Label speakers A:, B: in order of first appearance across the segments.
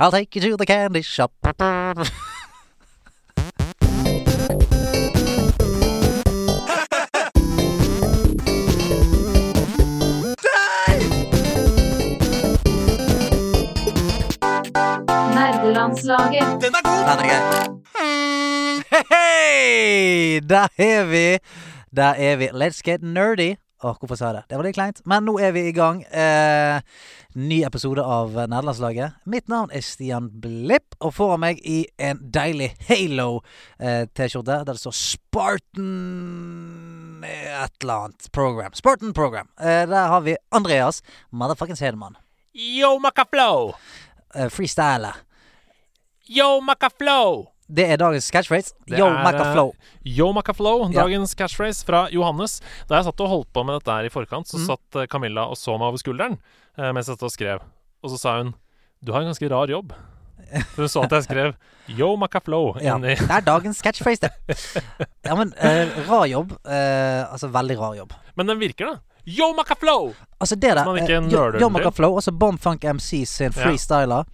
A: I'll take you to the candy shop.
B: Nerdelandslaget.
C: Den er god!
A: Den er gøy. Hei! Der er vi. Der er vi. Let's get nerdy. Åh, hvorfor sa jeg det? Det var litt kleint. Men nå er vi i gang. Eh, ny episode av Nederlandslaget. Mitt navn er Stian Blipp, og foran meg i en deilig Halo-T-skjorte der det står Spartan et eller annet program. Spartan program. Eh, der har vi Andreas motherfuckings Hedemann.
C: Yo, Macaflow!
A: Eh, freestyler.
C: Yo, Macaflow!
A: Det er dagens catchphrase.
D: Det
A: Yo,
D: er, eh,
A: Macaflow.
D: Yo Macaflow,
A: Ja.
D: dagens catchphrase fra Johannes. Da jeg satt og holdt på med dette her i forkant, så
A: Mm.
D: satt eh, Camilla og så meg over skulderen eh, mens jeg satt og skrev. Og så sa hun 'du har en ganske rar jobb'. For hun så at jeg skrev 'Yo Macaflow'
A: Ja,
D: inni
A: det er dagens catchphrase, det. Ja, men eh, rar jobb. eh, altså, veldig rar jobb.
D: Men den virker, da. Yo Macaflow!
A: Altså, det der
D: Som man ikke
A: eh,
D: nøler den
A: Jo- Yo
D: til.
A: Macaflow, altså Bomb Funk MC sin
D: Ja.
A: freestyler.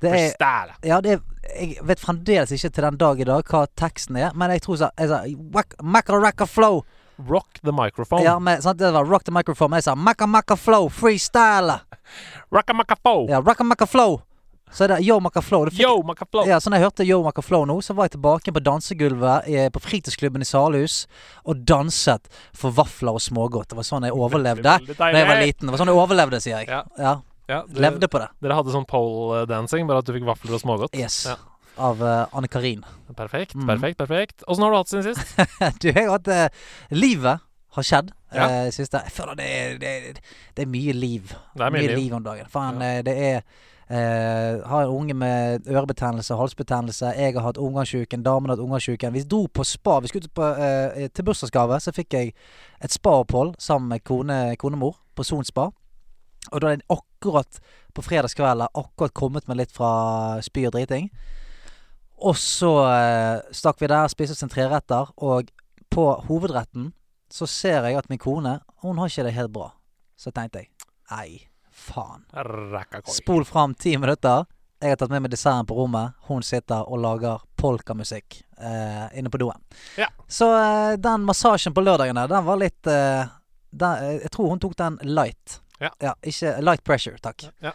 A: Det er
D: Freestyle.
A: Ja, det er Jeg vet fremdeles ikke til den dag i dag hva teksten er, men jeg tror så Jeg sa wack- Macca Racca Flow.
D: Rock the microphone.
A: Ja, men sant, det var Rock the Microphone. Men jeg sa Macca Macca Flow freestyler.
D: Oh. Rocka Macaflow.
A: Ja, Racca Macca Flow. Så er det Yo Macaflow. Det fikk
D: Yo Macaflow.
A: Ja, så når jeg hørte Yo Maca Flow nå, så var jeg tilbake på dansegulvet eh, på fritidsklubben i Salhus og danset for vafler og smågodt. Det var sånn jeg overlevde
D: Veldig
A: da jeg var
D: deilig.
A: liten. Det var sånn jeg overlevde, sier jeg.
D: Ja.
A: Ja,
D: Ja, du-
A: Levde på det.
D: Dere hadde sånn pole-dancing, bare at du fikk vafler og smågodt.
A: Yes.
D: Ja.
A: Av eh, Anne Karin.
D: Perfekt,
A: Mm.
D: perfekt, perfekt. Åssen har du hatt det siden sist?
A: Du, jeg har hatt eh, Livet har skjedd.
D: Ja.
A: Eh, jeg synes det, jeg føler det er, det, er, det er mye liv.
D: Det er mye liv.
A: om dagen. Faen,
D: Ja.
A: eh, det er eh, Har en unge med ørebetennelse, halsbetennelse. Jeg har hatt omgangssjuken, damen har hatt omgangssjuken. Vi dro på spa. Vi skulle ut på, eh, til bursdagsgave, så fikk jeg et spaopphold sammen med kone, konemor på Son spa. Og da er den akkurat på fredagskvelden akkurat kommet meg litt fra spy og driting. Og så eh, stakk vi der, spiste oss en treretter, og på hovedretten så ser jeg at min kone Hun har ikke det helt bra. Så tenkte jeg nei, faen.
D: Rakkakoi.
A: Spol fram ti minutter. Jeg har tatt med meg desserten på rommet. Hun sitter og lager polkamusikk eh, inne på doen.
D: Ja.
A: Så eh, den massasjen på lørdagene, den var litt eh, den, eh, Jeg tror hun tok den light.
D: Ja.
A: ikke light pressure, takk.
D: Ja.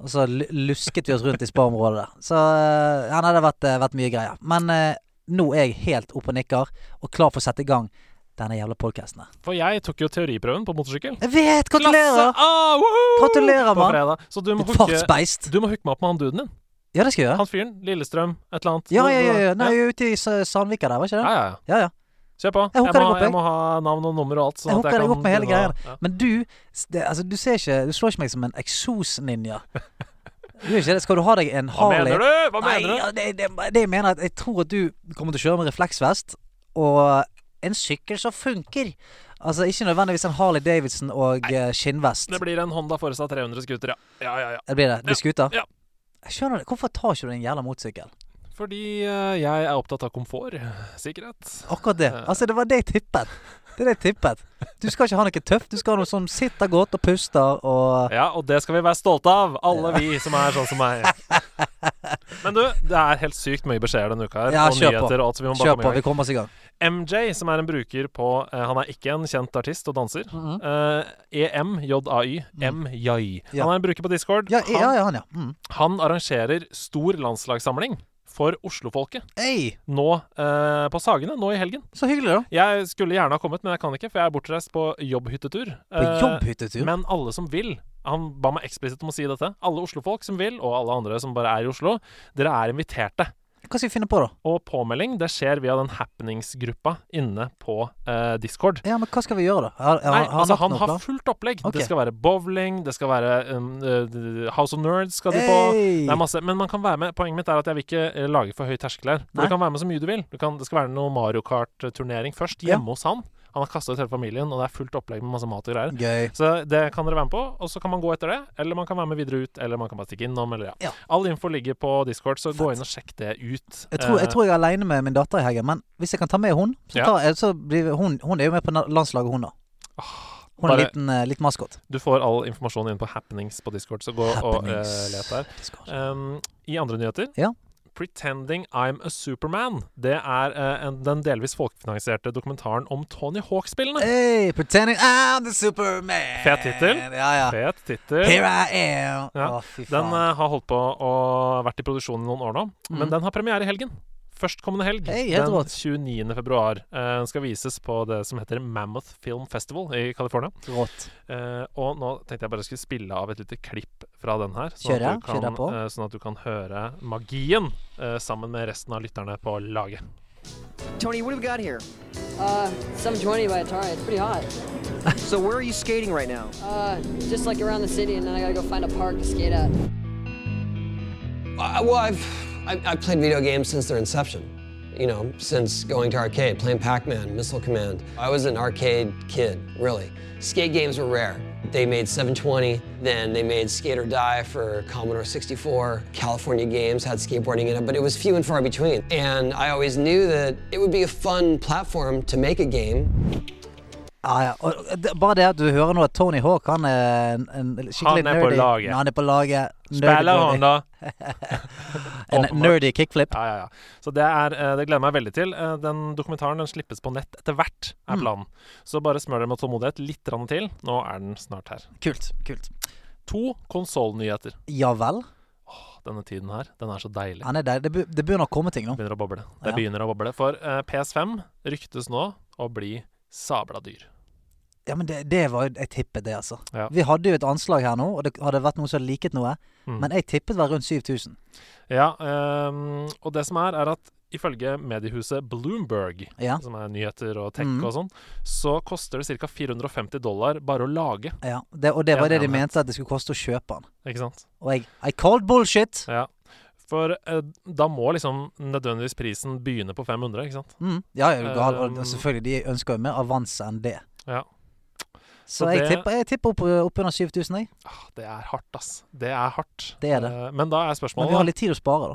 A: Og så lu- lusket vi oss rundt i spa-området der. Så eh, ja, nei, det har vært, eh, vært mye greier. Men eh, nå er jeg helt oppe og nikker, og klar for å sette i gang denne jævla podkasten.
D: For jeg tok jo teoriprøven på motorsykkel.
A: Jeg vet!
D: Klasse
A: Gratulerer!
D: A! Woohoo!
A: Gratulerer,
D: På
A: mann.
D: fredag. Så du må,
A: Ditt
D: hooke,
A: fartsbeist.
D: du må hooke meg opp med han duden din.
A: Ja, det skal jeg gjøre.
D: Han fyren. Lillestrøm. Et eller annet.
A: Ja,
D: Hvor-
A: ja, ja. ja.
D: hvor-
A: Nei, jeg er ute i Sa- Sandvika der, var ikke
D: ja,
A: det?
D: ja, ja.
A: Ja, ja.
D: Kjør på.
A: Jeg
D: Jeg,
A: hooker deg
D: må,
A: opp, jeg.
D: jeg må ha navn og nummer og alt. Sånn
A: Jeg
D: at
A: hooker deg
D: kan
A: opp med hele
D: begynne å- Ja.
A: Men du s- det, altså, du ser ikke Du slår ikke meg som en eksosninja. Du gjør ikke det. Skal du ha deg en
D: Hva
A: Harley
D: mener du? Hva
A: Nei,
D: mener du?
A: ja, det, det, det jeg mener er at jeg tror at du kommer til å kjøre med refleksvest og en sykkel som funker. Altså ikke nødvendigvis en Harley Davidson og eh, skinnvest.
D: Det blir en Honda Forestad 300 scooter, ja. Ja, ja, ja.
A: Det blir det.
D: Ja,
A: Blir skuter?
D: ja.
A: Jeg skjønner det. Hvorfor tar ikke du en jævla motorsykkel?
D: Fordi eh, jeg er opptatt av komfort. Sikkerhet.
A: Akkurat det.
D: Eh.
A: Altså, det var det jeg tippet. Det er det jeg tippet. Du skal ikke ha noe tøft. Du skal ha noe som sitter godt og puster og
D: Ja, og det skal vi være stolte av, alle vi som er sånn som meg. Men du, det er helt sykt mye beskjeder denne uka her.
A: Ja,
D: og
A: kjør på.
D: nyheter og alt, så vi må bare
A: Kjør
D: komme i
A: på,
D: gang.
A: vi kommer oss i gang.
D: MJ, som er en bruker på eh, Han er ikke en kjent artist og danser.
A: Mhm.
D: Eh, EMJAY. MJAY.
A: Ja.
D: Han er en bruker på Discord.
A: Ja,
D: han,
A: ja, ja han, ja. Mm.
D: han arrangerer stor landslagssamling for Oslofolket
A: Ei,
D: nå eh, på Sagene, nå i helgen.
A: så hyggelig, da.
D: Jeg skulle gjerne ha kommet, men jeg kan ikke, for jeg er bortreist på jobbhyttetur.
A: På
D: Eh,
A: jobbhyttetur.
D: men alle som vil Han ba meg eksplisitt om å si dette. Alle Oslofolk som vil, og alle andre som bare er i Oslo, dere er inviterte.
A: Hva skal vi finne på, da?
D: Og påmelding det skjer via den happeningsgruppa inne på eh, Discord.
A: Ja, men hva skal vi gjøre, da? Har, har,
D: Nei,
A: har
D: altså
A: lagt
D: han
A: noe
D: har
A: plan?
D: fullt opplegg.
A: Ok.
D: Det skal være bowling, det skal være um, eh, House of Nerds skal de på.
A: Hey!
D: Det er masse, men man kan være med Poenget mitt er at jeg vil ikke eh, lage for høy terskel her. For
A: Nei.
D: Du kan være med så mye du vil. Du kan, det skal være noe Mario Kart-turnering først,
A: Ja.
D: hjemme hos han. Han har kasta ut hele familien, og det er fullt opplegg med masse mat og greier.
A: Gøy.
D: Så det kan dere være med på, og så kan man gå etter det. Eller man kan være med videre ut, eller man kan bare stikke innom, eller ja.
A: Ja.
D: All info ligger på Discord, så gå
A: Fett.
D: inn og sjekk det ut.
A: Jeg tror, jeg
D: Eh,
A: tror jeg er aleine med min datter i helgen, men hvis jeg kan ta med hun, så,
D: Ja. Ah,
A: tar, jeg- så blir hun Hun er jo med på na- landslaget, hun, da. Hun er en
D: Bare-
A: liten, eh, liten maskot.
D: Du får all informasjon inn på happenings på Discord, så gå og eh,
A: Happenings.
D: let der.
A: Discord.
D: Um, I andre nyheter
A: Ja.
D: Pretending I'm a Superman. Det er eh, en, den delvis folkefinansierte dokumentaren om Tony Hawk-spillene.
A: Hey, pretending I'm the Superman.
D: Fet tittel.
A: Ja, ja.
D: Fet tittel.
A: Here I am.
D: Ja,
A: Å, fy
D: Den
A: faen.
D: eh, har holdt på og vært i produksjon i noen år nå, men
A: Mhm.
D: den har premiere i helgen. Førstkommende helg,
A: Hei, helt
D: den
A: rått.
D: 29. februar. Eh, Den skal vises på det som heter Mammoth Film Festival i California.
A: Rått.
D: Eh, og nå tenkte jeg bare skulle spille av et lite klipp fra den her, sånn,
A: Kjører jeg?
D: at, du kan,
A: Kjører jeg på?
D: eh, sånn at du kan høre magien eh, sammen med resten av lytterne på laget.
B: Tony, what have we got here?
E: Uh, 720 by Atari. It's pretty hot.
B: So where are you skating right now?
E: Uh, just like around the city, and then I gotta go find a park to skate at.
F: Uh, well, I've, I've I've played video games since their inception. You know, since going to arcade, playing Pac-Man, Missile Command. I was an arcade kid, really. Skate games were rare. They made 720, then they made Skate or Die for Commodore 64. California Games had skateboarding in it, but it was few and far between. And I always knew that it would be a fun platform to make a game
A: Ja, ja. Og det, bare det at du hører nå at Tony Hawk, han er en, en skikkelig nerdy.
D: Han er på laget.
A: Ja, Han er på laget. Nerdy
D: Spiller
A: body.
D: han, da?
A: En nerdy kickflip.
D: Ja, ja, ja. Så det, er, eh, det gleder jeg meg veldig til. Eh, Den dokumentaren den slippes på nett etter hvert, er
A: Mm.
D: planen. Så bare smør dere med tålmodighet litt grann til. Nå er den snart her.
A: Kult. Kult.
D: To konsollnyheter.
A: Ja vel.
D: Denne tiden her, den er så deilig.
A: Han er der. Det, be- det begynner å komme ting nå.
D: Det begynner å boble. Det
A: Ja.
D: begynner å boble. For eh, PS5 ryktes nå å bli sabla dyr.
A: Ja, men det, det var jo Jeg tippet det, altså.
D: Ja.
A: Vi hadde jo et anslag her nå, og det hadde vært noen som liket noe.
D: Mm.
A: Men jeg tippet det var rundt 7000.
D: Ja, ehm, og det som er, er at ifølge mediehuset Bloomberg,
A: Ja.
D: som er nyheter og tech
A: Mm.
D: og sånn, så koster det ca. 450 dollar bare å lage,
A: ja. Det, og det var
D: Ja,
A: det de
D: ja, men-
A: mente at det skulle koste å kjøpe den.
D: ikke sant?
A: Og jeg I called bullshit.
D: Ja. For eh, da må liksom nødvendigvis prisen begynne på 500, ikke sant?
A: Mm. Ja, jeg er jo gal. Og
D: Um,
A: selvfølgelig, de ønsker jo mer avanse enn det.
D: Ja.
A: Så,
D: Så
A: jeg,
D: det-
A: tipper, jeg tipper opp, opp under 7000, jeg.
D: Ah, det er hardt, ass. Det er hardt.
A: Det er det.
D: Eh, men da er
A: Men vi har
D: spørsmålet,
A: litt tid å spare, da.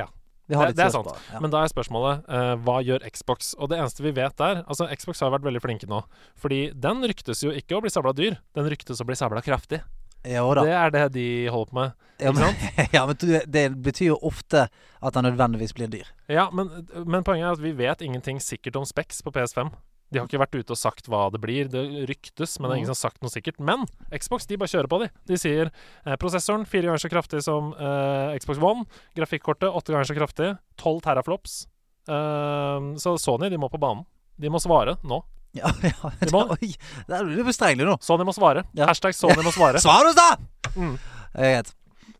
D: Ja.
A: Vi har litt
D: Det- det er
A: tid å
D: sant.
A: spare, ja.
D: men da er spørsmålet eh, hva gjør Xbox? Og det eneste vi vet der Altså, Xbox har vært veldig flinke nå. Fordi den ryktes jo ikke å bli sabla dyr, den ryktes å bli sabla kraftig.
A: Jo da.
D: Det er det de holder på med.
A: ja,
D: ikke
A: men, ja, men du, det betyr jo ofte at den nødvendigvis blir dyr.
D: Ja, men, men poenget er at vi vet ingenting sikkert om Specs på PS5. De har ikke vært ute og sagt hva det blir. Det ryktes, men det
A: Mhm.
D: er ingen som har sagt noe sikkert. Men Xbox de bare kjører på, de. De sier eh, prosessoren fire ganger så kraftig som eh, Xbox One. Grafikkortet åtte ganger så kraftig. Tolv teraflops. Eh, så Sony de må på banen. De må svare nå.
A: Ja, ja.
D: Du må-
A: Oi, der blir du bestrengelig nå.
D: Sony må svare.
A: Ja.
D: Hashtag Sony må svare.
A: Svar oss, da!
D: Mm.
A: Jeg vet.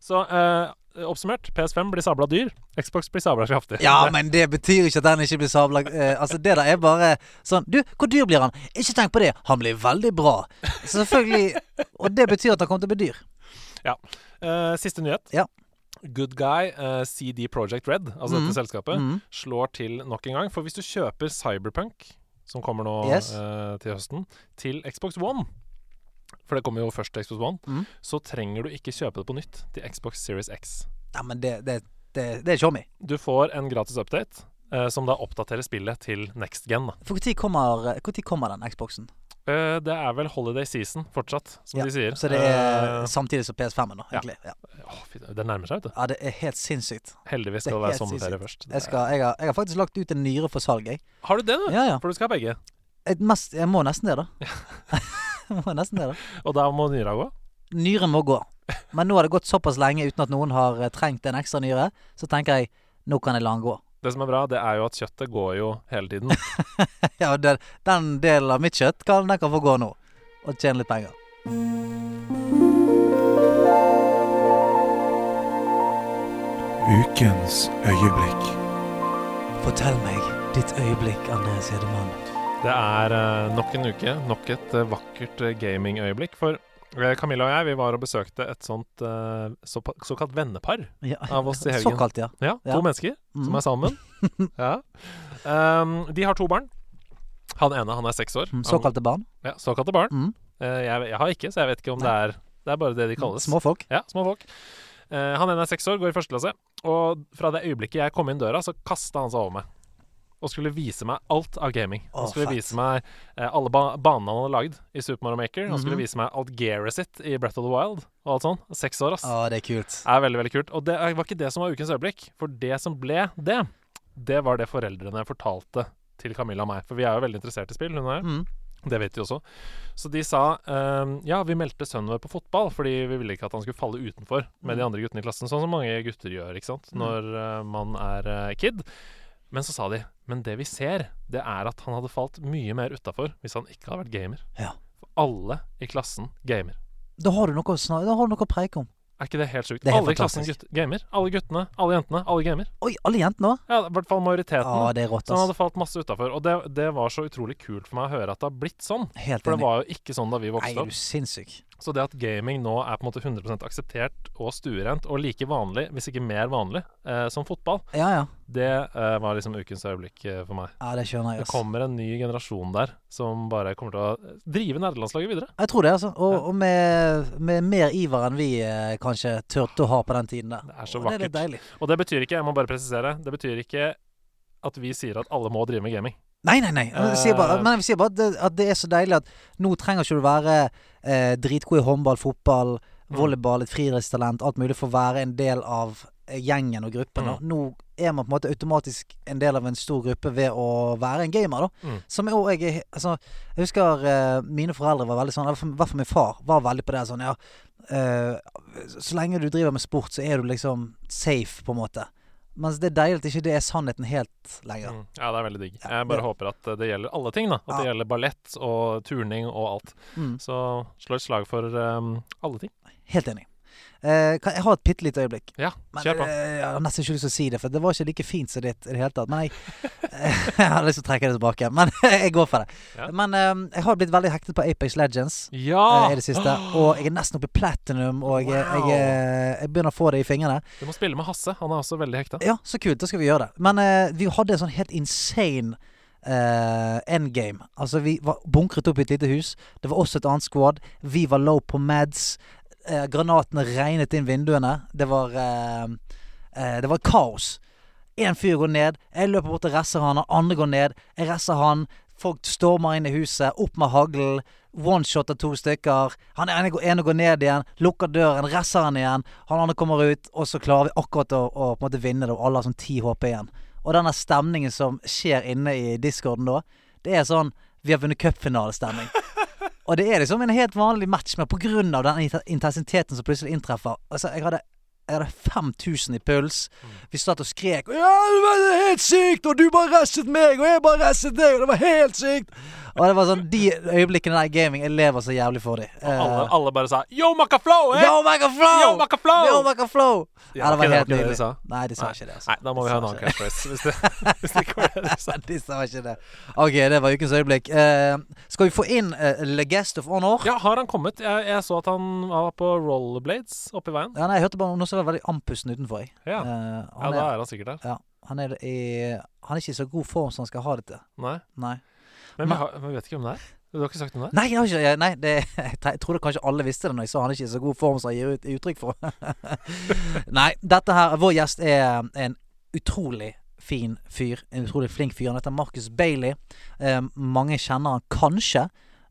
D: Så eh, oppsummert, PS5 blir sabla dyr. Xbox blir sabla kraftig. Eh,
A: Ja, men det betyr ikke at den ikke blir sabla eh, Altså, det der er bare sånn Du, hvor dyr blir han? Ikke tenk på det. Han blir veldig bra. Selvfølgelig. Og det betyr at han kommer til å bli dyr.
D: Eh, siste nyhet.
A: Ja.
D: Good Guy, eh, CD Project Red, altså
A: Mhm.
D: dette selskapet,
A: Mhm.
D: slår til nok en gang. For hvis du kjøper Cyberpunk, som kommer nå
A: Yes.
D: eh, til høsten, til Xbox One for det kommer jo først til Xbox One.
A: Mhm.
D: Så trenger du ikke kjøpe det på nytt til Xbox Series X.
A: Nei, men det, det, det, det er tjommi.
D: Du får en gratis update, eh, som da oppdaterer spillet til next gen. Da.
A: For når kommer, hvor tid kommer den Xboxen?
D: Eh, det er vel holiday season fortsatt, som
A: Ja,
D: de sier.
A: Så det er
D: Eh,
A: samtidig som PS5-en, da,
D: ja.
A: egentlig. Ja.
D: å, fy, det nærmer seg, vet du.
A: ja, det er helt sinnssykt.
D: Heldigvis
A: Det er
D: skal det være
A: helt
D: sommerferie
A: sinnssykt.
D: først. Det
A: Jeg,
D: er-
A: skal, jeg, har, jeg har faktisk lagt ut en nyre for salg, jeg.
D: Har du det, du?
A: Ja, ja.
D: For du skal ha begge.
A: Jeg, mest, jeg må nesten det, da. jeg må nesten det, da.
D: Og da må nyra gå.
A: Nyre må gå. Men nå har det gått såpass lenge uten at noen har eh, trengt en ekstra nyre, så tenker jeg nå kan jeg la den gå.
D: Det som er bra, det er jo at kjøttet går jo hele tiden.
A: Ja, den, den delen av mitt kjøtt kan, den kan få gå nå, og tjene litt penger.
G: Ukens øyeblikk.
A: Fortell meg ditt øyeblikk, Andreas Hedemann.
D: Det er eh, nok en uke, nok et eh, vakkert eh, gamingøyeblikk. For eh, Camilla og jeg vi var og besøkte et sånt eh, såpa- såkalt vennepar
A: Ja.
D: av oss i helgen.
A: Såkalt, ja.
D: Ja, to
A: Ja.
D: mennesker som
A: Mm.
D: er sammen. Ja. Ehm, de har to barn. Han ene han er seks år.
A: Mm, Såkalte barn.
D: Han, ja, såkalte barn.
A: Mm.
D: Eh, jeg, jeg har ikke, så jeg vet ikke om det er Det er bare det de kalles.
A: Små folk.
D: Ja, små folk. Eh, han ene er seks år, går i første klasse. Og fra det øyeblikket jeg kom inn døra, så kasta han seg over meg. og skulle vise meg alt av gaming. Han
A: Å,
D: skulle
A: fett.
D: vise meg eh, alle ba banene han hadde lagd i Super Mario Maker. Han
A: Mhm.
D: skulle vise meg Algeria sitt i Breath of the Wild og alt sånn. Seks år, ass.
A: Å, det er kult.
D: er veldig, veldig kult. Og det er- var ikke det som var ukens øyeblikk, for det som ble det, det var det foreldrene fortalte til Camilla og meg. For vi er jo veldig interessert i spill, hun og jeg.
A: Mm.
D: Det vet de også. Så de sa ehm, ja, vi meldte sønnen vår på fotball fordi vi ville ikke at han skulle falle utenfor med
A: Mm.
D: de andre guttene i klassen, sånn som mange gutter gjør ikke sant? når eh, man er eh, kid. Men så sa de men det vi ser, det er at han hadde falt mye mer utafor hvis han ikke hadde vært gamer.
A: Ja.
D: For alle i klassen gamer.
A: Da har du noe å, snak da har du noe å preike om.
D: Er ikke det helt sjukt?
A: Det er helt
D: alle i klassen
A: fantastisk.
D: gutt, gamer. Alle guttene, alle jentene, alle gamer.
A: Oi, alle jentene òg?
D: Ja, I hvert fall majoriteten.
A: Å, det er rått,
D: så han
A: ass.
D: hadde falt masse utafor. Og det, det var så utrolig kult for meg å høre at det har blitt sånn.
A: Helt
D: For det
A: enig.
D: var jo ikke sånn da vi
A: Nei,
D: vokste
A: er
D: opp.
A: du sinnssyk.
D: Så det at gaming nå er på en måte 100 akseptert og stuerent og like vanlig, hvis ikke mer vanlig, eh, som fotball,
A: Ja, ja.
D: det eh, var liksom ukens øyeblikk eh, for meg.
A: Ja, Det skjønner jeg.
D: Det
A: ass.
D: kommer en ny generasjon der som bare kommer til å eh, drive nederlandslaget videre.
A: Jeg tror det, altså. Og, og med, med mer iver enn vi eh, kanskje turte å ha på den tiden der.
D: Det er så
A: Og Det er
D: vakkert.
A: litt deilig.
D: Og det betyr ikke, jeg må bare presisere, det betyr ikke at vi sier at alle må drive med gaming.
A: Nei, nei, nei. Men jeg sier bare,
D: Eh,
A: men jeg sier bare at, det, at det er så deilig at nå trenger ikke du være eh, dritgod i håndball, fotball,
D: Mm.
A: volleyball, et friidrettstalent, alt mulig for å være en del av eh, gjengen og
D: Mm.
A: gruppen. da. Nå er man på en måte automatisk en del av en stor gruppe ved å være en gamer, da.
D: Mm.
A: Som er også, jeg, er- altså, jeg husker eh, mine foreldre var veldig sånn, i hvert fall- i hvert fall min far var veldig på det sånn, ja eh, Så lenge du driver med sport, så er du liksom safe, på en måte. Mens det er deilig at ikke det er sannheten helt lenger.
D: Mm. Ja, det er veldig digg.
A: Ja,
D: jeg bare
A: det-
D: håper at eh, det gjelder alle ting, da. At det gjelder ballett og turning og alt.
A: Mm.
D: Så slå et slag for ehm, alle ting.
A: Helt enig. Eh, kan, jeg har et bitte lite øyeblikk.
D: Ja,
A: Men,
D: kjør på.
A: eh, jeg har nesten ikke lyst til å si det, for det var ikke like fint som ditt i det hele tatt. Men jeg, jeg har lyst til å trekke det tilbake, men jeg går for det.
D: Ja.
A: Men eh, jeg har blitt veldig hektet på Apex Legends
D: Ja!
A: eh, i det siste. Og jeg er nesten oppe i platinum, og jeg,
D: Wow.
A: jeg, eh, jeg begynner å få det i fingrene.
D: Du må spille med Hasse. Han er også veldig hekta.
A: Ja, så kult. Da skal vi gjøre det. Men eh, vi hadde en sånn helt insane eh, endgame. Altså, vi var bunkret opp i et lite hus. Det var også et annet squad. Vi var low på mads. Eh, granatene regnet inn vinduene. Det var eh, eh, Det var kaos. Én fyr går ned. Jeg løper bort og resser han. Han andre går ned. Jeg resser han. Folk stormer inn i huset. Opp med haglen. Oneshot av to stykker. Han ene går, ene går ned igjen, lukker døren, resser han igjen. Han andre kommer ut, og så klarer vi akkurat å, å på en måte vinne det, og alle har sånn ti HP igjen. Og denne stemningen som skjer inne i discorden da, det er sånn Vi har vunnet cupfinalestemning. og det er liksom en helt vanlig match, men pga. den inte- intensiteten som plutselig inntreffer Altså, jeg hadde jeg hadde 5000 i puls.
D: Mm.
A: Vi satt og skrek. Ja, det var helt sykt! Og du bare restet meg, og jeg bare restet deg, og det var helt sykt! Og det var sånn, De øyeblikkene der i gaming, jeg lever så jævlig for de.
D: Alle, alle bare sa 'yo, Macaflow'! Eh?
A: Eh. Yo, Macaflow!
D: Yo, Macaflow!
A: Yo, Macaflow!
D: Ja, ok, det var ikke det de
A: nydelig.
D: sa.
A: Nei, de sa ikke det. altså.
D: Nei, da
A: De
D: må vi ha
A: sa
D: en annen
A: ikke det.
D: catchphrase. Hvis, det- hvis det ikke var det du sa.
A: De sa ikke det. OK, det var ukens øyeblikk. Eh, skal vi få inn eh, Le Guest of Honor?
D: Ja, har han kommet? Jeg, jeg så at han var på rollerblades oppi veien.
A: nei, jeg hørte bare noen som var veldig andpusten utenfor. Jeg.
D: Ja.
A: Eh,
D: ja,
A: han, er,
D: da er han sikkert der.
A: ja, han er i Han er ikke i så god form som han skal ha det til.
D: Nei.
A: Nei.
D: Men vi, har, vi vet ikke hvem det er. Du har ikke sagt hvem det er?
A: Nei, jeg har ikke, jeg- nei det, jeg te- jeg trodde kanskje alle visste det når jeg sa han er ikke i så god form som han gir ut, uttrykk for. nei, dette her Vår gjest er en utrolig fin fyr. En utrolig flink fyr. Han heter Marcus Bailey. Eh, mange kjenner han kanskje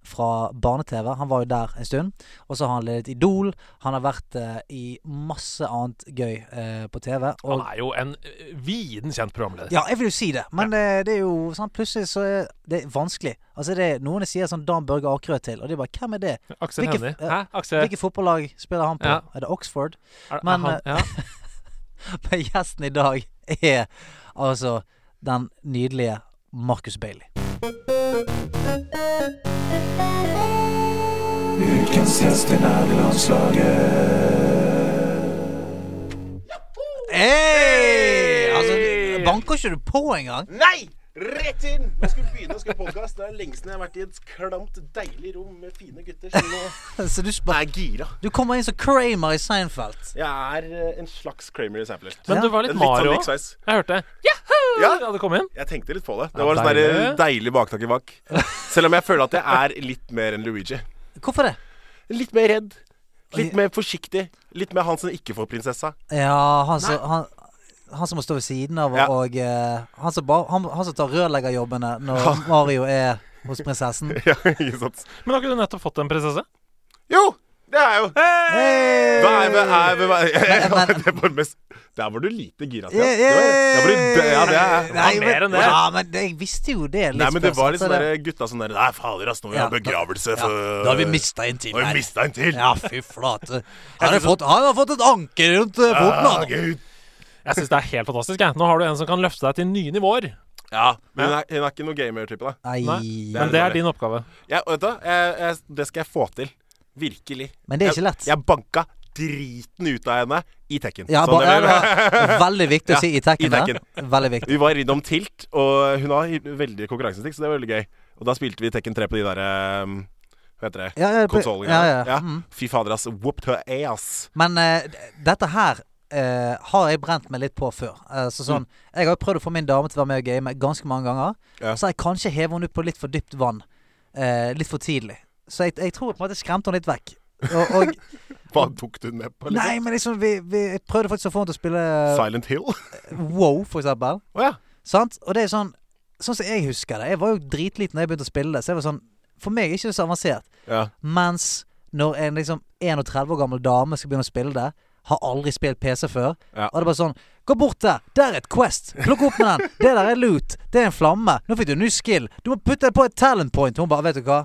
A: fra barne-TV. Han var jo der en stund. Og så har han ledet Idol. Han har vært eh, i masse annet gøy eh, på TV. Og,
D: Han er jo en eh, viden kjent programleder.
A: ja, jeg vil jo si det, men det, det er jo sånn plutselig så er det vanskelig. Altså det er Noen jeg sier sånn Dan Børge Akerø til, og de bare 'Hvem er det?'
D: Aksel
A: Hvilke-
D: Hennie.
A: ja.
D: Hæ, Aksel?
A: eh, Hvilket fotballag spiller han på?
D: Ja.
A: Er det Oxford?
D: Er, er
A: Men, eh,
D: han, ja.
A: Men gjesten i dag er altså den nydelige Marcus Bailey. Ukens Hey! Altså, banker ikke du på engang?
G: Nei! Rett inn! Nå skal vi begynne å skrive podkast. Det er lenge siden jeg har vært i et klamt, deilig rom med fine gutter. Så nå
A: Så du, sp-
G: er jeg gira.
A: du kommer inn som Kramer i Seinfeld.
G: Jeg er eh, en slags Kramer i Seinfeld.
D: Men
A: Ja.
D: du var litt
G: Litt sånn
D: Mario òg.
G: riksveis.
D: Jeg hørte Yahoo!
G: Ja.
D: Ja, det kom inn.
G: Jeg tenkte litt på det.
D: Ja,
G: Det var sånn der, eh,
D: deilig.
G: deilig baktak i bak. Selv om jeg føler at jeg er litt mer enn Luigi.
A: Hvorfor det?
G: Litt mer redd. Litt mer forsiktig. Litt mer han som ikke får prinsessa.
A: Ja, han som han, han som må stå ved siden av,
H: Ja.
A: og eh, han, som bare, han, han som tar rørleggerjobbene når Mario er hos prinsessen.
H: Ja, ikke sant.
D: Men har ikke du nettopp fått en prinsesse?
H: Jo! Det er jo Da er vi, er vi, er
A: Men- men-
H: det var det mest, Der var du lite gira. Stian.
A: Yeah,
H: Det var- Der var du død. Ja, det er
A: Nei,
D: mer
A: men,
D: enn det.
A: ja, men det, jeg visste jo det. litt
H: Nei, men det var
A: først,
H: litt
A: så
H: sånn der gutta som der Nei, fader, ass, nå vil jeg ha
A: Ja, da-
H: begravelse
A: ja,
H: for
A: Da har vi mista en til
H: Nå har vi
A: her.
H: mista en til.
A: Ja, fy flate. Han har fått, han har fått et anker rundt eh, foten.
H: Ah,
A: han.
H: Gud.
D: Jeg syns det er helt fantastisk. Jeg. Nå har du en som kan løfte deg til nye nivåer.
H: Ja, men hun er, hun er ikke noe gamer-type, da.
A: Nei.
D: Nei,
H: er
D: Men det er din oppgave.
H: Jeg, vet du, hva? jeg, jeg, det skal jeg få til. Virkelig.
A: Men det er ikke lett.
H: Jeg, jeg banka driten ut av henne i Tekken.
A: Ja,
H: Sånn,
A: ba, ja,
H: det
A: det
H: var-
A: var veldig viktig å si i
H: i
A: tekken.
H: tekken.
A: der. Veldig viktig.
H: Vi var innom Tilt, og hun har veldig konkurranseinstinkt, så det var veldig gøy. Og da spilte vi Tekken 3 på de derre Hva heter det?
A: Ja, ja, på-
H: Konsollen.
A: ja, ja, mm.
H: Fy fader, ass. Whooped her ass.
A: Men eh, d- dette her eh, har jeg brent meg litt på før. Eh, så sånn, Jeg har jo prøvd å få min dame til å være med og game ganske mange ganger.
H: Ja.
A: Så har jeg kanskje hevet henne ut på litt for dypt vann. eh, litt for tidlig. Så jeg, jeg tror på en måte jeg skremte henne litt vekk. Og, og,
H: Hva tok du med på?
A: nei, men liksom vi, vi jeg prøvde faktisk å få henne til å spille
H: Silent Hill? Å
A: Wow, for eksempel.
H: ja.
A: Sant? Og det er sånn Sånn som jeg husker det. Jeg var jo dritliten da jeg begynte å spille det. Så jeg var sånn For meg er ikke det så avansert.
H: ja.
A: Mens når en liksom 31 år gammel dame skal begynne å spille det, har aldri spilt PC før,
H: Ja.
A: og det er bare sånn Gå bort der! Der er et Quest! Plukk opp med den! Det der er loot! Det er en flamme! Nå fikk du en ny skill! Du må putte det på et talent point! Hun bare Vet du hva?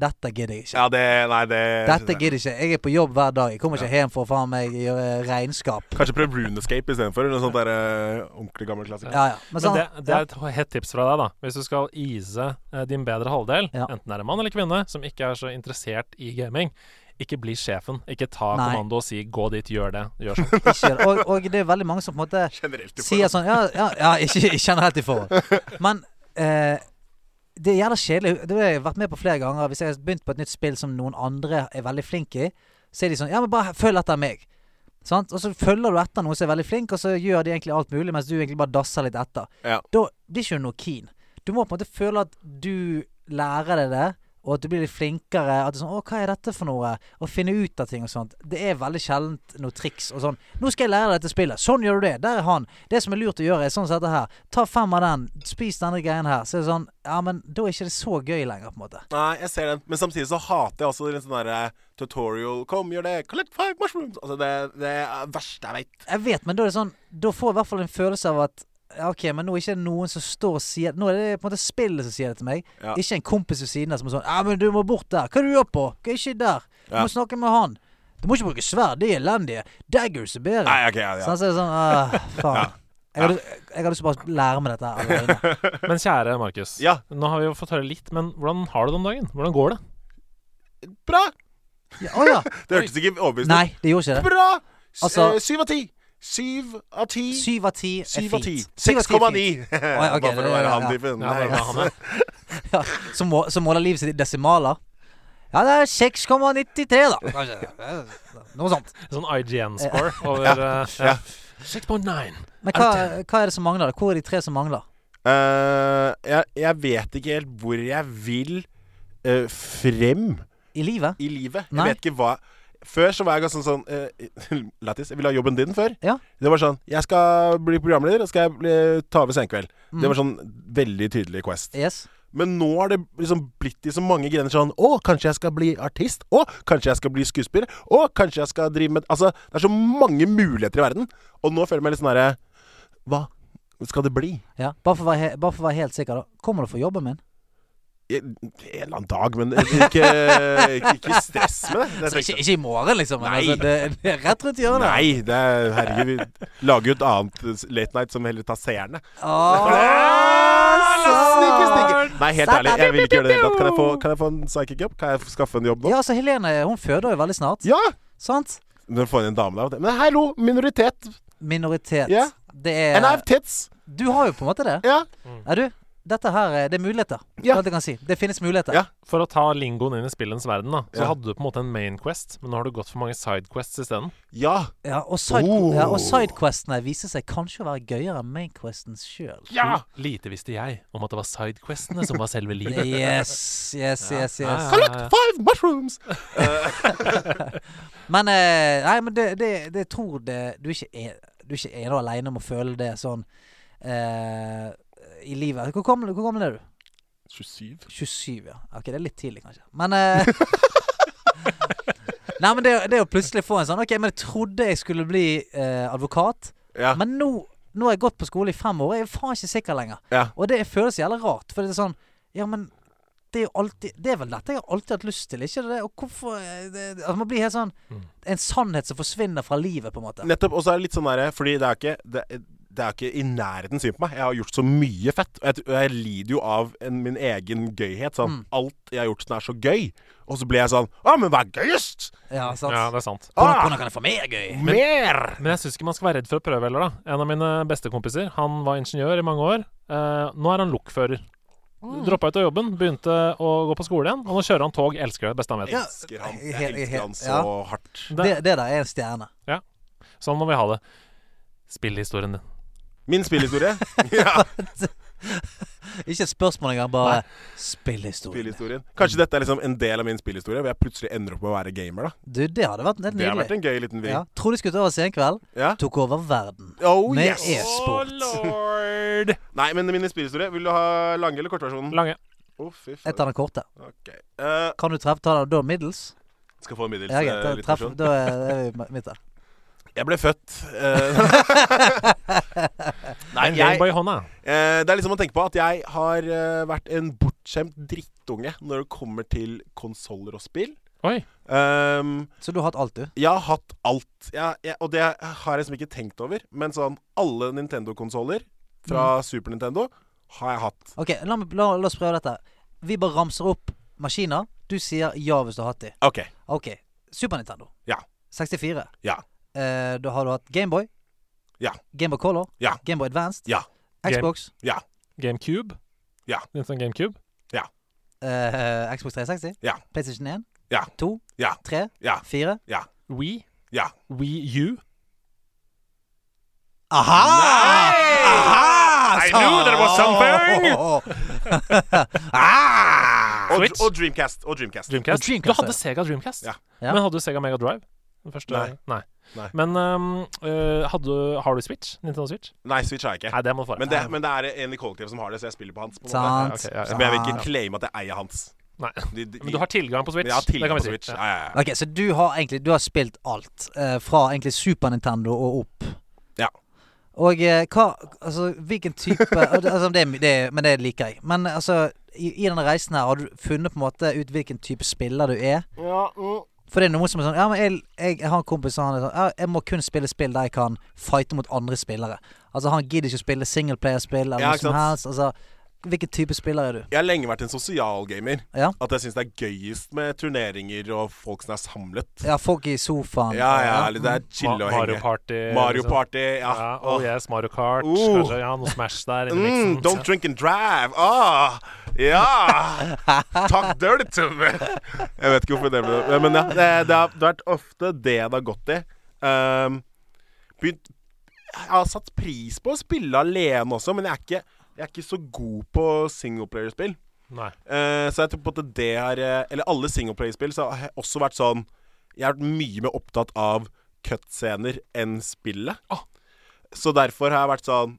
A: Dette gidder jeg ikke.
H: Ja, det Nei, det
A: Dette gidder jeg ikke. Jeg er på jobb hver dag. Jeg kommer ikke hjem for å faen meg gjøre regnskap.
H: Kanskje prøv Runescape istedenfor. Noe sånt der eh, ordentlig gammel klassiker.
A: Ja, ja. Men
D: Men
A: sånn,
D: det, det er et hett tips fra deg, da. Hvis du skal ease eh, din bedre halvdel,
A: Ja.
D: enten er det mann eller kvinne, som ikke er så interessert i gaming, ikke bli sjefen. Ikke ta
A: Nei.
D: kommando og si 'gå dit, gjør det', gjør sånn.
A: ja, ikke, og, og det er veldig mange som på en måte
H: Generelt i
A: sier
H: forhold.
A: sånn Ja, ja, ja ikke, ikke generelt i forhold. Men eh, det er jævla kjedelig. Det har jeg vært med på flere ganger. Hvis jeg har begynt på et nytt spill som noen andre er veldig flink i, så er de sånn Ja, men bare følg etter meg. Sant? Og så følger du etter noen som er veldig flink, og så gjør de egentlig alt mulig, mens du egentlig bare dasser litt etter.
H: Ja.
A: Da blir ikke du noe keen. Du må på en måte føle at du lærer deg det, og at du blir litt flinkere. At du er sånn, å, hva er dette for noe? Og finne ut av ting og sånt. Det er veldig sjeldent noe triks og sånn. Nå skal jeg lære deg dette spillet. Sånn gjør du det. Der er han. Det som er lurt å gjøre, er sånn som dette her. Ta fem av den. Spis denne greien her. Så er det sånn, ja, men da er ikke det så gøy lenger, på en måte.
H: Nei, jeg ser den. Men samtidig så hater jeg også litt sånn derre tutorial Kom, gjør det. Collect five mushrooms. Altså, det, det er det verste jeg veit.
A: Jeg vet, men da er det sånn Da får jeg i hvert fall en følelse av at ja, OK, men nå er ikke det noen som står og sier Nå er det på en måte spillet som sier det til meg.
H: Ja.
A: Ikke en kompis ved siden av som er sånn 'Ja, men du må bort der. Hva er det du gjør på? Hva er ikke der? Du
H: Ja.
A: må snakke med han. Du må ikke bruke sverd. De er elendige. Daggers er bedre.
H: Nei, ok, ja,
A: Så
H: ja.
A: han sier sånn «Ah, faen. Jeg hadde, jeg hadde lyst til å bare lære meg dette her alene.
D: Men kjære Markus,
H: Ja.
D: nå har vi jo fått høre litt, men hvordan har du det om dagen? Hvordan går det?
H: Bra!
A: Ja, Å ja.
H: Det hørtes ikke overbevisende
A: Nei, det gjorde ikke det.
H: Bra! S-
A: Altså-
H: eh, Syv av ti. Syv av ti.
A: Syv av ti er
H: Syv av ti.
A: fint. Syv av ti er
H: 6,9.
A: fint. ja,
H: Bare
A: ok,
H: for å
A: det-
H: være
A: ja,
H: han
A: ja.
H: typen.
D: Ja, det er bra, han er.
A: Ja, som, må, som måler livet sitt i desimaler. Ja, det er 6,93, da. Kanskje. Noe sånt.
D: Sånn IGN-score over eh, ja. 6.9.
A: Men hva, hva er det som mangler? Hvor er de tre som mangler?
H: Eh, jeg, jeg vet ikke helt hvor jeg vil eh, frem
A: I livet?
H: i livet.
A: Nei.
H: Jeg vet ikke hva Før så var jeg ganske sånn sånn, eh, Lattis, jeg ville ha jobben din før.
A: Ja.
H: Det var sånn Jeg skal bli programleder, og skal jeg bli, ta over Senkveld.
A: Mm.
H: Det var sånn veldig tydelig Quest.
A: Yes.
H: Men nå har det liksom blitt i så mange grener sånn Å, kanskje jeg skal bli artist? Å, kanskje jeg skal bli skuespiller? Å, kanskje jeg skal drive med Altså, det er så mange muligheter i verden. Og nå føler jeg meg litt sånn herre Hva skal det bli?
A: Ja. Bare, for å være, he- bare for å være helt sikker, da. Kommer du for jobben min?
H: En en eller annen dag, men ikke, ikke, ikke stress med det. det er
A: Altså, ikke, ikke i morgen, liksom. Men
H: Nei.
A: altså, det, det er rett rundt hjørnet.
H: Nei, det er, herregud, vi lager jo et annet late night som heller tar seerne.
A: Ah, Altså, sånn.
H: Snikke, snikke. Nei, helt ærlig, jeg vil ikke gjøre det i det hele tatt. Kan jeg få, kan jeg få en psychic jobb? Kan jeg få skaffe en jobb nå?
A: Ja, så Helene hun føder jo veldig snart.
H: Ja!
A: Sant?
H: Men få inn en dame der. Men hallo, minoritet.
A: Minoritet.
H: Ja.
A: Det
H: And I have
A: er
H: tits.
A: Du har jo på en måte det.
H: Ja.
A: Er du? Dette her, eh, det er muligheter. Det
H: Ja.
A: er alt jeg kan si. Det finnes muligheter.
H: Ja.
D: For å ta lingoen inn i spillens verden, da, så
H: Ja.
D: hadde du på en måte en main quest, men nå har du gått for mange side quests isteden.
H: Ja.
A: Ja, og, side,
H: Oh.
A: ja, og sidequestene viser seg kanskje å være gøyere enn mainquesten sjøl.
D: Ja! Lite visste jeg om at det var side questene som var selve livet.
A: Yes, yes, yes. yes.
D: Ja, ja,
H: Collect
D: ja.
H: five mushrooms.
A: Men eh, Nei, men det, det, det tror det du ikke er du er ikke ene og alene om å føle det sånn eh, i livet. Hvor gammel, hvor gammel er du?
H: 27.
A: 27, ja. Ok, det er litt tidlig, kanskje. Men eh, Nei, men det, det å plutselig få en sånn Ok, men jeg trodde jeg skulle bli eh, advokat,
H: Ja.
A: men nå, nå har jeg gått på skole i fem år, og jeg er faen ikke sikker lenger.
H: ja.
A: Og det føles jævlig rart, for det er sånn Ja, men det er jo alltid Det er vel dette jeg har alltid hatt lyst til, ikke det? Og hvorfor eh, det, det- altså, Man blir helt sånn
H: Mm.
A: En sannhet som forsvinner fra livet, på en måte.
H: Nettopp. Og så er det litt sånn derre Fordi det er ikke det, det er ikke i nærheten synd på meg. Jeg har gjort så mye fett. Og jeg, t- og jeg lider jo av en, min egen gøyhet. Sånn.
A: Mm.
H: Alt jeg har gjort som er så gøy. Og så blir jeg sånn Å, men hva er gøyest?
A: Ja, sant?
D: Ja, det er sant.
A: hvordan,
H: Ah!
A: hvordan kan jeg få mer gøy?
H: Mer!
D: Men jeg syns ikke man skal være redd for å prøve heller, da. En av mine bestekompiser, han var ingeniør i mange år. Eh, nå er han lokfører. Droppa ut av jobben, begynte å gå på skole igjen, og nå kjører han tog. Elsker det, beste han vet.
A: Ja,
H: Elsker han.
A: he-
H: Jeg
A: he-
H: elsker han så
A: ja.
H: hardt.
D: Det,
A: Det, det der er en stjerne.
D: Sånn må vi ha det. Spillehistorien din.
H: Min spillhistorie. ja,
A: Ikke et spørsmål engang, bare spillhistorie.
H: spillhistorien. Kanskje dette er liksom en del av min spillhistorie, hvor jeg plutselig ender opp med å være gamer, da.
A: Du, det hadde vært helt
H: Det har vært
A: nydelig.
H: en gøy liten vri.
A: Ja. Trodde jeg skulle ta over senkveld.
H: Ja.
A: Tok over verden.
H: Oh,
A: Med E.
H: yes.
A: e-sport.
D: lord!
H: Nei, men min spillhistorie. Vil du ha lange eller kortversjonen?
D: Lange.
H: Å, fy
A: Jeg tar
H: faen.
A: den korte.
H: Ok. Eh,
A: Kan du treffe ta den da middels?
H: skal få en middels
A: Ja, greit.
H: eh,
A: Da,
H: liten
A: treff,
H: versjon.
A: da er er vi i midten.
H: Jeg ble født eh, Nei,
D: En
H: jeg,
D: Gameboy i hånda.
H: eh, det er liksom å tenke på at jeg har eh, vært en bortskjemt drittunge når det kommer til konsoller og spill.
D: Oi.
H: Ehm,
A: Så du har hatt alt, du?
H: jeg har hatt alt. Jeg, jeg, og det har jeg liksom ikke tenkt over. Men sånn alle Nintendo-konsoller fra
A: Mm.
H: Super Nintendo har jeg hatt.
A: Ok, la, meg- la, la oss prøve dette. Vi bare ramser opp maskiner. Du sier ja hvis du har hatt de.
H: OK.
A: Ok. Super Nintendo.
H: Ja.
A: 64.
H: Ja.
A: Eh, da har du hatt Gameboy.
H: Ja.
A: Gameboy Color.
H: Ja.
A: Gameboy Advanced.
H: Ja.
A: Xbox.
D: GameCube.
H: Ja.
D: Litt sånn GameCube.
A: eh, Xbox 360.
H: Ja.
A: PlayStation 1.
H: Ja.
A: 2.
H: Ja.
A: 3.
H: Ja.
A: 4.
D: We.
H: Ja.
D: Wii U.
A: Aha!
D: I knew there
H: Altså!
D: was something!
H: Ah! Og,
D: Switch.
H: og Dreamcast. Og Dreamcast.
D: Dreamcast.
A: Og Dreamcast,
D: Du hadde
A: ja.
D: Sega Dreamcast.
H: Ja.
A: Ja.
D: Men hadde du Sega Mega Drive? Den første?
H: Nei.
D: Nei.
H: Nei.
D: Men ehm, øh, hadde, har du Switch? Nintendo Switch?
H: Nei, Switch har jeg ikke.
D: Nei, det må du få.
H: Men det, men det er en i kollektivet som har det, så jeg spiller på hans. På en måte.
A: Sant.
D: ok, ja, ja.
H: Men jeg vil
A: sant.
H: ikke claime at jeg eier hans.
D: Nei.
H: De- de-
D: Men du har tilgang på Switch.
H: Men jeg har
D: det kan
H: tilgang
D: vi
H: på
D: si.
H: Switch.
D: Ja.
H: Ja, ja, ja.
A: Ok, så du har egentlig Du har spilt alt. eh, fra egentlig Super Nintendo og opp.
H: Ja.
A: Og eh, hva Altså, hvilken type altså, det, er- det, er- Men det liker jeg. Men altså, i, i denne reisen her, har du funnet på en måte ut hvilken type spiller du er? For det er noen som er sånn Ja, men jeg, jeg, jeg har en kompis som han er sånn ja, Jeg må kun spille spill der jeg kan fighte mot andre spillere. Altså, han gidder ikke å spille singleplayerspill eller
H: Ja,
A: noe som
H: ikke sant.
A: helst. Altså, hvilken type spiller er du?
H: Jeg har lenge vært en sosialgamer.
A: Ja.
H: At jeg syns det er gøyest med turneringer og folk som er samlet.
A: Ja, folk i sofaen.
H: Ja, ja, eller det er
D: Ma-
H: chill å
D: Mario
H: henge.
D: Party.
H: Mario
D: liksom.
H: Party. Ja.
D: Ja,
H: Åh.
D: oh yes, Mario Kart.
H: Oh.
D: Kanskje, ja, noe Smash der. inni
H: Mm,
D: miksen.
H: don't drink and drive. Ah, ja! Talk dirty to me. Jeg vet ikke hvorfor det ble Men ja, det, det har det har vært ofte det det har gått i. Um, begynt, jeg har satt pris på å spille alene også, men jeg er ikke, jeg er ikke så god på singleplayerspill.
D: Nei.
A: Mhm.
H: Eh, så jeg tror på en måte det er eh, Eller alle singleplayerspill så har jeg også vært sånn Jeg har vært mye mer opptatt av cutscener enn spillet.
D: Ah.
H: Så derfor har jeg vært sånn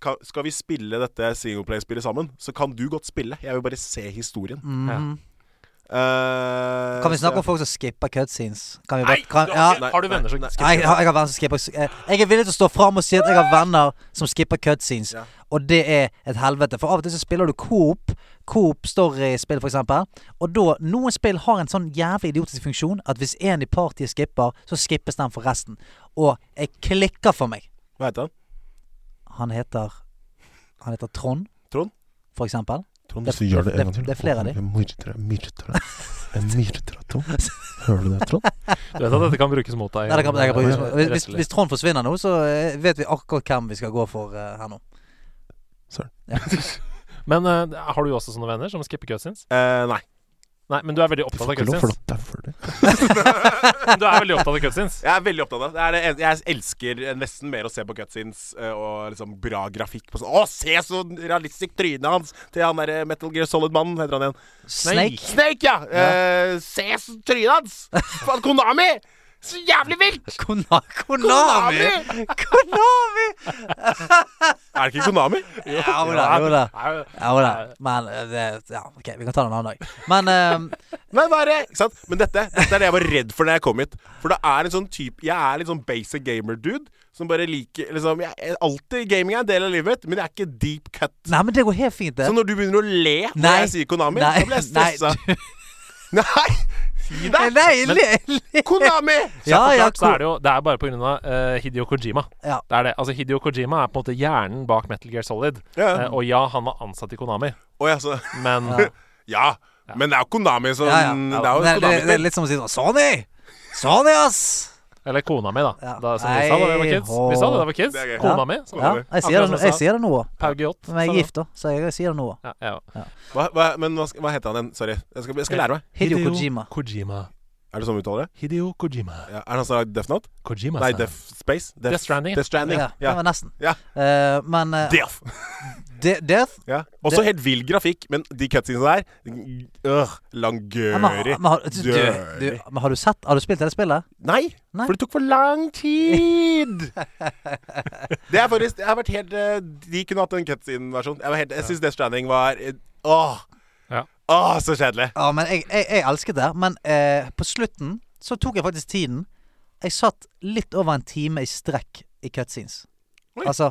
H: "Ka- Skal vi spille dette singleplayerspillet sammen, så kan du godt spille. Jeg vil bare se historien.
A: Mhm.
H: Eh,
A: Kan vi
H: så
A: snakke om
H: jeg-
A: folk som skipper cutscenes? Kan vi
D: Nei,
A: bare, kan,
D: du
A: ja.
D: har, ikke- har du venner som
A: Nei, jeg, har, jeg har venner som skipper jeg, jeg er villig til å stå fram og si at jeg har venner som skipper cutscenes.
H: Ja.
A: Og det er et helvete. For av og til så spiller du Coop, Coop Story-spill f.eks. Og da Noen spill har en sånn jævlig idiotisk funksjon at hvis en i partiet skipper, så skippes den for resten. Og jeg klikker for meg.
H: Hva heter han?
A: Han heter Han heter Trond,
H: Trond?
A: for eksempel.
H: Trond,
A: Det- hvis du gjør det en det- gang til, det er flere av de. jeg
H: myrder deg. Jeg myrder deg, Trond. Hører du det, Trond?
D: Du vet at dette kan brukes mot deg?
A: Nei, det kan, det kan brukes.
D: eh,
A: Hvis, hvis,
D: rettslig.
A: hvis Trond forsvinner nå, så eh, vet vi akkurat hvem vi skal gå for eh, her nå.
D: Men eh, har du også sånne venner som skipper cutscenes?
H: Eh, nei.
D: Nei, men du er veldig opptatt av cutscenes. Du er veldig opptatt av cutscenes.
H: Jeg er veldig opptatt av det. det, er det en- jeg elsker nesten mer å se på cutscenes eh, og liksom bra grafikk. På sånn. Å, se så realistisk trynet hans til han derre Metal Gear Solid-mannen, heter han igjen.
A: Snake.
H: Snake, ja! Eh, se så trynet hans! Faen, Konami!
C: Så jævlig vilt!
A: Kona Konami! Konami!
H: Er det ikke Konami?
A: Ja, jo da, jo da.
D: Nei,
A: Ja, jo da. Men eh, det, Ja, OK, vi kan ta det en annen dag. Men eh,
H: Nei, hva er det? Ikke sant? Men dette, dette er det jeg var redd for da jeg kom hit. For det er en sånn type Jeg er litt sånn basic gamer-dude. Som bare liker liksom, jeg, jeg- Alltid gaming er en del av livet mitt, men det er ikke deep cut.
A: Nei, men det går helt fint, det.
H: Så når du begynner å le når
A: Nei.
H: jeg sier Konami,
A: Nei.
H: da blir jeg
A: Nei,
H: stressa. Nei, si
A: Nei,
H: det!
A: Nei, le- le-
H: Konami!
A: Ah, Ja, ja,
D: klart, så
A: ko-
D: er det jo Det er bare pga. Uh, Hidio Kojima.
A: Ja.
D: Det er det. Altså, Hidio Kojima er på en måte hjernen bak Metal Gear Solid.
H: Ja.
D: Eh, og ja, han var ansatt i Konami,
H: Å ja, så
D: men
H: Ja. Men det er jo Konami som
A: ja, ja.
H: Det er jo
A: Men det,
H: Konami.
A: det er litt som å si sånn Sony! Sony, ass!
D: Eller kona mi, da.
A: Ja.
D: da som vi sa da vi var
A: Nei,
D: kids. Vi sa det da vi var kids.
H: Det er gøy.
D: Kona mi. sa
A: Ja,
D: vi.
A: jeg sier det,
D: Akkurat som
A: jeg
D: sa.
A: sier det nå òg.
D: Pau Giot.
A: Men jeg
D: sa
H: Sånn,
A: er
D: det.
A: gift, da, så jeg sier det nå òg.
D: Ja, ja.
H: hva, hva, men hva, hva heter han igjen? Sorry. Jeg skal, jeg skal lære meg.
A: Hidio Kojima.
D: Kojima.
H: Er det sånn vi uttaler det?
D: Hideo Kojima.
H: Ja. Er det han som har lagd Death Note?
D: Kojima
H: Nei,
D: sa det.
H: Death Space? Death,
D: Death Stranding.
H: Death Stranding.
A: Ja, det
H: Ja.
A: var nesten.
H: Ja.
A: Eh, men eh,
H: Death!
A: De- Death
H: Ja. Også
A: Det-
H: helt vill grafikk, men de cutscenene der
A: Ja,
H: øh,
A: men, har-
H: Langøri.
A: men, har, du,
H: Dirty.
A: du, men har du sett Har du spilt det spillet?
H: Nei,
A: Nei.
H: for det tok for lang tid! det er faktisk Jeg har vært helt eh, De kunne hatt en cutscene-versjon. Jeg, var helt- jeg syns Death Stranding var eh, Åh!
D: Ja.
H: Åh, så kjedelig!
A: Ja, men jeg, jeg, jeg elsket det. Men eh, på slutten så tok jeg faktisk tiden. Jeg satt litt over en time i strekk i cutscenes.
H: Oi.
A: Altså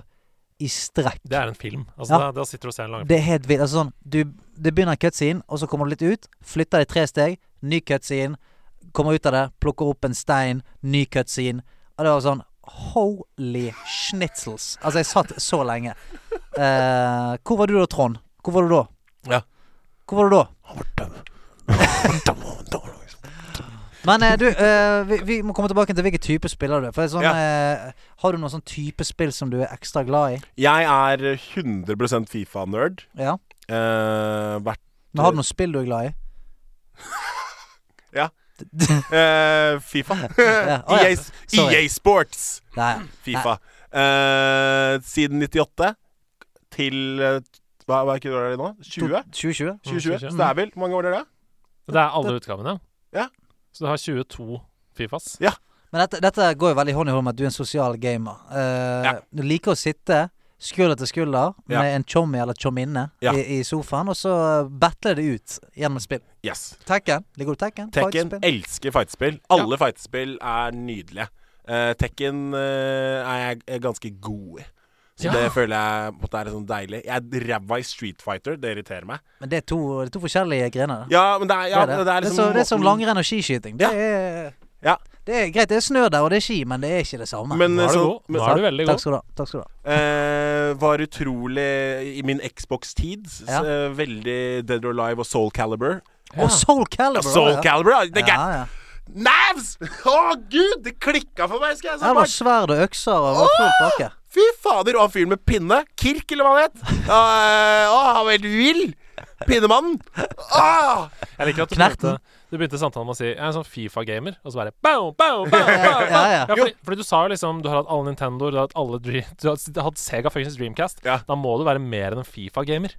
A: i strekk.
D: Det er en film. Altså,
A: Ja.
D: da, da sitter du og ser en lang film.
A: Det er helt vilt. Altså sånn, du, det begynner en cutscene, og så kommer du litt ut. Flytter deg tre steg, ny cutscene. Kommer ut av det, plukker opp en stein, ny cutscene. Og det var sånn Holy schnitzels. Altså, jeg satt så lenge. Eh, hvor var du da, Trond? Hvor var du da?
H: Ja.
A: Hvor var du da? Men eh, du, eh, vi, vi må komme tilbake til hvilken type spiller du er. For det er sånn, eh, har du noen sånn type spill som du er ekstra glad i?
H: Jeg er 100 Fifa-nerd.
A: Ja.
H: Eh, vært
A: Men har du noen spill du er glad i?
H: eh, Fifa. E
A: Ja, å ja,
H: EA,
A: sorry.
H: EA Sports.
A: Nei.
H: Fifa. Eh, siden 98 til eh, Hva, hva er ikke det året er det nå? 20?
A: 2020?
H: 2020? Så
D: 20.
H: det er vel Hvor mange år er det?
D: Det er alle utgavene.
H: Ja.
D: Så du har 22 Fifas.
A: Men dette, dette går jo veldig hånd i hånd med at du er en sosial gamer. Eh,
H: Ja.
A: Du liker å sitte skulder til skulder med en chommy eller chominne
H: Ja.
A: i, i sofaen, og så battler det ut gjennom spill.
H: Yes.
A: Tekken. Liker du Tekken?
H: Tekken
A: Fightspill?
H: elsker fightspill. Alle fightspill er nydelige. Eh, Tekken eh, er jeg er ganske god i. Så
D: Ja.
H: det føler jeg på en måte er litt sånn deilig. Jeg er ræva i Street Fighter. Det irriterer meg.
A: Men det er, to, det er to forskjellige grener. da.
H: Ja, men det er, ja, det. er liksom
A: så, det er som
H: måten-
A: langrenn og skiskyting. Det,
H: Ja.
A: er,
H: Ja.
A: det er greit, det er snø der, og det er ski, men det er ikke det samme.
H: Men,
D: Nå er du
H: så,
D: god.
H: men
D: Nå er du veldig
A: Takk
D: god.
A: skal du ha. Takk skal du ha.
H: Eh, var utrolig i min Xbox-tid. s-
A: Ja.
H: eh, veldig Dead or Alive og Soul Caliber.
A: Og Soul Calibur.
H: Soul
A: også, ja.
H: Caliber, ja! Det er
A: Ja,
H: gæ-
A: ja.
H: Navs! Å, gud! Det klikka for meg! skal jeg
A: Her var
H: så bare.
A: sverd og økser og full pakke.
H: Fy fader! Og han fyren med pinne. Kirk, eller hva han het. Eh, Å, han var helt vill! Pinnemannen. Åh!
D: Jeg liker at du begynte,
A: Knerten.
D: du begynte samtalen med å si 'jeg er en sånn Fifa-gamer', og så bare bow, bow, bow, bow, bow.
A: ja, ja.
D: fordi, fordi du sa jo liksom du har hatt alle Nintendoer, du har hatt alle Dream, du har du har hatt Sega Functions Dreamcast.
H: Ja.
D: Da må du være mer enn en Fifa-gamer.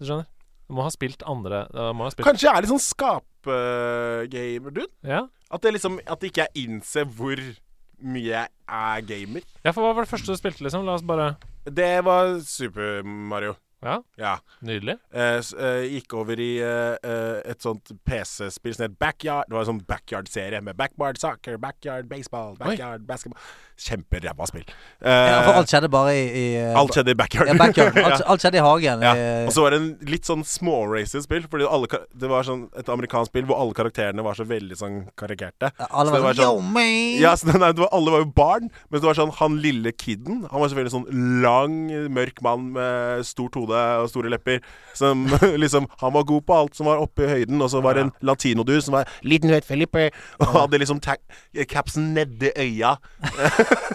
D: Du skjønner? Du må ha spilt andre du må ha spilt,
H: Kanskje jeg er litt sånn skapgamer, dude.
D: ja.
H: At det liksom At ikke jeg innser hvor mye jeg er gamer.
D: ja, for hva var det første du spilte, liksom? La oss bare
H: Det var Super Mario.
D: Ja,
H: Ja.
D: nydelig.
H: Eh, s- eh, gikk over i eh, eh, et sånt PC-spill som het Backyard. Det var en sånn backyard-serie med backyard soccer, backyard baseball, backyard basketball. Kjemperæva spill. Eh,
A: Ja, for alt skjedde bare i, i
H: alt skjedde i backyard.
A: Ja, backyard. Alt, alt skjedde i hagen.
H: Ja.
A: eh,
H: Og så var det en litt sånn småracist spill. Fordi alle, ka- det var sånn et amerikansk spill hvor alle karakterene var så veldig sånn karikerte.
A: Alle
H: så det
A: var
H: var
A: sånn Yo,
H: sånn-
A: man!
H: Ja, så, nei, det var, alle var jo barn, men det var sånn han lille kiden Han var selvfølgelig sånn lang, mørk mann med stort hode og store lepper. Som liksom Han var god på alt som var oppe i høyden, og så var det en latinodur som var liten høyt Felipe, og hadde liksom ta- capsen nedi øya.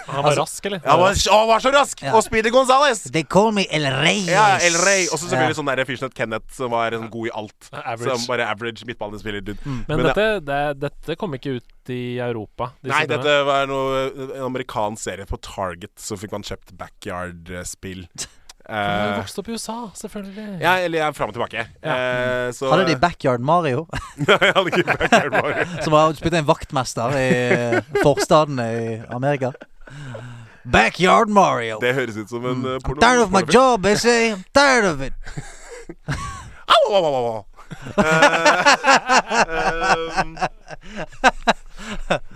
D: Han var rask, eller?
H: Altså, Han var, å, han var så rask! Og Speedy Gonzales!
A: They call me El Reyes.
H: Ja, El Rey. Og så selvfølgelig
A: Ja.
H: sånn der Fishnet Kenneth, som var sånn god i alt.
D: Average.
H: Som bare average midtbanespiller.
A: Mm.
H: dude.
D: Men,
H: Men eh,
D: dette, det, dette kom ikke ut i Europa. disse
H: Nei,
D: tingene.
H: dette eh, var noe, en amerikansk serie på Target, så fikk man kjøpt backyard-spill.
D: Men
H: Eh,
D: du vokste opp i USA, selvfølgelig.
H: ja, eller jeg er fram og tilbake. Eh, så
A: Hadde de Backyard Mario,
H: Nei, jeg hadde ikke backyard Mario.
A: som har spilt en vaktmester i forstadene i Amerika? Backyard Mario.
H: Det høres ut som en
A: Mm.
H: eh,
A: I'm
H: porno-
A: tired of my
H: pornofilm.
A: job, I say. I'm tired of it.
H: Au, au, au, au, au. Eh, ehm,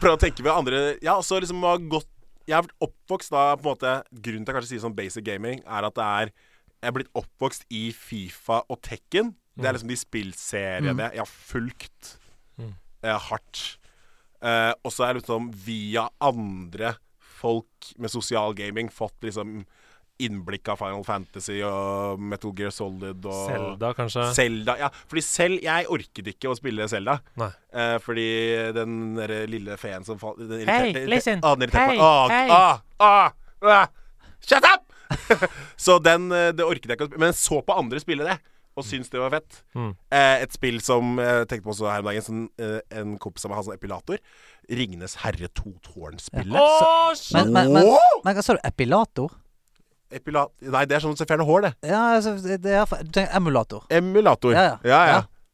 H: Prøv å tenke ved andre Ja, så liksom har gått Jeg har vært oppvokst da på en måte Grunnen til å kanskje si sånn basic gaming Er at det er Jeg er blitt oppvokst i FIFA og Tekken Det er liksom de spillseriene Jeg har fulgt eh, Hardt Eh, Og så er det liksom via andre folk med sosial gaming Fått liksom innblikk av Final Fantasy og Metal Gear Solid og
D: Selda, kanskje.
H: Zelda, ja. Fordi selv jeg orket ikke å spille Selda.
D: Nei.
H: fordi den derre lille feen som falt den
C: Hei,
H: irriterte-
C: listen.
H: Ah, den irriterte
C: Hei,
H: meg. Ah,
C: hei.
H: ah, ah, ah. Shut up! så den eh, det orket jeg ikke å spille. Men så på andre spille det, og syntes det var fett. Eh, et spill som jeg tenkte på også her om dagen, sånn, eh, en kompis av meg har sånn epilator. Ringenes herre to tårn-spillet.
A: Men, men, men,
H: Wow!
A: men hva sa du? Epilator?
H: Epila- Nei, det er sånn som fjerner hår, det.
A: Ja, altså, det er, du tenker emulator.
H: Emulator.
A: Ja, ja.
H: ja.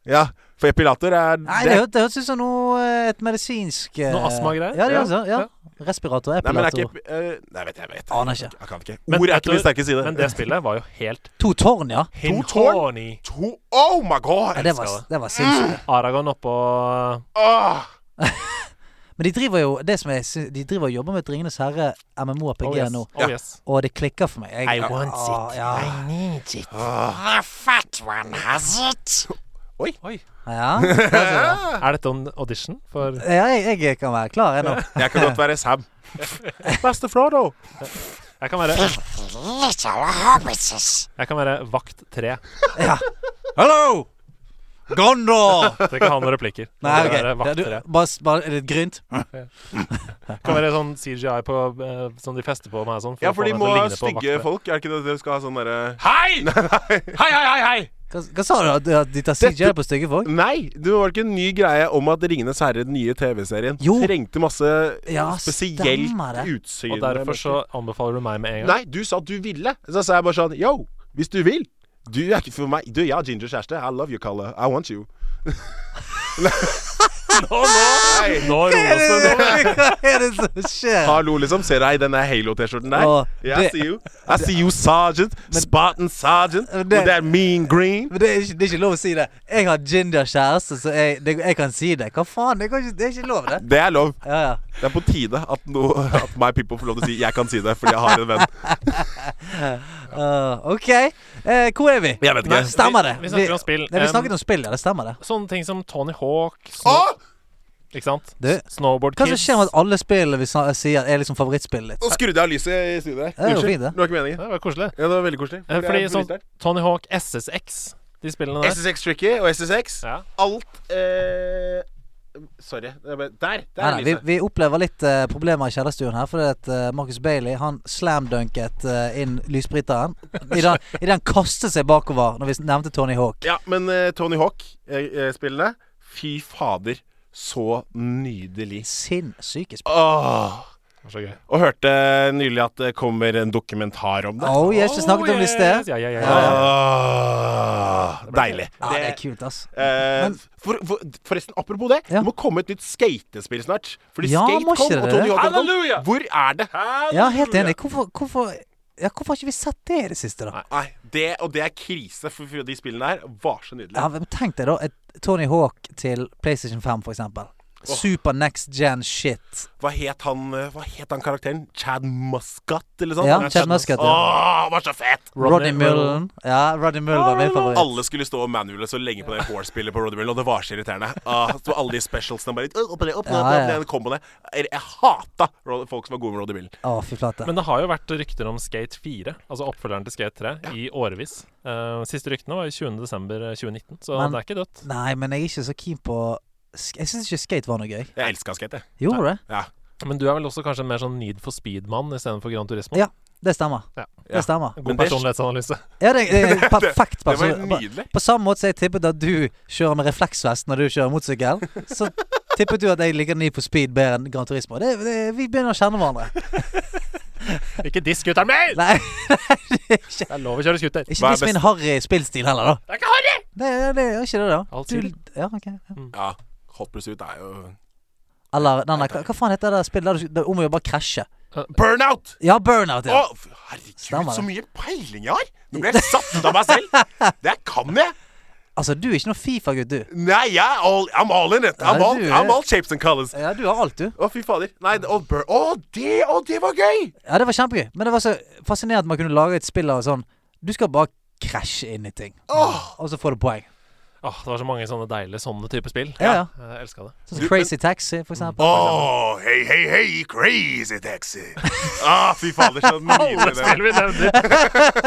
H: ja. ja. For epilator er
A: Nei, det, hørt- det hørtes ut som noe eh, et medisinsk eh,
D: Noe astmagreier?
A: Ja, det
D: Ja,
A: gjør det, ja. Respirator,
H: Nei, men det er
A: epilator.
H: ikke eh, Nei, vet jeg, jeg vet
A: Aner ikke.
H: Jeg kan ikke.
D: Men
H: Ord er
D: vet
H: ikke min
D: du-
H: sterke side.
D: Men det spillet var jo helt
A: To tårn, ja.
D: hin
H: tårn?
D: horny.
H: to, Oh my
A: ja
H: god!
A: det, var, det var sinnssykt.
D: Aragon oppå
H: Åh!
A: Men de driver jo det som jeg, sy- De driver og jobber med et Ringenes herre MMO-RPG
D: Oh yes.
A: nå.
D: Oh, yes.
A: Og det klikker for meg. Jeg, Ah, ja.
D: Oi.
A: Ja, der ser du det.
D: Er dette en audition for
A: ja jeg, jeg kan være klar ennå.
H: Jeg kan godt være Sam. Beste Frodo.
D: Jeg kan være Jeg kan være vakt tre.
A: Hello! Gondor!
D: Det kan ha noen replikker. Jeg
A: Nei,
D: kan
A: ok.
D: være vakt
A: Du,
D: tre.
A: bare, s- bare er det et grynt?
D: Det kan være sånn CGI på, eh, som de fester på meg sånn.
H: Ja,
D: å
H: for
D: få
H: de
D: meg til
H: må
D: å
H: ha
D: ligne på vakt
H: stygge
D: tre.
H: folk. Er det ikke det du skal ha sånn derre
C: Hei! Hei, hei, hei, hei!
A: Hva, hva sa du? At- At de tar CJ på stygge folk?
H: Nei! Det var ikke en ny greie om at 'Ringenes herre', den nye TV-serien,
A: Jo.
H: trengte masse
A: Ja,
H: spesielt
A: stemmer det.
H: utsyn.
D: Og derfor så anbefaler du meg med en gang.
H: Nei, du sa at du ville. Så sa jeg bare sånn Yo, hvis du vil. Du er ikke for meg. Du, jeg har ginger kjæreste. I love you, Kalle. I want you.
D: Nå, nå, nå roes det ned.
A: Hva er det som skjer?
H: Hallo, liksom. Ser deg i den Halo-T-skjorten der?
A: Åh,
H: yeah, I
A: det-
H: see you. I see you, sergeant. Spartan sergeant.
A: Men
H: with
A: det-
H: that mean green.
A: Men det er, ikke, det er ikke lov å si det. Jeg har ginger kjæreste, så jeg, det, jeg kan si det. Hva faen? Det, kan ikke, det er ikke lov, det.
H: Det er lov.
A: Ja, ja.
H: Det er på tide at, no, at my people får lov til å si 'jeg kan si det', fordi jeg har en venn.
A: Ah, OK. Eh, hvor er vi?
H: Jeg vet ikke.
A: Stemmer det.
D: Vi- vi snakker om spill.
A: Nei, vi
D: Um,
A: snakket om spill, ja. Det stemmer, det.
D: Sånne ting som Tony Hawk, snow,
H: Åh!
D: ikke sant?
A: Du,
D: Snowboard
A: hva som
D: Kids.
A: skjer med at alle spill vi sna- sier, er liksom favorittspillet ditt?
H: Nå skrudde jeg av lyset i studioet. her.
A: Ja, det var
H: Unnskyld.
A: fint, det.
H: var ikke meningen.
D: Det var koselig.
H: Ja, det var veldig koselig.
D: Eh, Fordi
H: jeg er
D: sånn
H: forvirret
D: Tony Hawk SSX, de spillene der
H: her. SSX Tricky og SSX.
D: Ja.
H: Alt eh, Sorry. det er bare- Der! Der
A: Nei,
H: er sånn.
A: nei, vi,
H: lyset.
A: vi opplever litt eh, problemer i kjellerstuen her. Fordi at eh, Marcus Bailey han slamdunket eh, inn lysbryteren. I den, i den kastet seg bakover når vi nevnte Tony Hawk.
H: Ja, men eh, Tony Hawk-spillene Fy fader, så nydelig.
A: Sinnssyke spill.
H: Åh.
D: var så gøy.
H: Og hørte nylig at det kommer en dokumentar om det.
A: Oh, yes, vi snakket om det i
D: yes.
A: sted.
D: Ja, ja, ja, ja.
H: Ah, deilig.
A: Ja, det er kult, ass.
H: eh,
A: Men-
H: for, for, forresten, apropos det.
A: Ja.
H: Det må komme et nytt skatespill snart. Fordi
A: Ja,
H: Skate
A: må ikke
H: kom, og
A: det?
H: Tony Hawk kom.
D: Halleluja!
H: Hvor er det?
A: Ja, helt enig. Hvorfor, hvorfor, ja, hvorfor har ikke vi sett det i det siste, da?
H: Nei, det, og det er krise, for, for de spillene her var så nydelige.
A: Ja, men Tenk deg da et Tony Hawk til PlayStation 5, for eksempel. Super next gen shit.
H: Hva, het han, eh, hva het han karakteren? Chad Muscat, eller sånt?
A: Ja, Chad Muscat, ja.
H: Åh, han var så fett!
A: Rodney Mullen. Ja, Rodney Mullen var min favoritt.
H: Alle skulle stå og manhule så lenge på det horse-spillet på Roddy Mill, og det var så irriterende. Ah, så alle de specialsene bare «Åh, opp med det, opp med det, opp med
A: Ja, ja.
H: den komboen der. Jeg, jeg hata Ro- folk som var gode med Roddy Mill.
A: Å, fy flate.
D: Men det har jo vært rykter om Skate 4, altså oppfølgeren til Skate 3, i årevis. Eh, siste ryktene var i 20.12.2019, eh, så
A: Men-
D: det er ikke dødt.
A: Nei, men jeg er ikke så keen på sk- Jeg syns ikke skate var noe gøy.
H: Jeg elska skate, jeg.
A: Gjorde du det?
H: Ja.
D: Men du er vel også kanskje en mer sånn Need for speed-mann istedenfor Gran Turismo?
A: Ja. Det stemmer.
D: Ja.
A: Det stemmer.
H: Men
D: God
H: det-
D: personlighetsanalyse.
A: Ja, det, det er perfekt.
H: det var
A: person-
H: nydelig.
A: På, på samme måte som jeg tippet at du kjører med refleksvest når du kjører motorsykkel, så tippet du at jeg liker Need for speed bedre enn Gran Turismo. Det, det, vi begynner å kjenne hverandre.
D: Ikke diss scooteren min!
A: Nei,
D: Det er lov å kjøre scooter.
A: ikke
H: Hva er
A: diss min harry spillstil heller, da.
D: Det er ikke harry!
A: Det, det, det er ikke det, da.
D: Alt
A: Du,
D: sikkert. Mm.
A: ja, ok ja.
H: Ja, Hot Pursuit er jo
A: Eller den der, hva, hva faen heter det spillet der du det er om å gjøre bare krasje?
H: Burnout!
A: Ja, burnout, ja.
H: Å, f- herregud,
A: Stemmer
H: så
A: det.
H: mye peiling jeg har! Nå ble jeg satt ut av meg selv! Det kan jeg!
A: Altså, du er ikke noen Fifa-gutt, du.
H: Nei, jeg er all, I'm all in it. I'm
A: Ja,
H: all,
A: du er-
H: I'm all shapes and colors.
A: Ja, du har alt, du.
H: Å, fy fader. Nei, det- å, bur å, det, å, det var gøy!
A: Ja, det var kjempegøy. Men det var så fascinerende at man kunne lage et spill av sånn Du skal bare krasje inn i ting, og så får du poeng.
D: Åh, det var så mange sånne deilige sånne type spill. Eh,
A: Ja, ja.
D: Jeg elska det.
A: Sånn som Crazy Taxi, for eksempel.
H: Å, hei, hei, hei, crazy taxi. Å, Ah, fy fader, så nydelig det var.
D: Spill vi nevner.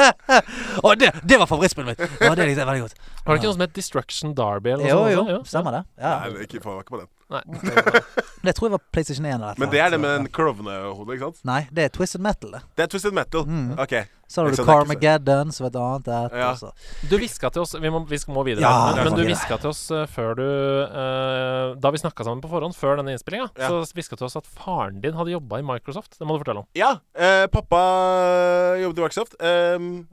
A: Å, det, det var favorittspillet mitt! Ja, det likte jeg veldig godt.
D: Var det ikke noe som het Destruction Derby? Eller noe
A: Jo,
D: sånt
A: jo,
D: også? Ja.
A: stemmer det. Ja.
H: Nei, det er ikke, faen, jeg var ikke på den.
A: Det tror jeg var PlayStation 1 eller et eller
H: Men det er det
A: annet,
H: med
A: så-
H: den klovnehodet, ikke sant?
A: Nei, det er Twisted Metal, det.
H: Det er twisted metal.
D: Mm.
H: OK.
A: Så har du
H: Jeg sa det ikke så-
A: Carmageddon, som var et annet et.
H: Ja.
A: og så-
D: Du hviska til oss Vi må, vi skal- må videre.
A: Ja,
D: men
H: det er
D: men du
H: sant.
D: hviska til oss eh, før du eh, Da vi snakka sammen på forhånd, før denne innspillinga,
H: Ja.
D: så hviska til oss at faren din hadde jobba i Microsoft. Det må du fortelle om.
H: Ja, eh, pappa eh, jobbet i Microsoft. Ehm,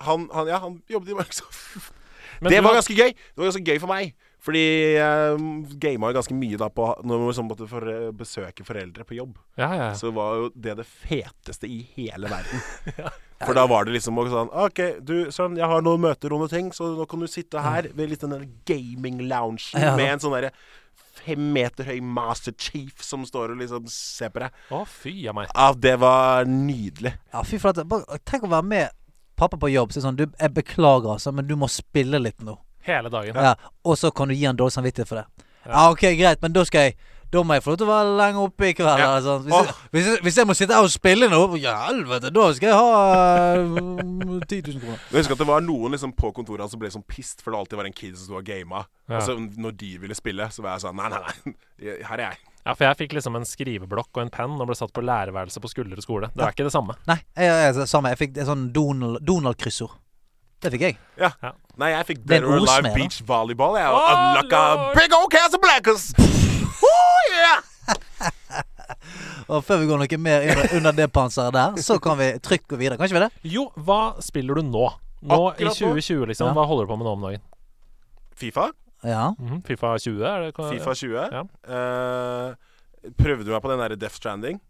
H: han, han, ja, han jobbet i Microsoft.
D: Men
H: det
D: du
H: var
D: har-
H: ganske gøy. Det var ganske gøy for meg. Fordi jeg gama jo ganske mye da på når man liksom måtte for, besøke foreldre på jobb.
D: Ja, ja. ja.
H: Så var jo det det feteste i hele verden. For da var det liksom også sånn OK, du sønn, jeg har noen møter og noen ting, så nå kan du sitte her ved litt den der gaming-loungen
A: Ja.
H: med en sånn derre fem meter høy master chief som står og liksom ser på deg.
D: Å, fy a meg.
H: Ja, det var nydelig.
A: Ja, fy flate. Bare- Tenk å være med pappa på jobb. Så er det sånn, du, jeg beklager, altså, men du må spille litt nå.
D: Hele dagen.
A: Ja, og så kan du gi han dårlig samvittighet for det. Ja, ok, greit, men da skal jeg da må jeg få lov til å være lenge oppe i kveld.
H: Ja.
A: eller sånn. Hvis, jeg, hvis, jeg, hvis jeg må sitte her og spille nå, ja, helvete, da skal jeg ha uh, 10 000 kroner.
H: Men Jeg husker at det var noen liksom på kontoret hans som ble sånn pissed, for det alltid var en kid som sto og gama.
D: Ja.
H: Og så når de ville spille, så var jeg sånn Nei, nei, nei. jeg- Her er jeg.
D: Ja, for jeg fikk liksom en skriveblokk og en penn og ble satt på lærerværelset på Skulder skole. Det er ikke det samme.
A: Nei, jeg, jeg, jeg, samme. Jeg fikk et sånn Donald- Donald-kryssord. det fikk jeg.
H: Ja.
D: Ja.
H: Nei, jeg fikk
A: Det er
H: Dead
A: en
H: or Alive
A: ordsmed, da.
H: Beach Volleyball. Jeg
D: Å,
H: unlocka
D: lord.
H: big old Casablancas. Oh, yeah!
A: Og før vi går noe mer under, under det panseret der, så kan vi trygt gå videre. Kan ikke vi det?
D: Jo, hva spiller du nå? Nå i
H: Akkurat nå.
D: 2020, liksom.
A: Ja.
D: Hva holder du på med nå om dagen?
H: Fifa.
A: Ja.
D: Mhm, Fifa 20? Er det
H: Fifa 20.
D: Ja.
H: Eh, prøvde meg på den derre Death Stranding.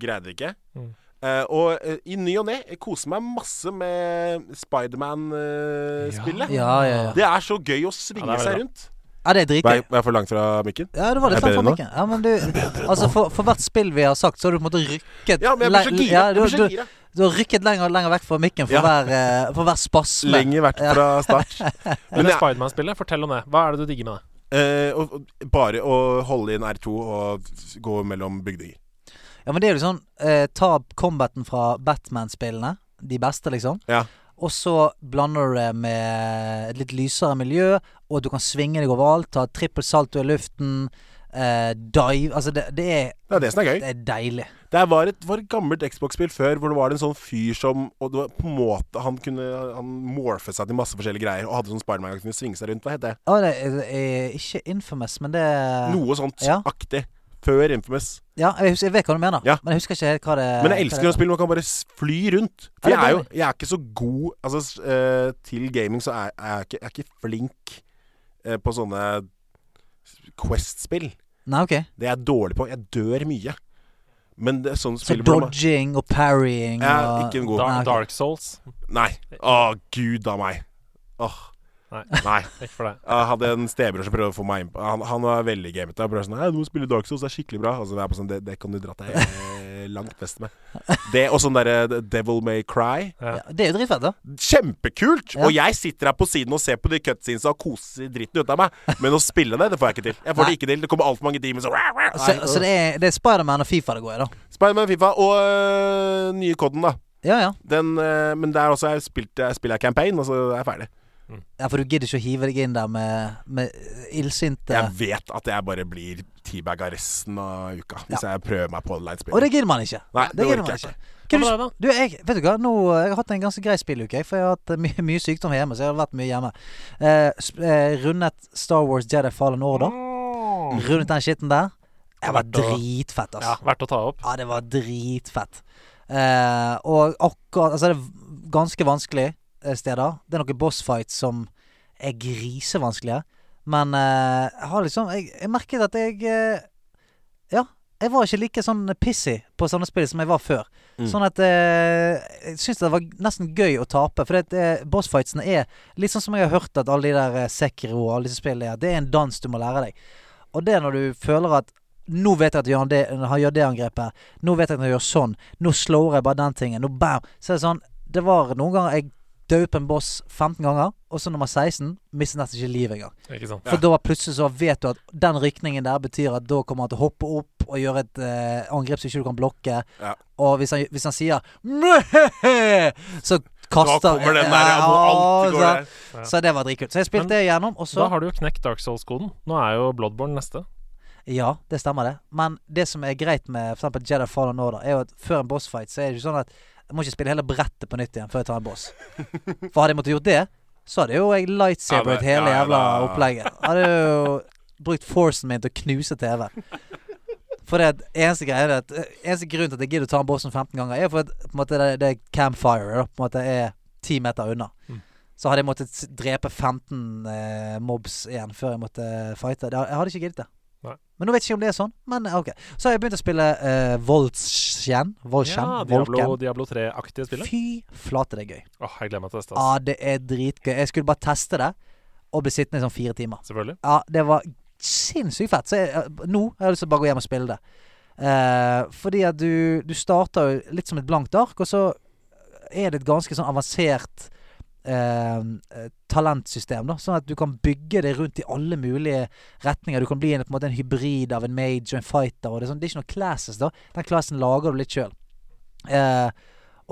H: Greide ikke.
D: Mm.
H: Eh, og eh, i ny og ne jeg koser meg masse med Spiderman-spillet.
A: Ja, ja, ja.
H: Det er så gøy å svinge
D: Ja, det er
H: seg
D: veldig
H: rundt.
A: ja det er
H: Var jeg,
A: dritgøy.
H: var jeg for langt fra mikken?
A: Ja, det var
H: Er
A: litt
H: jeg
A: sånn for
H: bedre nå?
A: mikken. Ja, men du, altså for, for hvert spill vi har sagt, så har du på en måte rykket
H: Ja, men jeg blir så
A: le-
H: gira.
A: ja,
H: Jeg
A: du-
H: blir så
A: du-
H: gira.
A: Du har rykket lenger og lenger vekk fra mikken for,
H: Ja.
A: hver, eh, for hver spasme.
H: Lenge vært fra start.
D: Men
H: Men
D: det
H: jeg,
D: Spiderman-spillet, fortell om det. Hva er det du digger med det?
H: eh, og, og, bare å holde inn R2 og gå mellom bygninger.
A: Ja, men det er jo litt sånn eh, Ta combaten fra Batman-spillene, de beste, liksom.
H: Ja.
A: Og så blander du det med et litt lysere miljø, og du kan svinge deg overalt. Ta trippel salto i luften. Eh, dive Altså, det, det, er,
H: Det er det som er gøy.
A: det er deilig.
H: Det var et, var et gammelt Xbox-spill før hvor det var en sånn fyr som Og det var på en måte Han kunne Han morfet seg til masse forskjellige greier og hadde sånn Spiderman som kunne svinge seg rundt. Hva het det?
A: Å, det er, det er ikke infamous, men det
H: Noe sånt
A: Ja.
H: aktig. Før Infamous.
A: Ja, jeg, husker, jeg vet hva du mener,
H: Ja.
A: men jeg husker ikke helt hva det
H: Men
A: hva
H: jeg elsker
A: det
H: å spille, man kan bare s- fly rundt. For
A: Ja, det
H: jeg
A: er
H: er jo jeg er ikke så god Altså, s- eh, til gaming så er er jeg ikke, jeg er ikke flink eh, på sånne Quest-spill.
A: Nei, ok.
H: Det er jeg dårlig på. Jeg dør mye. Men det er sånn
A: Så
H: spill hvor man-
A: dodging og parrying
H: Jeg er
A: og
H: ikke en god
D: Dark,
A: Nei, ok.
D: Dark Souls?
H: Nei. Å, gud a meg. Åh.
D: Nei.
H: Nei.
D: Ikke for deg.
H: Jeg hadde en stebror som prøvde å få meg inn på Han, han var veldig gamete. Han prøvde sånn Nei, du må spille Dark Souls, det er skikkelig bra. Altså, det, er bare sånn, det, det kan du dra deg eh, langt vest med. Det og sånn derre Devil May Cry.
A: Ja, det er jo dritfett, da.
H: Kjempekult!
A: Ja.
H: Og jeg sitter her på siden og ser på de cutscenesa og koser dritten ut av meg. Men å spille det, det får jeg ikke til. Jeg får
A: Nei.
H: det ikke til. Det kommer altfor mange timer sånn
A: Så, så det er, det er Spiderman og Fifa det går i, da.
H: Spiderman Fifa og øh, nye kodden, da.
A: Ja, ja.
H: Den, øh, men der også er spilt, jeg spiller jeg campaign, og så er jeg ferdig.
A: ja for du gidder ikke å hive deg inn der med, med illsinte
H: Jeg vet at jeg bare blir teabagga resten av uka hvis jeg prøver meg på online
A: Og
H: spill.
A: det gidder man ikke.
H: Nei, det
A: gidder
H: orker
A: man
H: jeg ikke.
A: Kan
D: Hva med
A: du,
D: deg,
A: du, jeg, vet du hva, nå, jeg har hatt en ganske grei spilluke, jeg, for jeg har hatt eh, mye, mye sykdom hjemme. Så jeg har vært mye hjemme. Eh, sp- eh, rundet Star Wars Jedi Fallen Order. Rundet den skitten der. Det var
D: Verdt å-
A: dritfett, altså.
D: Ja, verdt å ta opp.
A: Ja, det var dritfett. Eh, og akkurat Altså, det er ganske vanskelig eh, steder. Det er noen bossfights som er grisevanskelige. Men eh, jeg har liksom jeg, jeg merket at jeg eh, Ja, jeg var ikke like sånn pissy på sånne spill som jeg var før. Sånn at eh, Jeg syns det var nesten gøy å tape. For det, eh, bossfightsene er litt sånn som jeg har hørt at alle de der eh, Sekiro og alle disse spillene er. Det er en dans du må lære deg. Og det er når du føler at nå vet jeg at Jan det, han gjør det angrepet. Nå vet jeg at han gjør sånn. Nå slår jeg bare den tingen. Nå bam. Så er det sånn Det var noen ganger jeg døde på en boss 15 ganger, og så nummer 16 mistet nesten ikke livet engang.
D: Ikke sant?
A: For da plutselig så vet du at den rykningen der betyr at da kommer han til å hoppe opp og gjøre et eh, angrep som ikke du kan blokke.
H: Ja.
A: Og hvis han, hvis han sier «Møhehe», så kaster
H: kommer den der, ja, hvor alltid går
A: så-
H: der.
D: Ja.
A: Så det var dritkult. Så jeg
D: Men
A: spilte det gjennom, og
D: Da
A: altså, så
D: har du jo knekt Dark Souls-koden. Nå er jo Bloodborne neste.
A: Ja, det stemmer det. Men det som er greit med for eksempel Jedi Fallen Order, er jo at før en bossfight så er det ikke sånn at jeg må ikke spille hele brettet på nytt igjen før jeg tar en boss. For hadde jeg måttet gjort det, så hadde jo jeg lightsabret
H: Ja, det-
A: hele
H: ja,
A: jævla
H: da-
A: opplegget. Hadde jo brukt forcen min til å knuse TV. For det at eneste greia er at eh, Eneste grunn til at jeg gidder å ta en boss om 15 ganger, er for at på en måte, det, det er campfire da, på en måte er 10 meter unna.
D: Mm.
A: Så hadde jeg måttet s- drepe 15 eh, mobs igjen før jeg måtte eh, fighte. Det- Jeg hadde ikke giddet det.
D: Nei.
A: Men nå vet jeg ikke om det er sånn. Men eh, ok Så har jeg begynt å spille eh, Voltschen. Voltschen.
D: Ja, Diablo,
A: Volken.
D: Diablo 3-aktige spillet.
A: Fy Ah. flate, det er gøy.
D: Åh, jeg gleder meg til neste.
A: Ja,
D: ass.
A: det er dritgøy. Jeg skulle bare teste det, og bli sittende i sånn fire timer.
D: Selvfølgelig.
A: Ja, det var sinnssykt fett. Så jeg, eh, nå har jeg lyst til å bare gå hjem og spille det. Eh, fordi at du, du starter jo litt som et blankt ark, og så er det et ganske sånn avansert eh, eh, talentsystem, da. Sånn at du kan bygge det rundt i alle mulige retninger. Du kan bli en, på en måte en hybrid av en mage og en fighter. Og det, er sånn, det er ikke noen classes, da. Den classen lager du litt sjøl.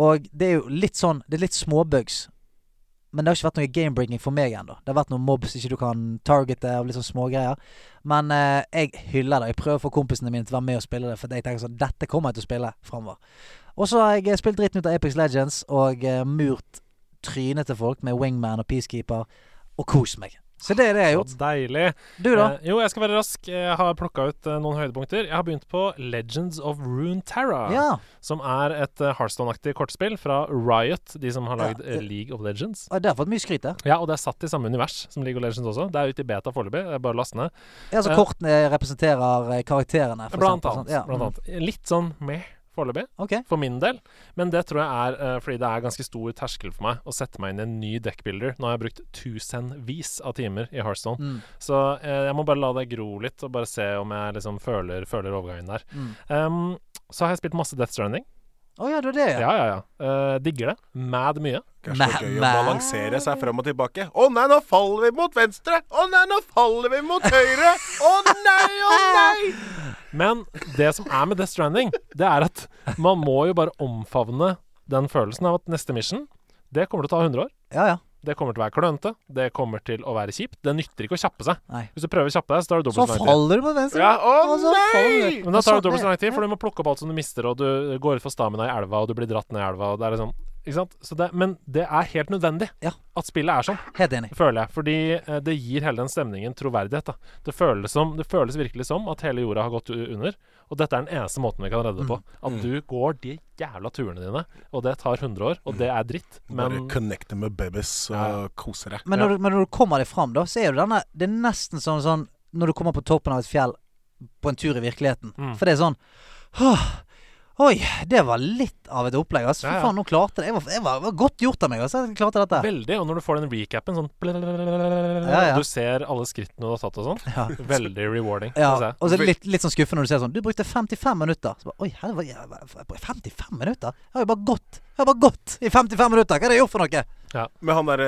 A: og det er jo litt sånn Det er litt småbugs. Men det har ikke vært noe game-breaking for meg ennå. Det har vært noen mobs ikke du kan targete, og litt sånn smågreier. Men eh, jeg hyller det. Jeg prøver å få kompisene mine til å være med og spille det, for jeg tenker sånn Dette kommer jeg til å spille framover. Og så har jeg eh, spilt dritten ut av Apex Legends og eh, murt trynet til folk med wingman og peacekeeper, og kost meg. Så det er det jeg har
D: Så
A: gjort.
D: deilig.
A: Du, da?
D: Eh, jo, jeg skal være rask. Jeg har plukka ut eh, noen høydepunkter. Jeg har begynt på Legends of Rune Terra.
A: Ja.
D: Som er et uh, Heartstone-aktig kortspill fra Riot, de som har lagd
A: Ja, det-
D: eh, League of Legends.
A: Og Det har fått mye skryt, det.
D: Ja, og det er satt i samme univers som League of Legends også. Det er ute i beta foreløpig. Det er Bare å laste ned.
A: Ja, så
D: Ja.
A: kortene representerer eh, karakterene, for
D: Blant
A: eksempel.
D: annet. Blant
A: sånn.
D: annet. Litt sånn meh foreløpig,
A: Ja. Ok.
D: for min del. Men det tror jeg er eh, fordi det er ganske stor terskel for meg å sette meg inn i en ny dekkbuilder. Nå har jeg brukt tusenvis av timer i Heartstone.
A: Mm.
D: Så eh, jeg må bare la det gro litt, og bare se om jeg liksom føler, føler overgangen der.
A: Mm.
D: Um, så har jeg spilt masse Death Stranding.
A: Å ja, det er det, ja.
D: Ja, ja, ja. Eh, digger det. Mad mye.
H: Kanskje
A: Mæ-
H: det er gøy å
A: mæ-
H: balansere seg frem og tilbake. Å nei, nå faller vi mot venstre! Å nei, nå faller vi mot høyre! Å nei, å nei!
D: Men det som er med Death Stranding, det er at man må jo bare omfavne den følelsen av at neste mission, det kommer til å ta 100 år.
A: ja, ja.
D: Det kommer til å være klønete. Det kommer til å være kjipt. Det nytter ikke å kjappe seg.
A: Nei.
D: Hvis du prøver å kjappe deg, så tar det
A: Så
D: dobbelt så lang tid.
A: faller du på venstre.
H: Ja, å
A: Og så
H: nei!
A: faller du.
D: Men da
A: Og
D: tar
A: så-
D: det dobbelt så lang tid,
A: ja.
D: for du må plukke opp alt som du mister, og du går ut for stamina i elva, og du blir dratt ned i elva, og det er liksom Ikke sant? Så det, men det er helt nødvendig
A: Ja.
D: at spillet er sånn.
A: Helt enig.
D: føler jeg. Fordi eh, det gir hele den stemningen troverdighet. Da. Det, føles som, det føles virkelig som at hele jorda har gått u- under, og dette er den eneste måten vi kan redde det på.
A: Mm.
D: At du går de jævla turene dine, og det tar 100 år, og det er dritt,
H: Bare
D: men
H: connecte med babies og kose deg.
A: Men
D: Ja.
A: når, du, men når du kommer deg fram, da, så er jo denne Det er nesten sånn, sånn når du kommer på toppen av et fjell på en tur i virkeligheten.
D: Mm.
A: For det er sånn «Åh, Oi, det var litt av et opplegg, altså. Fy
D: Ja, ja.
A: faen, nå klarte jeg det. Jeg var, jeg var, var godt gjort av meg, altså. Jeg klarte dette.
D: veldig. Og når du får den recapen sånn
A: Ja, ja.
D: Du ser alle skrittene du har tatt og sånn.
A: Ja.
D: Veldig rewarding.
A: Ja,
D: synes jeg.
A: og så er det litt, litt sånn skuffende når du ser sånn Du brukte 55 minutter. Så bare, Oi, helvete. 55 minutter? Jeg har jo bare gått. Jeg har bare gått i 55 minutter. Hva er det jeg gjort for noe?
H: Med han derre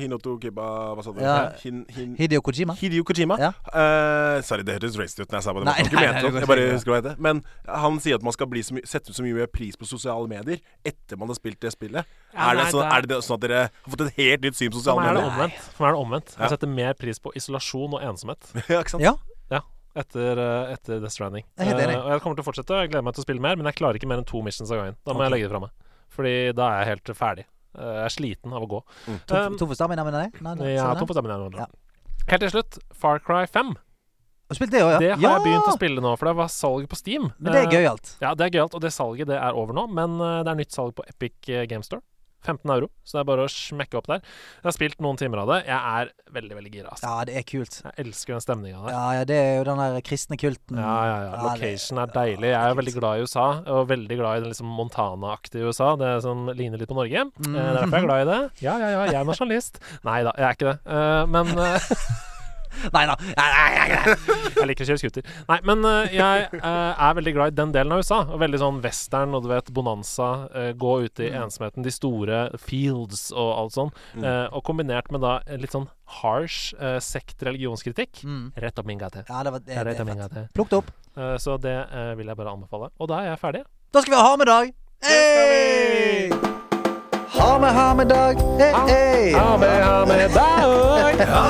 H: Hinoto Kiba Hva sa du?
A: Ja.
H: Hin, hin,
A: Hideo Kojima.
H: Hideo Kojima.
A: Ja.
H: Eh, sorry, det hørtes racist ut når jeg sa på det.
A: Nei,
H: måten. Jeg
A: nei,
H: mente
A: nei,
H: sånn,
A: det går
H: jeg bare
A: sikkert.
H: husker hva det heter. Men han sier at man skal bli så my sette så mye pris på sosiale medier etter man har spilt det spillet.
D: Ja,
H: er, det
D: nei,
H: sånn,
D: det er-
H: er det sånn at dere har fått et helt nytt syn på
D: For
H: sosiale
D: meg er det
H: medier?
D: omvendt. For meg er det omvendt.
H: Ja.
D: Jeg setter mer pris på isolasjon og ensomhet.
H: ja, ikke sant?
A: Ja.
D: Ja, etter, eh, etter Death Stranding.
A: Jeg er helt enig.
D: Eh, og jeg kommer til å fortsette. Jeg gleder meg til å spille mer, men jeg klarer ikke mer enn to missions av gangen. Da må jeg legge det fra meg. Fordi da er jeg helt ferdig. Eh, jeg er sliten av å gå. Eh,
A: Tom,
D: Um,
A: tom for stamina, mener jeg? Nei, nei,
D: jeg er
A: sånn,
D: tom for stamina. nå.
A: Ja.
D: Helt til slutt, Far Cry 5.
A: Har du spilt det òg, ja?
D: Det har jeg begynt å spille nå, for det var salg på Steam.
A: Men det er
D: Eh,
A: gøyalt.
D: Ja, det er gøyalt, og det salget det er over nå, men eh, det er nytt salg på Epic eh, Game Store. 15 euro, så det er bare å smekke opp der. Jeg har spilt noen timer av det. Jeg er veldig, veldig gira. Altså.
A: Ja, det er kult.
D: Jeg elsker den stemninga der.
A: Ja, ja, det er jo den der kristne kulten.
D: Ja, ja, ja.
A: det-
D: Location er deilig. Jeg er veldig glad i USA, og veldig glad i den liksom Montana-aktige USA. Det er sånn, ligner litt på Norge. Eh, Det er derfor jeg er glad i det. Ja, ja, ja, jeg er nasjonalist. Nei da, jeg er ikke det. Eh, men eh,
A: Nei da. Nei, nei, nei, nei.
D: Jeg liker å kjøre scooter. Nei, men eh, jeg eh, er veldig glad i den delen av USA. Og veldig sånn western og du vet bonanza. eh, gå ute i ensomheten, de store fields og alt sånn. Eh, og kombinert med da en litt sånn harsh eh, sekt-religionskritikk. Rett opp min gate.
A: Ja, det var det, det
D: Rett opp
A: er
D: min
A: fett.
D: gate.
A: Plukk det opp.
D: Eh, så det eh, vil jeg bare anbefale. Og da er jeg ferdig.
A: Da skal vi ha med dag. Hey! Ha med, ha med dag. Hey, hey.
D: Ah,
H: Ha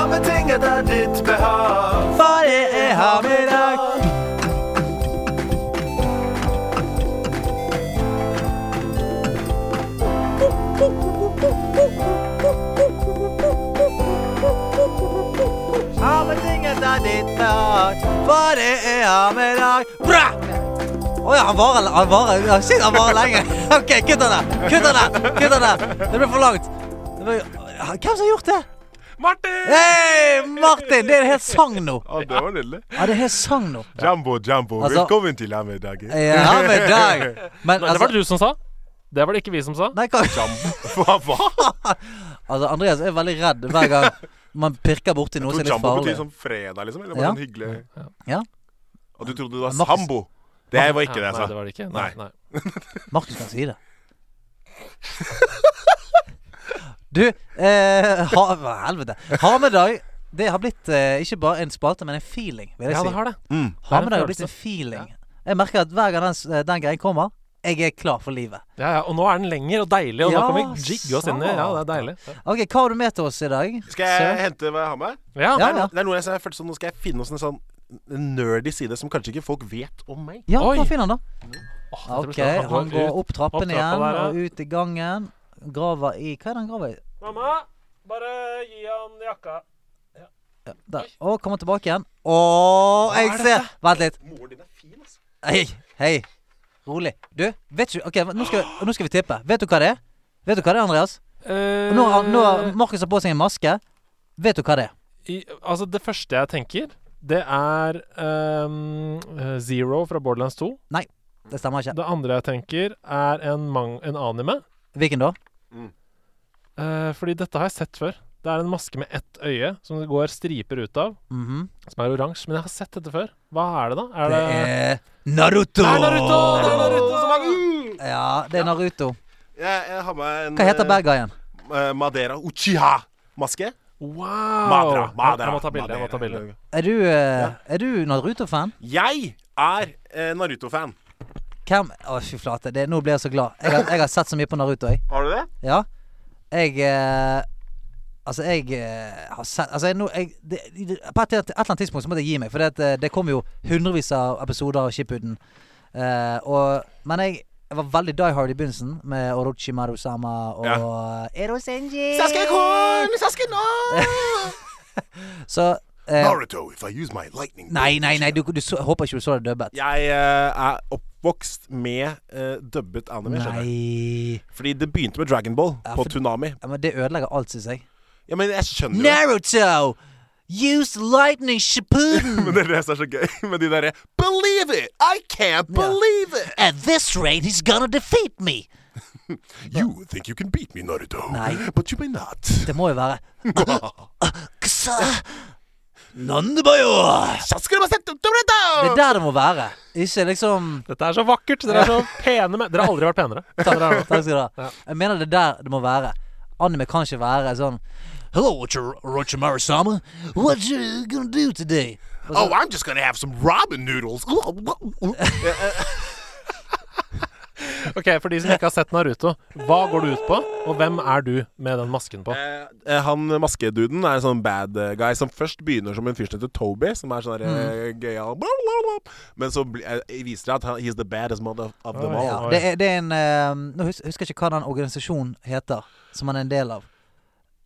H: med ting etter ditt behag.
A: For det er ha med dag. Ha med ting etter ditt behag. For det er ha med dag. Bra! Å ja, han varer, han varer, ja, shit, han varer lenge. OK, kutt den der. Kutt den der. Kutt den der. Det ble for langt. Det ble, hvem som har gjort det?
C: Martin!
A: Hei, Martin! Det er en hel sang nå.
H: Å, det var nydelig.
A: Ja, det er en hel sang nå.
H: Jambo, jambo,
A: Altså- eh,
H: velkommen til Hamiddagen.
A: Ja, med deg. Men
D: Nei, det var
A: altså
D: det du som sa. Det var det ikke vi som sa.
A: Nei, hva
H: Hva hva?
A: Altså, Andreas er veldig redd hver gang man pirker borti noe som
H: Tror
A: er litt
H: jambo
A: farlig.
H: betyr sånn fredag, liksom? Eller
A: Ja.
H: bare sånn hyggelig
A: Ja.
H: Og du trodde det var
A: Markus-
H: sambo? Det var ikke det
D: Ja,
H: altså.
D: nei, det
H: jeg sa.
D: var det ikke. Nei,
H: Nei.
D: nei.
A: Markus kan si det. Du, eh, ha, hva i helvete. Ha med deg Det har blitt eh, ikke bare en spalte, men en feeling, vil jeg
D: Ja,
A: si.
D: det har det.
H: Mm.
D: Det er
A: Ha
D: en
A: med deg har blitt
D: følelse.
A: en feeling. Jeg merker at hver gang den, s- den greien kommer, jeg er klar for livet.
D: Ja, ja, og nå er den lenger og deilig, og
A: Ja,
D: nå kan vi jigge oss inn i Ja, det er deilig.
A: OK, hva har du med til oss i dag?
H: Skal jeg hente hva jeg har med?
D: Ja,
A: Ja,
H: Det er
A: ja.
H: no- Det er noe jeg, jeg følte sånn, Nå skal jeg finne oss en sånn nerdy side som kanskje ikke folk vet om meg.
A: Ja,
D: Oi.
A: hva finner han da?
D: Åh, dette blir
A: Ok,
D: spennende.
A: han går opp trappen
D: opp
A: igjen
D: trappa der, ja.
A: og ut i gangen. Graver i Hva er det han graver i?
D: Mamma, bare gi han jakka.
A: Ja, Der. Og kommer tilbake igjen. Å, jeg ser Vent litt.
G: Moren din er fin, altså.
A: Hei, hei. Rolig. Du, vet du OK, nå skal, vi- nå skal vi tippe. Vet du hva det er? Vet du hva det er, Andreas?
D: Eh,
A: Nå har nå har Markus har på seg en maske. Vet du hva det er?
D: I, altså, det første jeg tenker, det er ehm, eh, Zero fra Borderlands 2.
A: Det stemmer ikke.
D: Det andre jeg tenker, er en, mang en anime.
A: Hvilken da?
D: Eh, fordi dette har jeg sett før. Det er en maske med ett øye som det går striper ut av,
A: Mhm.
D: som er oransje. Men jeg har sett dette før. Hva er det, da? Er
A: Det
D: det,
A: er Eh, Naruto!
D: Eh. Det er Naruto! Det er Naruto!
H: Så mange- Mm.
A: Ja, det er Naruto.
H: Jeg, jeg har med en
A: Hva heter
H: eh,
A: bad guyen?
H: eh, Madeira Uchiha-maske.
D: Wow!
H: Madra, Madra,
D: jeg må ta bilde. Jeg må ta
H: Madeira.
D: bilde.
A: Er du, eh, er du Naruto-fan?
H: Jeg er eh, Naruto-fan.
A: Hvem Å, fy flate. Det, nå blir jeg så glad. Jeg har, jeg har sett så mye på Naruto, jeg.
H: Har du det?
A: Ja. Jeg eh, Altså, jeg eh, har sett Altså, jeg, nå jeg, det, det, På et, et eller annet tidspunkt så måtte jeg gi meg, for det, at, eh, det kom jo hundrevis av episoder av Shippuden. Eh, og, men jeg, jeg var veldig die hard i begynnelsen, med Orochi Marusama og Ero Senji. Så eh,
H: Naruto, if I use my lightning
A: Nei, nei, nei, du, du så, jeg håper ikke du så det dubbet.
H: Jeg eh, er oppvokst med eh, dubbet anime. skjønner du.
A: Nei
H: Fordi det begynte med Dragonball
A: Ja,
H: på
A: for-
H: Tunami.
A: ja, Men det ødelegger alt, syns jeg.
H: Ja, men jeg skjønner jo
A: Naruto! Use lightning shippuden!
H: Men det er det som er så gøy med de derre Believe it! I can't believe it!
A: At this rate, he's gonna defeat me!
H: You think you can beat me, Naruto.
A: Nei.
H: But you may not.
A: Det må jo være Ksa Nandebayo! Det er der det må være. Ikke liksom
D: Dette er så vakkert! Dere er så pene men- Dere har aldri vært penere. Dere
A: Takk
D: er-
A: takk skal du ha. Jeg mener det er der det må være. Anime kan ikke være sånn Hello, Roger Marasama. What you gonna do today?
H: Oh, I'm just gonna have some ramen noodles.
D: Ok, For de som ikke har sett Naruto, hva går du ut på, og hvem er du med den masken på?
H: Eh, Han maskeduden er en sånn bad eh, guy som først begynner som en fyr som heter Toby, som er sånn mm. gøyal bla, bla, bla. Men så bli, eh, viser det at han, he's the baddest mother of them all.
A: Ja, det, er, det er en eh, Nå hus- husker jeg ikke hva den organisasjonen heter, som han er en del av.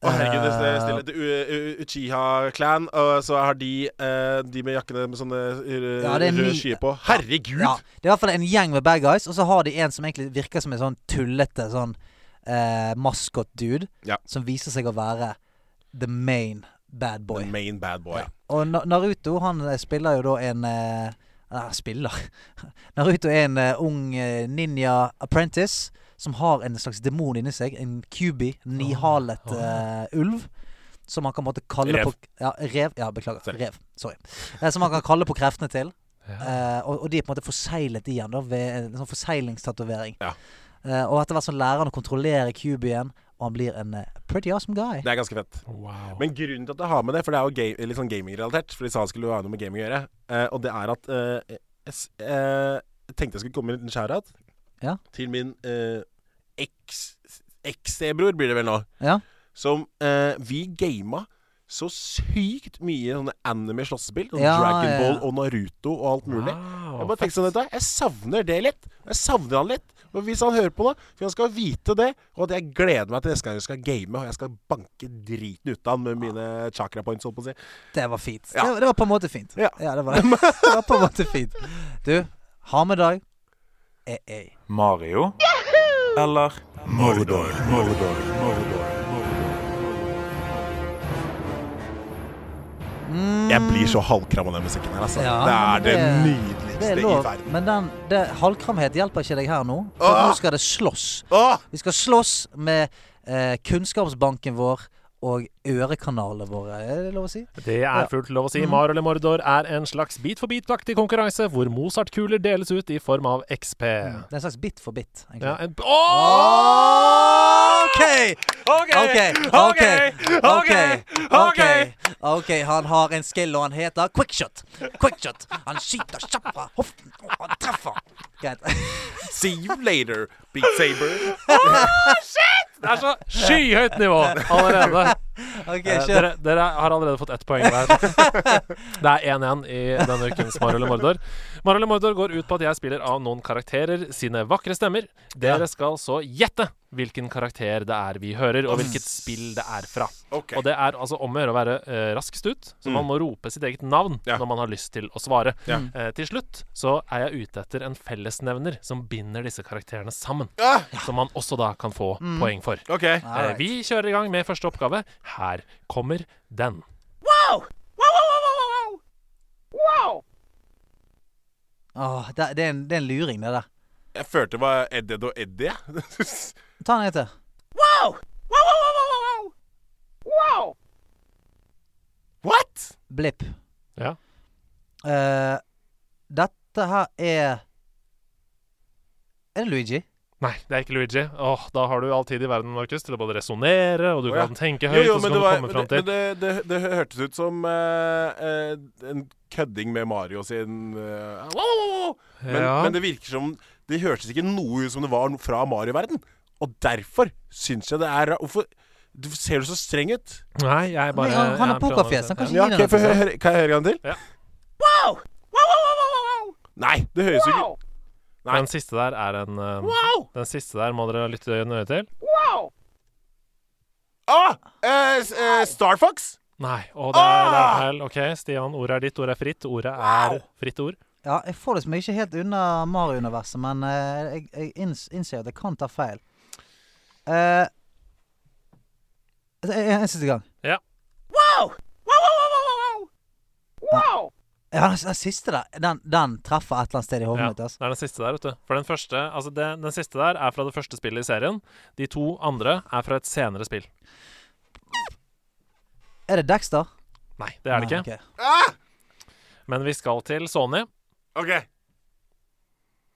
H: Å, herregud, det er
A: Eh,
H: stille. Det er U- U- Uchiha-clan, og så har de eh, de med jakkene med sånne r-
A: Ja, det er
H: røde
A: ni-
H: skyer på. Herregud!
A: Ja, det er i hvert fall en gjeng med bad guys, og så har de en som egentlig virker som en sånn tullete sånn eh, maskot-dude,
H: Ja.
A: som viser seg å være the main bad boy.
H: The main bad boy.
A: Og Na- Naruto, han eh, spiller jo da en eh, Nei, spiller Naruto er en eh, ung eh, ninja apprentice som har en slags demon inni seg. En kubi, nihalet eh, ulv. Som han kan måtte kalle
H: Rev.
A: på Ja, rev. Ja, beklager.
H: Sorry.
A: Rev. Sorry. Eh, som han kan kalle på kreftene til.
D: Ja.
A: Eh, og, og de er på en måte forseglet i han da ved en sånn forseglingstatovering.
H: Ja.
A: Eh, og etter hvert så lærer han å kontrollere kubien, og han blir en eh, pretty awesome guy.
H: Det er ganske fett.
D: Wow.
H: Men grunnen til at jeg har med det, for det er jo ga- litt sånn gamingrelatert, for de sa det skulle jo ha noe med gaming å gjøre, eh, og det er at eh, jeg s- eh, jeg tenkte jeg skulle komme med en liten shout-out
A: Ja.
H: til min eh, eks- eks-bror, blir det vel nå,
A: Ja.
H: som eh, vi gama så sykt mye sånne anime-slåssespill. Sånn
A: Ja,
H: Dragon
A: ja, ja.
H: Ball og Naruto og alt mulig.
D: Wow,
H: Jeg bare tenkte sånn, vet du hva, jeg savner det litt. Jeg savner han litt. Og hvis han hører på det, for han skal vite det, og at jeg gleder meg til neste gang jeg skal game, og jeg skal banke driten ut av han med mine chakra points, holdt på å si.
A: Det var fint.
H: Ja.
A: Det, var- det var på en måte fint.
H: Ja.
A: det, var, det var på en måte fint. Du, ha med dag. Eh, eh.
I: Mario eller Mordor. Mordor. Mordor.
H: Jeg blir så halvkram av den musikken her, altså.
A: Ja,
H: det er det
A: det- Det
H: nydeligste
A: er lov,
H: i verden.
A: men den, det, halvkramhet hjelper ikke deg her nå. For
H: Åh!
A: nå skal det slåss.
H: Åh!
A: Vi skal slåss med eh, kunnskapsbanken vår og ørekanalene våre. Er det lov å si?
D: Det er fullt lov å si. Mario eller Mordor er en slags bit for bit-aktig konkurranse hvor Mozart-kuler deles ut i form av XP.
A: Det er en slags bit for bit. egentlig.
D: Ja, en... Åh!
A: OK!
D: OK!
A: OK, OK, OK, OK. OK, han har en skill, og han heter quickshot. Quickshot. Han skyter kjapt fra hoften, og han treffer. Greit.
H: See you later, Beat Saber.
D: Det er så skyhøyt nivå allerede.
A: OK,
D: Eh,
A: kjør.
D: dere, dere har allerede fått ett poeng hver. Det er 1-1 i denne ukens Mario eller Mordor. Mario eller Mordor går ut på at jeg spiller av noen karakterer sine vakre stemmer. Dere skal så gjette hvilken karakter det er vi hører, og hvilket spill det er fra.
H: Ok. Mm.
D: Og det er altså om å gjøre å være eh, raskest ut, så man må rope sitt eget navn
H: Ja.
D: når man har lyst til å svare.
H: Ja.
D: Eh, til slutt så er jeg ute etter en fellesnevner som binder disse karakterene sammen.
H: Ah, Mm.
D: Som man også da kan få poeng for.
H: ok.
D: Eh, Vi kjører i gang med første oppgave. Her kommer den.
A: Åh, det, det, er en, det er en luring, det der.
H: Jeg følte det var Edded og Eddie. jeg.
A: Ta den en til.
H: What?
A: Blipp.
D: Ja.
A: Eh, dette her er Er det Luigi?
D: Nei, det er ikke Luigi. Åh, Da har du all tid i verden Markus, til å både resonnere, og du
H: Å, ja.
D: kan tenke
H: Jo,
D: høyt.
H: jo,
D: og så
H: men
D: kan
H: det,
D: du
H: var,
D: komme
H: men
D: fram
H: det,
D: til
H: men det, det, det hørtes ut som eh, eh, en kødding med Mario sin eh, au, au, au. men,
D: Ja.
H: men det virker som Det hørtes ikke noe ut som det var no- fra Mario-verden. Og derfor syns jeg det er ra- Hvorfor du, ser du så streng ut?
D: Nei, jeg bare
A: Men han- han har
D: jeg prøver å-
A: pokerfjes, han kan ikke-
H: Ja, kan, jeg få høre, høre- kan jeg høre en gang til?
D: Ja.
H: Nei, det høres jo ikke Nei.
D: Den siste der er en eh,
H: Wow!
D: Den siste der må dere lytte nøye til.
H: Ah, eh, s- eh, Star Fox?
D: Nei. Å, det er, det er feil. OK, Stian. Ordet er ditt. Ordet er fritt. Ordet er fritt ord.
A: Ja, jeg får det som ikke helt unna Mario-universet, men eh, jeg, jeg inns, innser at jeg kan ta feil. Eh, altså, en, en siste gang.
D: Ja.
A: Ja, den, den siste der, den, den treffer et eller annet sted i hodet
D: ja.
A: mitt.
D: Det
A: Altså.
D: er den siste der, vet du. For den første Altså, det, den siste der er fra det første spillet i serien. De to andre er fra et senere spill.
A: Er det Dexter?
D: Nei, det er det ikke.
A: Nei, ok.
H: Ah,
D: Men vi skal til Sony.
H: OK.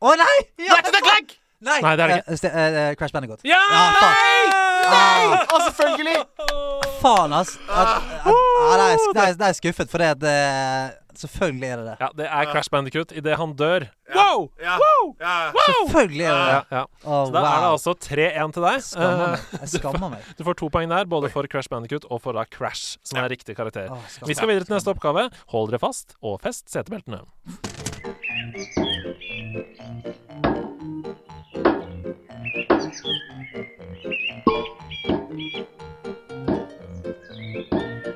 A: Å nei! Ja,
H: Ratchet and Clank!
A: nei!
D: Nei, det er det
A: Eh, ste- eh, eh, Crash Bandicoot.
D: Ja!
A: Ah,
H: Og selvfølgelig
A: faen, ass! At, at, ja, det, er, det, er, det er skuffet, for det at eh, Selvfølgelig er det det.
D: Ja, det er Crash Bandicoot idet han dør.
H: Wow! Ja. Wow! Ja.
A: Selvfølgelig er det det.
D: Ja, ja.
A: Å,
D: Så da er det
A: wow.
D: altså 3-1 til deg.
A: Skammer
D: Eh,
A: meg. Jeg skammer meg.
D: Du får to poeng der, både for Crash Bandicoot og for da Crash, som er riktig karakter.
A: Å, skammer.
D: Vi skal videre til neste oppgave. Hold dere fast, og fest setebeltene.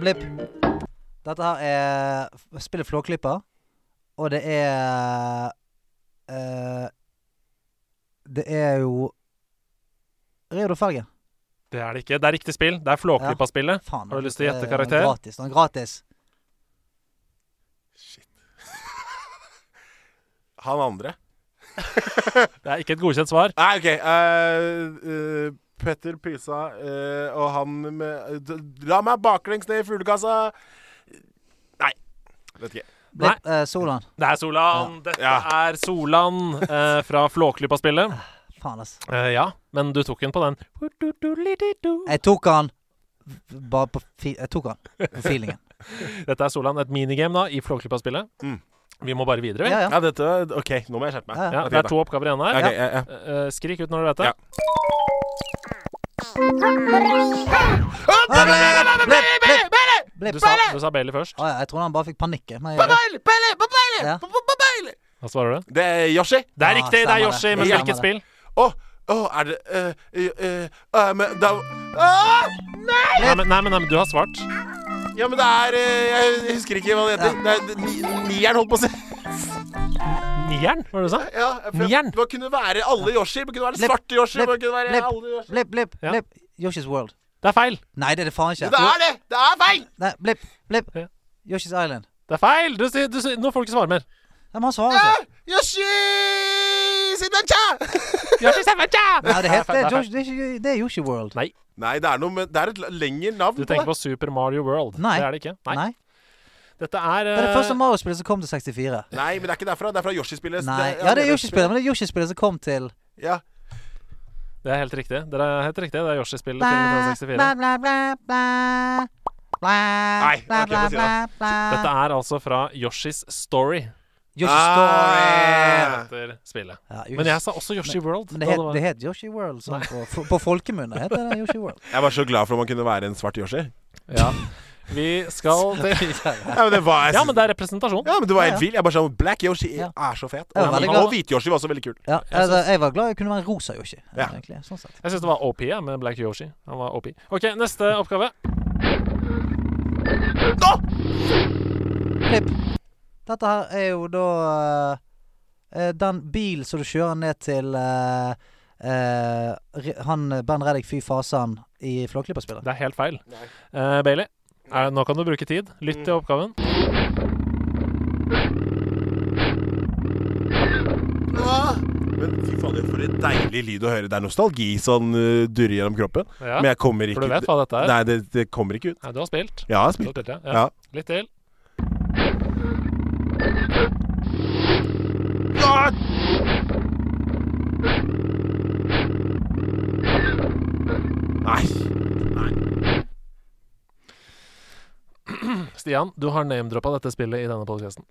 A: blipp. Dette her er f- spillet Flåklypa, og det er eh, Det er jo Reodor Felgen.
D: Det er det ikke. Det er riktig spill. Det er Flåklypa-spillet.
A: Faen. altså,
D: Har du lyst til å
A: det
D: gjette
A: er
D: karakter?
A: Gratis. Den er gratis.
H: Han andre.
D: Det er ikke et godkjent svar.
H: Nei, OK. eh, eh, Petter Pysa eh, og han med d- La meg baklengs ned i fuglekassa! Nei. Vet ikke.
A: Blipp, eh, Solan.
D: Det er Solan. Dette
H: Ja.
D: er Solan eh, fra Flåklypa-spillet.
A: Faen, ass.
D: Eh, ja, men du tok den på den.
A: Jeg tok han bare på fi Jeg tok han på feelingen.
D: Dette er Solan, et minigame da, i Flåklypa-spillet.
H: Mm.
D: Vi må bare videre, vi.
A: Ja, ja.
H: Ja, dette var- OK, nå må jeg skjerpe meg.
A: Ja,
D: Ja, det er to oppgaver igjen her.
H: Ok, ja, ja.
D: Eh, eh, skrik ut når du vet det.
H: Ja.
A: Blipp, blipp, blipp.
D: Du, sa, du sa Bailey først.
A: Å ja, jeg trodde han bare fikk panikk. Men jeg, Ja.
D: Hva svarer du?
H: Det er Yoshi.
D: Det er
A: Ja,
D: riktig, det er
A: stemmer
D: Yoshi,
A: det.
D: men
A: Ja.
D: hvilket spill?
H: Å, å, er det eh, eh, eh, Men da Åh, Nei!
D: Nei men, nei, men, nei, men du har svart.
H: Ja, men det er eh, Jeg jeg husker ikke hva det heter. Det er ni- Nieren, holdt på å si.
D: Nieren, var det du sa?
H: Ja, for jeg-
D: Nieren.
H: Det kunne være alle Yoshi. Det kunne være
A: Blipp,
H: svarte Yoshi. Det
A: blipp,
H: kunne være
A: blipp,
H: alle Yoshi.
A: Blipp, blipp,
D: Ja.
A: blipp. Yoshi's World.
D: Det er feil.
A: Nei, det er det faen ikke.
H: Det er det! Det er feil!
A: Nei, blipp, blipp.
D: Ja.
A: Yoshi's Island.
D: Det er feil! Du, sier- du, sier- nå får du ikke svare mer.
A: Nei, men han svarer ikke.
H: Ah, Yoshi Sidacha!
D: Yoshi Savage!
A: Nei, det, heter,
D: feil,
A: det, er
D: det er feil.
A: Yoshi- det, er ikke- det er Yoshi World.
D: Nei,
H: Nei, det er noe med Det er et l- lengre navn.
D: du tenker på Super Mario World.
A: Nei.
D: Det er det ikke. Nei.
A: Nei.
D: Dette er
A: Det er det
D: eh,
A: første Mario-spillet som kom til 64.
H: det. Nei, men det er ikke derfra. Det er fra Yoshi-spillet.
A: Nei. Ja, det er Yoshi-spillet, men det er Yoshi-spillet som kom til
H: Ja.
D: Det er helt riktig. Dere er helt riktig. Det er Yoshi-spillet til 1964.
A: Bla, bla, bla, bla. Bla,
H: Nei,
A: bla,
H: ok,
A: bla,
H: få si det.
A: bla, bla.
D: Dette er altså fra Yoshis Story.
A: Yoshi
H: Ah.
A: Story.
D: Heter spillet.
A: Ja,
D: Men jeg sa også Yoshi World.
A: Men det
D: da
A: het,
D: det var-
A: det het Yoshi World sånn på, f- på folkemunne. heter det Yoshi World.
H: Jeg var så glad for om man kunne være en svart Yoshi.
D: Ja. Vi skal til
H: Ja, men det var
D: Ja, men det er representasjon.
H: Ja, men du var
A: Ja, ja.
H: helt vill. Jeg bare sånn Black Yoshi
A: Ja.
H: er så fet.
A: Jeg
H: Og,
A: var veldig glad.
H: og hvit Yoshi var også veldig kul.
A: Ja, altså, jeg var glad jeg kunne være en rosa Yoshi.
H: Ja.
A: Egentlig, sånn sett.
D: Jeg syns det var OP jeg, med Black Yoshi. Han var OP. OK, neste oppgave.
A: Klipp. Dette her er jo da eh, den bil som du kjører ned til eh, eh, Re- han eh, Ben Reddik Fy Fasan i Flåklypa-spillet.
D: Det er helt feil. Eh, Bailey, er, nå kan du bruke tid. Lytt til oppgaven.
H: Ah, Men fy fader, for en deilig lyd å høre. Det er nostalgi sånn uh, durrer gjennom kroppen.
D: Ja,
H: Men jeg kommer ikke
D: For du vet hva dette er?
H: Nei, det, det kommer ikke ut.
D: Nei, du har spilt.
H: Ja, jeg har
D: Du har
H: spilt.
D: spilt ja. Ja.
H: Ja.
D: Litt til.
H: Ah! Nei.
D: Stian, du har name-droppa dette spillet i denne podcasten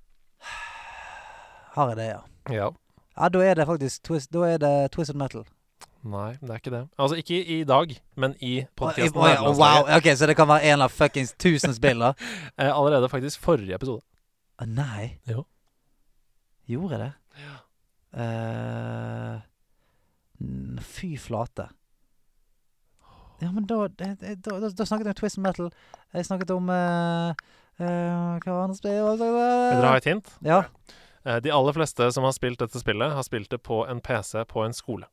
A: Har jeg det, ja.
D: Ja.
A: Ja, Da er det faktisk twist, da er det Twisted Metal.
D: Nei, det er ikke det. Altså ikke i dag, men i podkasten.
A: Oi, oi, oi, wow, ok, Så det kan være en av fuckings tusen spill, da?
D: Eh, Allerede faktisk forrige episode.
A: Å, Nei.
D: Jo.
A: Gjorde jeg det? Eh, n- fy flate. Ja, men da, det- det- da, da, da snakket jeg om Twist Metal. Jeg snakket om eh, eh, Hva var det spillet Hva snakket jeg om?
D: Vil dere ha et hint?
A: Ja.
D: Eh, De aller fleste som har spilt dette spillet, har spilt det på en PC på en skole.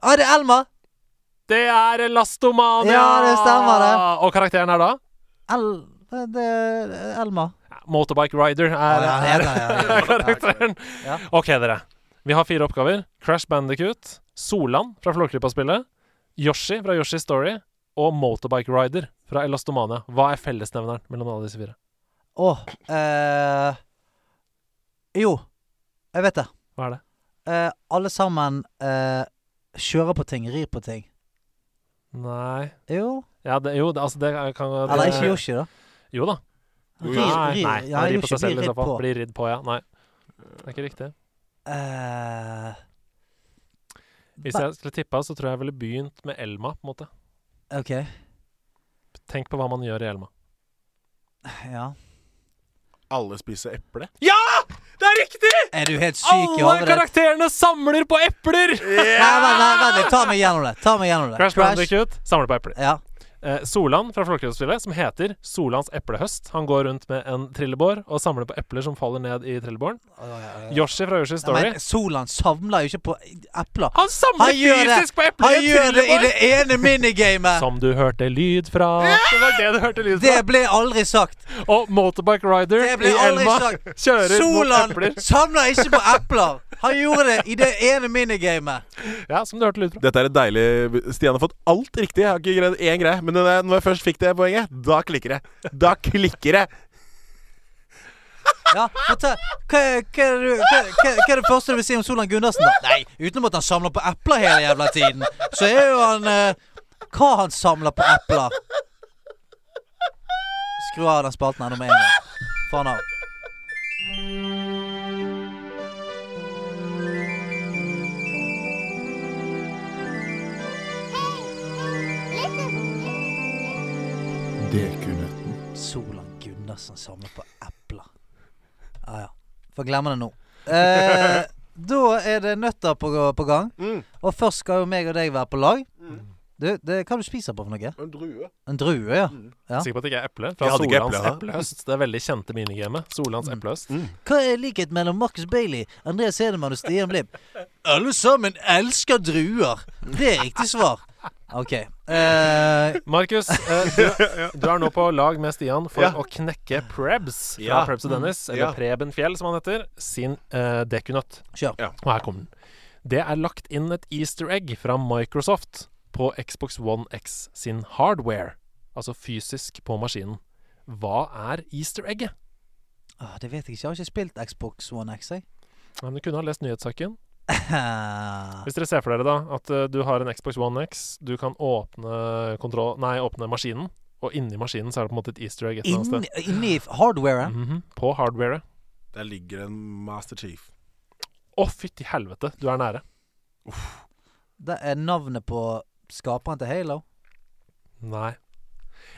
A: Ah, det er Elmer!
D: Det er Lastomania!
A: Ja, det stemmer det.
D: Og karakteren er da?
A: El, det, det, Elmer.
D: Ja, Motorbike Rider
A: Ah, ja,
D: er,
A: det
D: er,
A: heter han, ja.
D: er karakteren.
A: Ja.
D: OK, dere. Vi har fire oppgaver. Crash Bandicoot, Solan fra Flåklypa-spillet, Yoshi fra Yoshi's Story og Motorbike Rider fra Elastomania. Hva er fellesnevneren mellom alle disse fire?
A: Åh eh, Jo, jeg vet det.
D: Hva er det?
A: Eh, alle sammen eh, kjører på ting, rir på ting.
D: Nei
A: Jo.
D: ja, det, Jo, det, altså det kan det,
A: Eller ikke Yoshi, da.
D: Jo da.
A: Rir-
D: Nei,
A: rir-
D: nei.
A: ja,
D: han rir
A: Yoshi
D: på seg selv
A: blir
D: i så
A: ridd
D: fall.
A: på.
D: Blir ridd på, ja. Nei. Det er ikke riktig.
A: Eh,
D: Hvis
A: Ba-
D: jeg skulle tippa, så tror jeg jeg ville begynt med Elma. på en måte
A: OK.
D: Tenk på hva man gjør i Elma.
A: Ja.
H: Alle spiser eple.
D: Ja! Det er riktig!
A: Er du helt syk i
D: Alle
A: hodet ditt?
D: karakterene samler på epler!
A: Nei, vent, nei, vent, litt. ta meg gjennom det. Ta meg gjennom det.
D: Crash Bandicoot samler på epler.
A: Ja.
D: eh, Solan fra Folkehøgskolen, som heter Solans eplehøst. Han går rundt med en trillebår og samler på epler som faller ned i trillebåren. Yoshi fra Yoshi's Story.
A: Men Solan samler jo ikke på epler.
D: Han samler fysisk på epler
A: Han
D: i en
A: gjør det i
D: trillebår!
A: det ene minigamet!
D: Som du hørte lyd fra. Det var det du hørte lyd
A: Det
D: fra.
A: ble aldri sagt.
D: Og Motorbike Rider
A: Det
D: i
A: ble aldri
D: elva
A: sagt.
D: kjører mot
A: Solan
D: epler.
A: samler ikke på epler! Han gjorde det i det ene minigamet.
D: Ja, som du hørte lyd fra.
H: Dette er et deilig Stian har fått alt riktig. Jeg har ikke greid én greie. Men når jeg, når jeg først fikk det poenget, da klikker det. Da klikker det.
A: Ja, fortell. Hva, er- hva, er du- hva, hva, hva er det første du vil si om Solan Gundersen? da? Nei, utenom at han samler på epler hele jævla tiden, så er jo han eh, Hva han samler på epler? Skru av den spalten her nå med en gang. Faen av. Solan Gundersen samler på epler. Ja ja. Får glemme det nå. Eh, da er det nøtter på, på gang.
H: Mm.
A: Og først skal jo meg og deg være på lag. Du, det, hva du spiser på for noe?
H: En drue. Mm.
A: En drue, ja. ja.
D: Sikker på at det ikke er eple? Fra
H: Jeg hadde ikke Mm.
D: Solans
H: eple, da.
D: eplehøst. Det er veldig kjente minigamet. Solans eplehøst.
A: Hva er likhet mellom Marcus Bailey, Andreas Hedemann og Stian Blipp? Alle sammen elsker druer! Det er riktig svar. OK. Eh,
D: Markus, eh, du, du er nå på lag med Stian for å knekke Prebz fra
H: Ja. Mm.
D: Prebz og Dennis, eller
H: Ja.
D: Preben Fjell som han heter, sin eh, dekunøtt.
A: kjør.
D: Og her kommer den. Det er lagt inn et easter egg fra Microsoft på Xbox One X sin hardware, altså fysisk på maskinen. Hva er easter egget?
A: Ah, det vet jeg ikke. Jeg har ikke spilt Xbox One X, jeg.
D: Men du kunne ha lest nyhetssaken. Hvis dere ser for dere da at eh, du har en Xbox One X, du kan åpne, kontroll, nei, åpne maskinen, og inni maskinen så er det på en måte et easter egg et eller annet sted.
A: Inni, inni eh? hardwaren.
D: Mhm, På hardwaret.
H: Der ligger en Master Chief.
D: Å, fytti helvete, du er nære.
A: Det er navnet på skaperen til Halo.
D: Nei.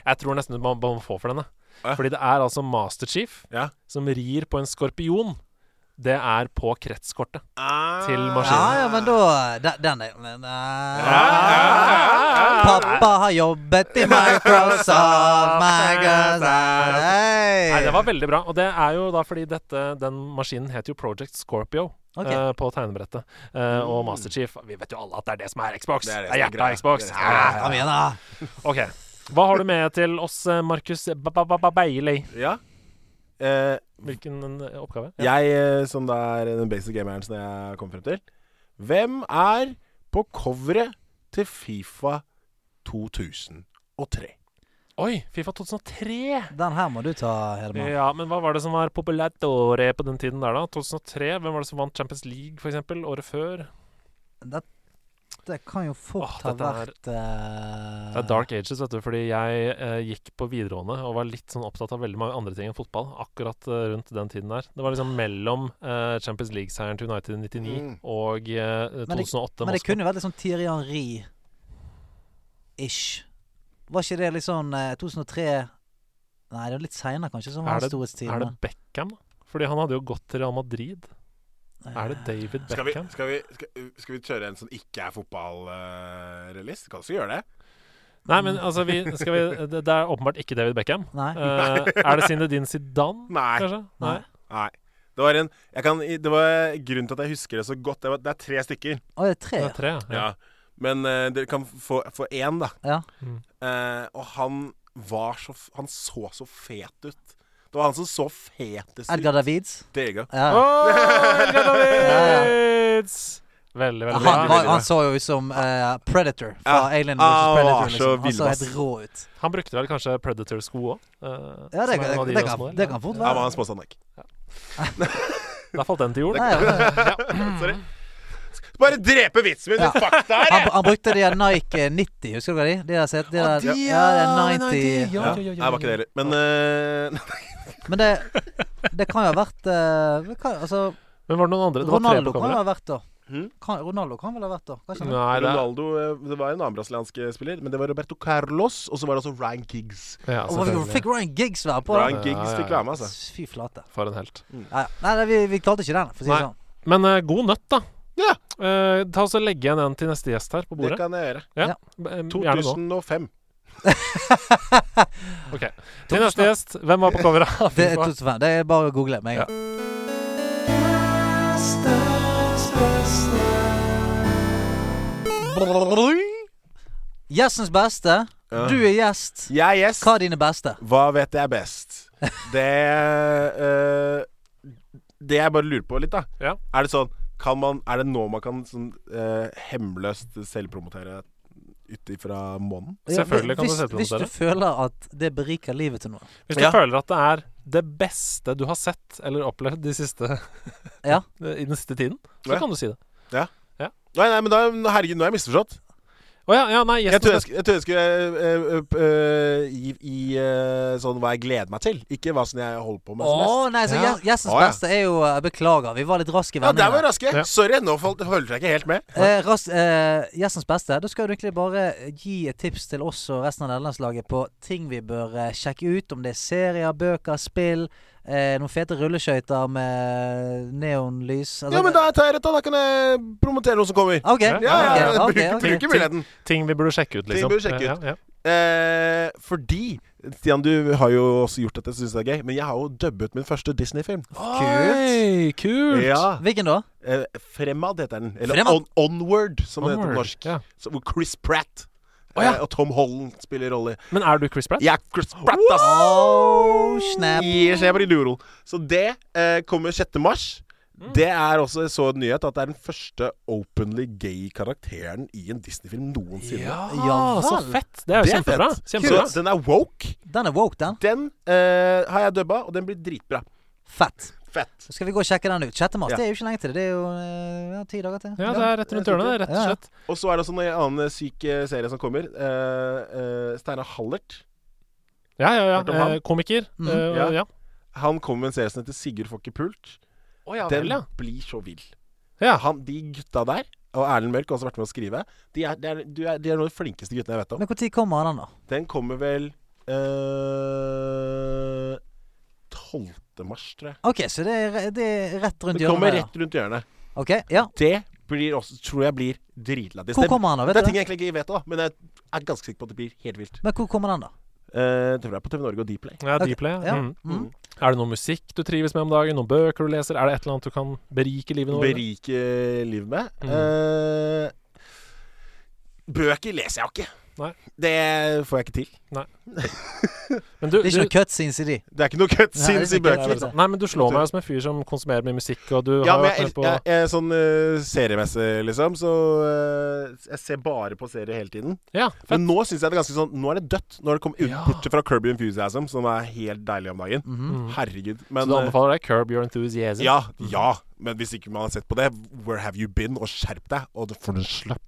D: Jeg tror nesten man, man må få for denne.
H: Hæ?
D: Fordi det er altså Master Chief
H: Ja.
D: som rir på en skorpion. Det er på kretskortet til maskinen.
A: Ja, ja, men da de- Den er men,
D: ja,
A: eh, Pappa har jobbet i Microsoft, Microsoft hey.
D: Nei, det var veldig bra. Og det er jo da fordi dette, den maskinen heter jo Project Scorpio.
A: Ok.
D: eh, på tegnebrettet. Eh, og Master Chief Vi vet jo alle at det er det som er Xbox! Det
H: Mm.
D: er,
H: Det er det som er
D: hjertet av
H: greia.
D: Xbox!
H: Det er det som er
D: Ja, ja,
A: Kom igjen, da.
D: ja. OK. Hva har du med til oss, eh, Markus Ba- ba- ba- ba- Bailey?
H: Ja. Eh,
D: Hvilken eh, oppgave? Ja.
H: jeg, eh, som da er den basic gameren som jeg kom frem til Hvem er på coveret til Fifa 2003?
D: Oi! Fifa 2003!
A: Den her må du ta, Hedemann.
D: Ja, men hva var det som var populært året på den tiden der, da? 2003? Hvem var det som vant Champions League, for eksempel? Året før?
A: Det kan jo fort
D: Åh,
A: ha
D: dette er-
A: vært eh,
D: Det er dark ages, vet du, fordi jeg eh, gikk på videregående og var litt sånn opptatt av veldig mange andre ting enn fotball akkurat eh, rundt den tiden der. Det var liksom mellom eh, Champions League-seieren til United i 99
H: Mm.
D: og eh,
A: Men det- Men det
D: 2008 Moskva.
A: kunne jo vært litt sånn Tirian Ri-ish. Var ikke det litt sånn eh, 2003 Nei, det var litt seinere, kanskje, som
D: Er
A: var
D: det- Er det
A: storhetstiden.
D: Beckham, da? Fordi han hadde jo gått til Real Madrid.
A: eh.
D: Er det David
H: Skal vi,
D: Beckham?
H: skal, vi, skal, skal vi kjøre en som ikke er fotballrelease? kan også gjøre det.
D: Nei, men altså, vi, skal vi, det, det er åpenbart ikke David Beckham.
A: Nei.
D: Eh, er det Zinedine Zidane,
H: Nei.
D: kanskje?
A: Nei.
H: Nei. Det var en jeg kan, Det var grunnen til at jeg husker det så godt. Det, var, det er tre stykker.
A: Å, det er tre?
D: Det er tre, ja.
H: Men eh, dere kan få få én, da.
A: Ja.
D: Mm.
H: Eh, og han var så f- Han så så fet ut. Det var han som så fetest
A: Edgar
H: ut.
A: Davids?
H: Det er gøy.
A: Ja.
D: Åh, Edgar
A: Ja,
D: Davids! Veldig, veldig bra.
A: Han, var, han så jo ut som eh, Predator fra
H: Ja.
A: Alien vs.
H: Ah,
A: Predator.
H: så
A: Liksom. Han så
H: villvass.
A: helt rå ut.
D: Han brukte vel kanskje Predator-sko òg? Eh,
A: Ja, det, det, det, kan, det kan fort
H: Ja, men
A: være.
H: han sponsa den ikke.
D: Da falt den til jord.
A: Nei, ja.
H: Sorry. Bare drepe vitsen min!
A: Ja.
H: Fuck det her!
A: han, han brukte de der Nike 90, husker dere de? De der, set- de der,
H: de,
A: ja, det er 90
H: Ja, Nei, det var ikke det heller. Men eh,
A: Men det, det kan jo ha vært eh, det kan, Altså,
D: Men var det noen andre? Det var tre
A: Ronaldo
D: på
A: kan jo
D: kamera.
A: ha vært da.
H: Hm?
A: Kan, Ronaldo kan vel ha vært da? Kanskje han-
D: Nei, det
H: Ronaldo eh, Det var en annen brasiliansk eh, spiller, men det var Roberto Carlos, og så var det også Ryan Giggs.
D: ja,
A: Og hvorfor
D: selvfølgelig.
A: fikk Ryan Giggs være på?
H: Ryan
A: da?
H: Giggs fikk være med, altså.
A: Fy flate.
D: For en helt.
A: Ja, ja. Nei, nei, vi, vi klarte ikke den, for å si det
D: Nei.
A: sånn.
D: Men eh, god nøtt, da.
H: Ja.
D: Eh, ta oss og Legg igjen en til neste gjest her på
H: Det
D: bordet.
H: kan jeg gjøre.
D: Ja. Eh, Gjerne nå.
H: 2005.
D: OK. Til neste gjest, hvem var på coveret? av
A: Det er
D: FIFA?
A: 2005. Det er bare å google med en
D: Ja.
A: gang. Gjestens beste.
H: Ja.
A: Du er gjest.
H: Jeg er gjest.
A: Hva er dine beste?
H: Hva vet jeg best? Det eh, Det jeg bare lurer på litt, da.
D: Ja.
H: Er det sånn kan man, Er det nå man kan sånn, eh, hemmeløst selvpromotere ut ifra månen?
D: Selvfølgelig kan du
A: Hvis-
D: sette noe
A: Hvis
D: til
A: du
D: det.
A: føler at det beriker livet til noen.
D: Hvis du
H: Ja.
D: føler at det er det beste du har sett eller opplevd de siste
A: Ja.
D: i den siste tiden, så
H: Ja.
D: kan du si det.
H: Nei, nei, men da, herregud, nå har jeg misforstått.
D: Å ja, ja, nei,
H: Jeg
D: gjesten
H: trodde jeg, sk- jeg, trodde jeg skulle eh, eh, eh, gi i eh, sånn hva jeg gleder meg til, ikke hva som jeg holder på med. som mest.
A: Å, nei, så
D: Ja.
A: gjes- Gjestens
H: Å, ja.
A: beste er jo eh, Beklager, vi var litt raske i
H: Ja, der var
A: vendingene.
H: vi raske.
D: Ja.
H: Sorry, nå fol- holdt jeg ikke helt med.
A: Eh, ras- eh, gjestens beste. Da skal du egentlig bare gi et tips til oss og resten av nederlandslaget på ting vi bør eh, sjekke ut. Om det er serier, bøker, spill, eh, noen fete rulleskøyter med neonlys. Altså-
H: Ja, men da tar jeg rett, da. Da kan jeg promotere noe som kommer.
A: OK.
D: Ja,
H: Ja, ja, ja,
A: ok, ok,
H: bruker,
A: ok.
H: bruker muligheten.
D: Ting vi burde sjekke ut,
H: Ting vi
D: liksom.
H: burde sjekke
D: Ja,
H: ut.
D: ja.
H: Eh, fordi Stian, du har jo også gjort dette, syns det er gøy. Men jeg har jo dubbet min første Disney-film.
D: Oi, kult!
H: Ja.
A: Hvilken da?
H: Eh, Fremad heter den. Eller
A: Fremad?
H: on, Onward, som det heter
D: Onward,
H: på norsk.
D: ja.
H: Så- Hvor Chris Pratt
D: Å, ja.
H: eh, og Tom Holland spiller rolle.
D: Men er du Chris Pratt?
H: Jeg er Chris Pratt, ass!
A: Oh, snap.
H: Yes, jeg blir luro. Så det eh, kommer 6. mars.
D: Mm.
H: Det er også jeg så en nyhet at det er den første openly gay karakteren i en Disney-film noensinne.
A: Ja
D: så
A: vel.
D: fett! Det er jo
H: Det er
D: kjempebra.
H: fett.
D: kjempebra.
H: Så den er woke.
A: Den er woke, den.
H: Den eh, har jeg dubba, og den blir dritbra.
A: Fett.
H: Fett.
A: Så skal vi gå og sjekke den ut. 6. mars,
H: Ja.
A: det er jo ikke lenge til. Det er jo eh, ja, ti dager til.
D: Ja, det er rett rundt hjørnet, det, rett og
A: Ja, ja.
D: slett.
H: Og så er det også en annen eh, syk eh, serie som kommer. Eh, eh, Steinar Hallert.
D: Ja, ja, ja.
H: Hørt om han?
D: Eh, Komiker.
A: Mhm.
D: Eh,
H: Ja.
D: ja.
H: Han kommer med en serie som heter Sigurd får ikke pult.
D: Å, ja,
H: Den
D: vel, ja.
H: blir så vill.
D: Ja.
H: Han, de gutta der, og Erlend Mørk har også vært med å skrive, de er, de, er, du er, de er noen av de flinkeste guttene jeg vet om.
A: Men når kommer den, da?
H: Den kommer vel eh, 12. mars, tror jeg.
A: OK, så det er, re- det er rett rundt
H: Den kommer
A: hjørnet.
H: rett rundt hjørnet.
A: ja. OK, ja.
H: Det blir også, tror jeg blir dritlættis.
A: Hvor
H: Det-
A: kommer han da, vet du
H: Det er
A: det?
H: ting jeg egentlig ikke vet da, men jeg er ganske sikker på at det blir helt vilt.
A: Men hvor kommer den, da?
H: Eh, det tror jeg på TV Norge og Dplay.
D: ja
A: Ok,
D: Dplay. ja.
A: ja.
D: Mhm.
A: Mm.
D: Er det noe musikk du trives med om dagen? Noen bøker du leser? Er det et eller annet du kan berike livet ditt med?
H: Berike livet med.
D: Mm.
H: Eh, bøker leser jeg jo ikke.
D: Nei.
H: Det får jeg ikke til.
D: Men du,
A: Det er ikke
D: du
A: noe cutscenes i de.
H: Det er ikke noe cut
A: Nei, det
H: scenes
A: er
H: i
A: ikke-
H: bøker.
A: det er vel sant.
D: Nei, men du slår meg jo som en fyr som konsumerer mye musikk, og sånn. du
H: Ja,
D: har
H: men
D: vært
H: jeg,
D: med på
H: jeg, jeg, sånn eh, seriemessig, liksom, så eh, Jeg ser bare på serier hele tiden.
D: Ja, fett.
H: Men nå syns jeg det er ganske sånn Nå er det dødt. Nå er det kommet ut
D: Ja.
H: bortsett fra Kirby Enthusiasm, som er helt deilig om dagen. Herregud.
D: Mhm. Så
H: Men
D: du
H: eh,
D: anbefaler deg Curb Your Enthusiasm?
H: ja,
A: Mhm.
H: ja. Men hvis ikke man har sett på det, where have you been? Og skjerp deg, og for en slapp.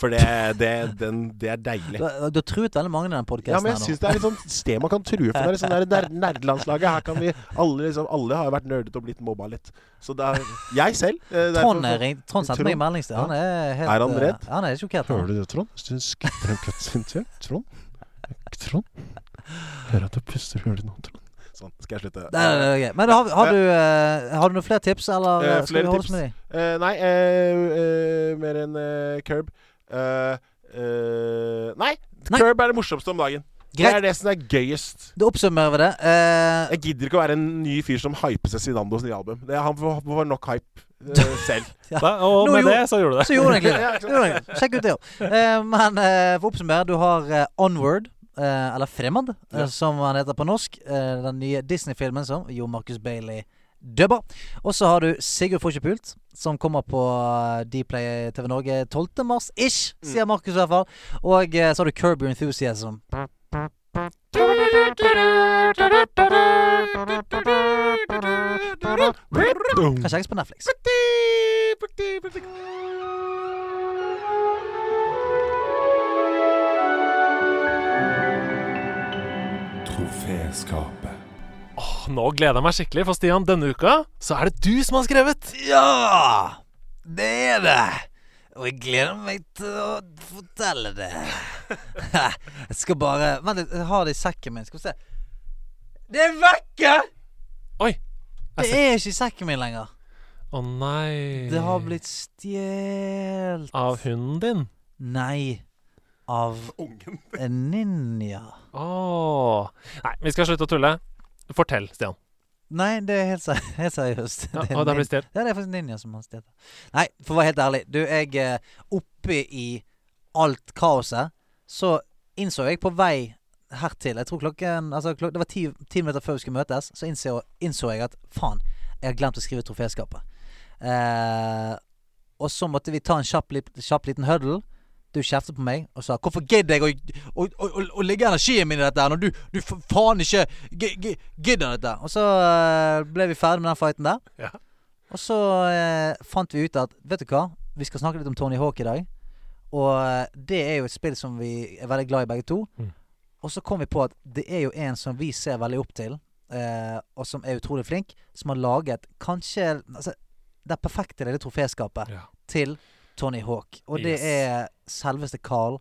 H: For det, det, den, det er
A: Du,
H: deilig.
A: har- du har truet veldig mange i den podkasten.
H: Ja, men jeg syns det er litt sånn sted man kan true. For det er liksom det er ner- nerdelandslaget. Her kan vi alle liksom Alle har jo vært nerdete og blitt mobba litt. Så det er Jeg selv. eh, det er-
A: Trond, er ring- Trond sendte meg en
H: Trond-
A: melding til Han er helt
H: Er han
A: eh,
H: redd?
A: Han er sjokkert. han.
H: du det, Trond? Skriv frem cutscenen til Trond. Trond? Hører at du puster hører du nå, Trond. Sånn, skal jeg slutte.
A: Nei, nei, nei, ok. Men har, har, du, eh, har du noen flere tips, eller
H: Eh,
A: eh, skal
H: flere
A: vi holde
H: tips.
A: oss med de?
H: Eh, nei, eh, eh, mer enn eh, Curb. Eh, eh, nei,
A: Nei.
H: Curb er det morsomste om dagen. Det er
A: Greit,
H: det som er gøyest.
A: da oppsummerer vi det. Eh,
H: Jeg gidder ikke å være en ny fyr som hyper seg Sinandos nye album. Det, han får, får nok hype eh, selv.
D: Da, og
A: Nå
D: med
A: gjorde-
D: det så gjorde du det.
A: så gjorde du egentlig det.
H: Ja, ikke sant?
A: Jo, jo, Sjekk ut det, jo. Eh, men eh, for å oppsummere, du har eh, Onward, eh, eller Fremad, eh,
H: Ja.
A: som han heter på norsk. eh, den nye Disney-filmen som Jo Marcus Bailey dubber. Og så har du Sigurd får ikke pult, som kommer på eh, Dplay TV Norge 12. mars ish, sier Markus i hvert fall. Og eh, så har du Curb Your Enthusiasm. Kan sjekkes på Netflix.
I: Troféskapet.
D: Nå gleder jeg meg skikkelig, for Stian, denne uka så er det du som har skrevet.
A: Ja, det er det. Og jeg gleder meg til å fortelle det. Jeg skal bare Vent litt, jeg har det i sekken min. Skal vi se. Det er vekke!
D: Oi.
A: Det
D: Altså-
A: er ikke i sekken min lenger.
D: Å nei. Eh.
A: Det har blitt stjålet.
D: Av hunden din.
A: Nei. av en ninja.
D: Åh. Nei, vi skal slutte å tulle. Fortell, Stian.
A: Nei, det er helt, se- helt seriøst.
D: Ja,
A: Det er
D: og det
A: nin-
D: blir stjålet.
A: Ja, det er faktisk ninja som har stjålet. Nei, for å være helt ærlig. Du, jeg eh, Oppe i alt kaoset så innså jeg på vei hertil Jeg tror klokken Altså, klok det var ti, ti minutter før vi skulle møtes, så innså, innså jeg at faen, jeg har glemt å skrive troféskapet. Eh, og så måtte vi ta en kjapp, lit- kjapp liten huddle. Du kjeftet på meg og sa 'Hvorfor gidder jeg å, å, å, å, å legge energien min i dette her når du, du for faen ikke gi- gi- gidder dette?' Og så eh, ble vi ferdig med den fighten der.
D: Ja.
A: Og så eh, fant vi ut at Vet du hva? Vi skal snakke litt om Tony Hawk i dag. Og eh, det er jo et spill som vi er veldig glad i, begge to.
D: Mm.
A: Og så kom vi på at det er jo en som vi ser veldig opp til, eh, og som er utrolig flink, som har laget kanskje altså, det perfekte lille troféskapet
D: Ja.
A: til Tony Hawk. Og det
D: Yes.
A: er selveste Carl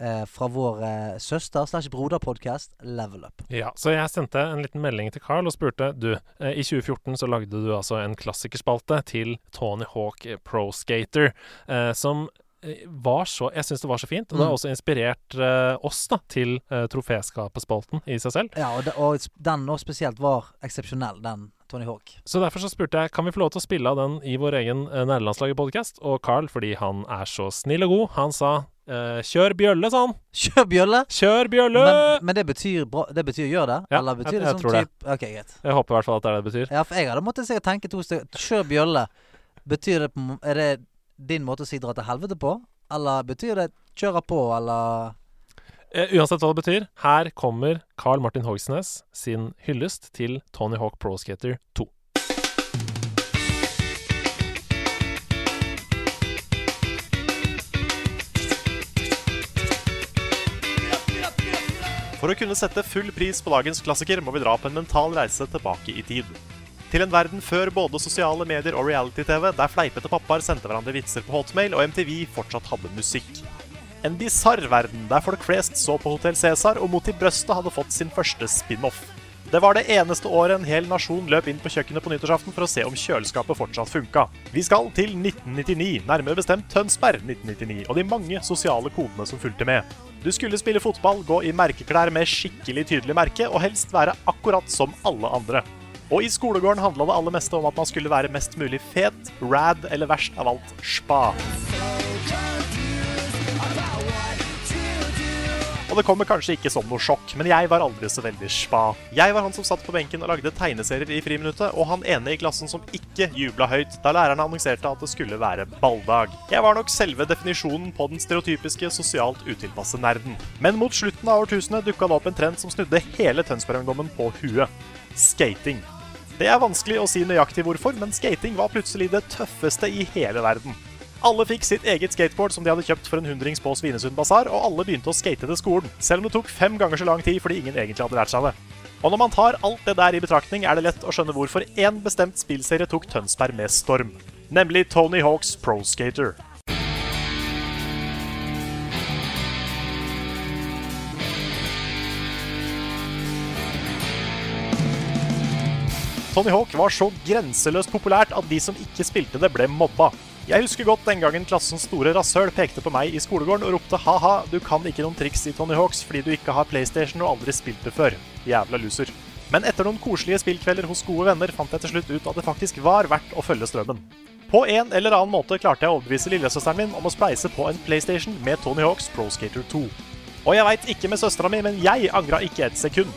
A: eh, fra vår eh, søster slash broderpodkast Level Up.
D: Ja, så jeg sendte en liten melding til Carl og spurte Du, eh, i 2014 så lagde du altså en klassikerspalte til Tony Hawk eh, Pro Skater, eh, som eh, var så Jeg syns det var så fint, og det har
A: Mm.
D: også inspirert eh, oss da til eh, troféskapespalten i seg selv.
A: Ja, og, det, og den nå spesielt var eksepsjonell, den Tony Hawk.
D: Så derfor så spurte jeg kan vi få lov til å spille av den i vår egen eh, nærlandslaget-podkast, og Carl, fordi han er så snill og god, han sa eh, Kjør bjølle, sa han!
A: Kjør bjølle!
D: Kjør bjølle!
A: Men, men det betyr, bra, det betyr gjør det?
D: Ja,
A: eller betyr
D: jeg-
A: det
D: jeg
A: som
D: tror det.
A: typ Ok, greit.
D: Jeg håper i hvert fall at det er det det betyr.
A: Ja, for jeg hadde måttet sikkert tenke to stykker. Kjør bjølle. Betyr det på må- Er det din måte å si dra til helvete på? Eller betyr det kjøre på, eller
D: Eh, uansett hva det betyr, her kommer Carl Martin Hogsnes sin hyllest til Tony Hawk Pro Skater 2.
J: For å kunne sette full pris på dagens klassiker må vi dra på en mental reise tilbake i tid. Til en verden før både sosiale medier og reality-TV, der fleipete pappaer sendte hverandre vitser på hotmail og MTV fortsatt hadde musikk. En bisarr verden der folk flest så på Hotell Cæsar og mot i brøstet hadde fått sin første spin-off. Det var det eneste året en hel nasjon løp inn på kjøkkenet på nyttårsaften for å se om kjøleskapet fortsatt funka. Vi skal til 1999, nærmere bestemt Tønsberg 1999, og de mange sosiale kodene som fulgte med. Du skulle spille fotball, gå i merkeklær med skikkelig tydelig merke, og helst være akkurat som alle andre. Og i skolegården handla det aller meste om at man skulle være mest mulig fet, rad eller verst av alt spa. Og det kommer kanskje ikke som noe sjokk, men jeg var aldri så veldig spa. Jeg var han som satt på benken og lagde tegneserier i friminuttet, og han ene i klassen som ikke jubla høyt da lærerne annonserte at det skulle være balldag. Jeg var nok selve definisjonen på den stereotypiske sosialt utilpasse nerden. Men mot slutten av årtusenet dukka det opp en trend som snudde hele Tønsberg-ungdommen på huet. Skating. Det er vanskelig å si nøyaktig hvorfor, men skating var plutselig det tøffeste i hele verden. Alle fikk sitt eget skateboard som de hadde kjøpt for en hundrings på Svinesund basar, og alle begynte å skate til skolen, selv om det tok fem ganger så lang tid fordi ingen egentlig hadde lært seg det. Og når man tar alt det der i betraktning, er det lett å skjønne hvorfor én bestemt spillserie tok Tønsberg med storm. Nemlig Tony Hawks Pro Skater. Tony Hawk var så grenseløst populært at de som ikke spilte det, ble mobba. Jeg husker godt den gangen klassens store rasshøl pekte på meg i skolegården og ropte ha-ha, du kan ikke noen triks i Tony Hawks fordi du ikke har PlayStation og aldri spilt det før. Jævla loser. Men etter noen koselige spillkvelder hos gode venner fant jeg til slutt ut at det faktisk var verdt å følge strømmen. På en eller annen måte klarte jeg å overbevise lillesøsteren min om å spleise på en PlayStation med Tony Hawks Pro Skater 2. Og jeg veit ikke med søstera mi, men jeg angra ikke et sekund.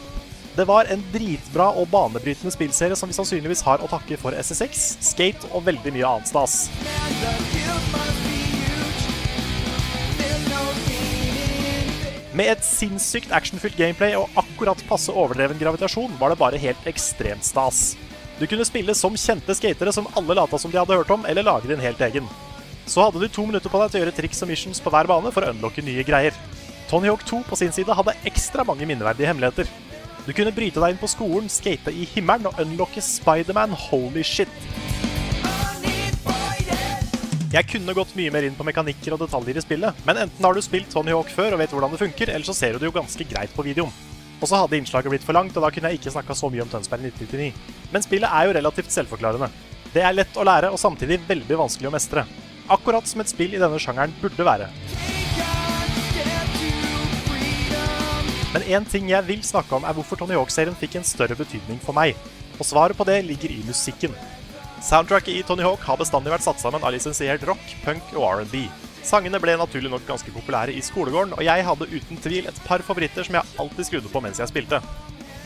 J: Det var en dritbra og banebrytende spillserie som vi sannsynligvis har å takke for SSX, skate og veldig mye annet stas. Med et sinnssykt actionfylt gameplay og akkurat passe overdreven gravitasjon var det bare helt ekstremt stas. Du kunne spille som kjente skatere som alle lata som de hadde hørt om, eller lage din helt egen. Så hadde du to minutter på deg til å gjøre triks og missions på hver bane for å unlocke nye greier. Tony Hawk 2 på sin side hadde ekstra mange minneverdige hemmeligheter. Du kunne bryte deg inn på skolen, skate i himmelen og unlocke Spiderman holy shit. Jeg kunne gått mye mer inn på mekanikker og detaljer i spillet, men enten har du spilt Tony Hawk før og vet hvordan det funker, eller så ser du det jo ganske greit på videoen. Og så hadde innslaget blitt for langt, og da kunne jeg ikke snakka så mye om Tønsberg 1999. Men spillet er jo relativt selvforklarende. Det er lett å lære, og samtidig veldig vanskelig å mestre. Akkurat som et spill i denne sjangeren burde være.
K: Take a step to
J: Men én ting jeg vil snakke om, er hvorfor Tony Hawk-serien fikk en større betydning for meg. Og svaret på det ligger i musikken. Soundtracket i Tony Hawk har bestandig vært satt sammen av lisensiert rock, punk og R&B. Sangene ble naturlig nok ganske populære i skolegården, og jeg hadde uten tvil et par favoritter som jeg alltid skrudde på mens jeg spilte.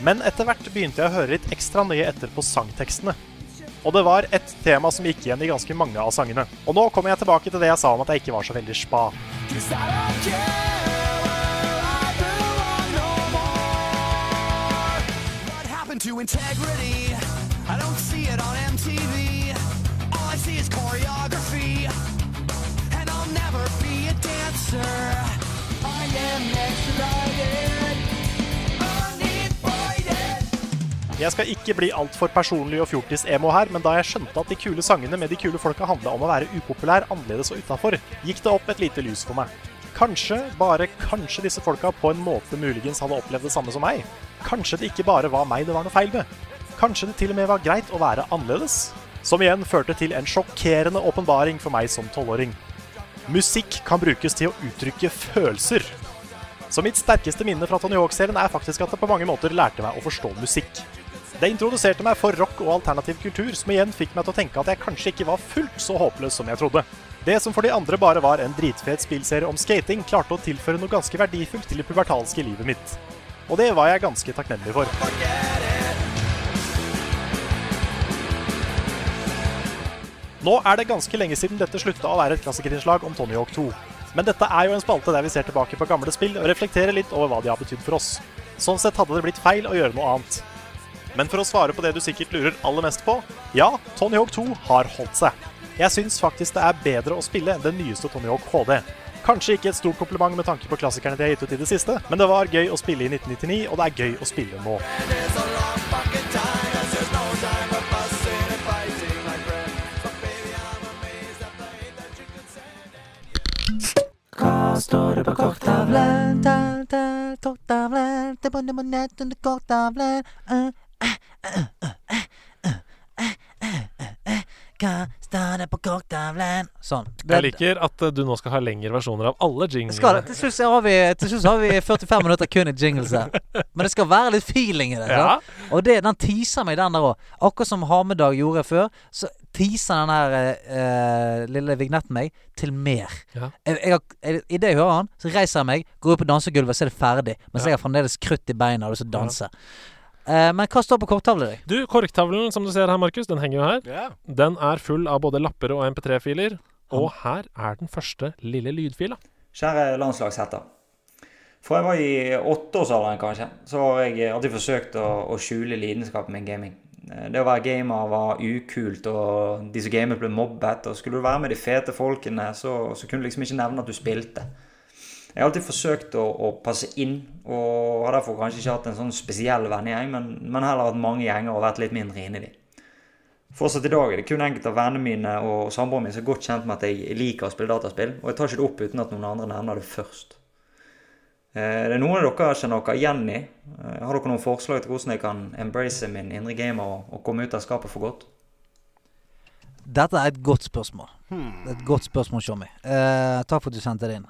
J: Men etter hvert begynte jeg å høre litt ekstra nøye etter på sangtekstene. Og det var ett tema som gikk igjen i ganske mange av sangene. Og nå kommer jeg tilbake til det jeg sa om at jeg ikke var så veldig spa.
K: What happened to integrity? I don't see it on MTV. All I see is choreography. And I'll never be a dancer. I am extradited. Unemployed.
J: Jeg skal ikke bli altfor personlig og fjortis-emo her, men da jeg skjønte at de kule sangene med de kule folka handla om å være upopulær, annerledes og utafor, gikk det opp et lite lys for meg. Kanskje, bare kanskje disse folka på en måte muligens hadde opplevd det samme som meg? Kanskje det ikke bare var meg det var noe feil med? Kanskje det til og med var greit å være annerledes? Som igjen førte til en sjokkerende åpenbaring for meg som tolvåring. Musikk kan brukes til å uttrykke følelser. Så mitt sterkeste minne fra Tony Hawk-serien er faktisk at det på mange måter lærte meg å forstå musikk. Det introduserte meg for rock og alternativ kultur, som igjen fikk meg til å tenke at jeg kanskje ikke var fullt så håpløs som jeg trodde. Det som for de andre bare var en dritfet spillserie om skating, klarte å tilføre noe ganske verdifullt til det pubertalske livet mitt. Og det var jeg ganske takknemlig for. Nå er det ganske lenge siden dette slutta å være et klassikerinnslag om Tony Hawk 2. Men dette er jo en spalte der vi ser tilbake på gamle spill og reflekterer litt over hva de har betydd for oss. Sånn sett hadde det blitt feil å gjøre noe annet. Men for å svare på det du sikkert lurer aller mest på ja, Tony Hawk 2 har holdt seg. Jeg syns faktisk det er bedre å spille enn den nyeste Tony Hawk HD. Kanskje ikke et stort kompliment med tanke på klassikerne de har gitt ut i det siste, men det var gøy å spille i 1999, og det er gøy å spille nå.
A: Hva står det på korktavlen? Da, da, korktavlen. Det bunner på nett under korktavlen. Eh, eh, eh, eh, eh, eh, eh, eh, eh. Hva står det på korktavlen? Sånn.
D: Jeg liker at eh, du nå skal ha lengre versjoner av alle
A: Skal det.
D: jinglene.
A: Til slutt så har vi, til slutt så har vi 45 minutter kun i jingles her. Men det skal være litt feeling i det. sant? Og det, den teaser meg, den der òg. Akkurat som Hamedag gjorde før, så teaser den her eh, eh, lille vignetten meg til mer.
D: Ja.
A: Jeg, jeg, har- jeg, I det jeg hører han, så reiser jeg meg, går ut på dansegulvet, så er det ferdig. Mens jeg har fremdeles krutt i beina og har lyst til å danse. Eh, men hva står på korttavla di?
D: Du, korktavlen som du ser her, Markus, den henger jo her. Den er full av både lapper og MP3-filer. Og her er den første lille lydfila.
L: Kjære landslagshetter. Fra jeg var i åtteårsalderen, kanskje, så har jeg alltid forsøkt å, å skjule lidenskapen min gaming. Eh, Det å være gamer var ukult, og de som gamet, ble mobbet. Og skulle du være med de fete folkene, så, så kunne du liksom ikke nevne at du spilte. Jeg har alltid forsøkt å, å passe inn, og har derfor kanskje ikke hatt en sånn spesiell vennegjeng, men, men heller hatt mange gjenger og vært litt mindre inne i de. Fortsatt i dag er det kun enkelte av vennene mine og samboeren min som er godt kjent med at jeg liker å spille dataspill, og jeg tar ikke det opp uten at noen andre nevner det først. Eh, Det er noen av dere jeg kjenner dere igjen i. Eh, Har dere noen forslag til hvordan jeg kan embrace min indre gamer og, og komme ut av skapet for godt?
A: Dette er et godt spørsmål.
D: Hmm.
A: Det er et godt spørsmål, Tjommi. Eh, takk for at du sendte det inn.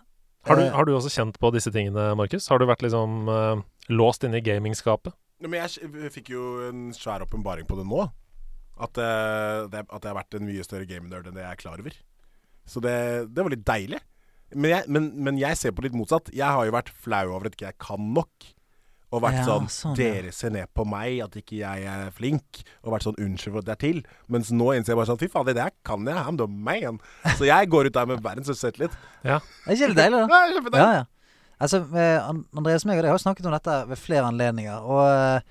D: Har du,
A: Eh,
D: har du også kjent på disse tingene, Markus? Har du vært liksom eh, låst inne i gamingskapet?
H: Men jeg s- fikk jo en svær åpenbaring på det nå. At, eh, det, at jeg har vært en mye større game-nerd enn det jeg er klar over. Så det, det var litt deilig. Men jeg, men, men jeg ser på litt motsatt. Jeg har jo vært flau over at ikke jeg kan nok. Og vært
A: Ja,
H: sånn,
A: sånn, ja.
H: Dere ser ned på meg, at ikke jeg er flink. Og vært sånn Unnskyld for at jeg er til. Mens nå innser jeg bare sånn Fy faen, det der kan jeg. I'm the man. Så jeg går ut der med verdens største selvtillit.
D: Ja.
A: Det er ikke litt deilig, da?
H: Ja, kjempedeilig.
A: Ja, ja. Altså, eh, An- Andreas meg og deg har jo snakket om dette ved flere anledninger. Og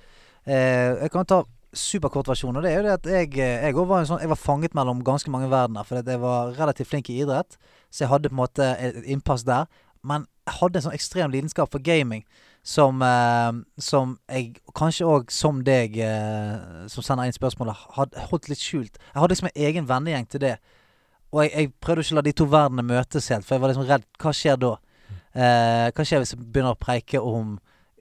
A: eh, jeg kan jo ta superkort versjon. Og det er jo det at jeg, eh, jeg, også var, en sånn, jeg var fanget mellom ganske mange verdener. For jeg var relativt flink i idrett, så jeg hadde på en måte eh, et et innpass der. Men jeg hadde en sånn ekstrem lidenskap for gaming som, eh, som jeg, kanskje òg som deg, eh, som sender inn spørsmålet, hadde holdt litt skjult. Jeg hadde liksom en egen vennegjeng til det. Og jeg, jeg prøvde ikke å la de to verdenene møtes helt, for jeg var liksom redd. Hva skjer da? Eh, hva skjer hvis jeg begynner å preike om,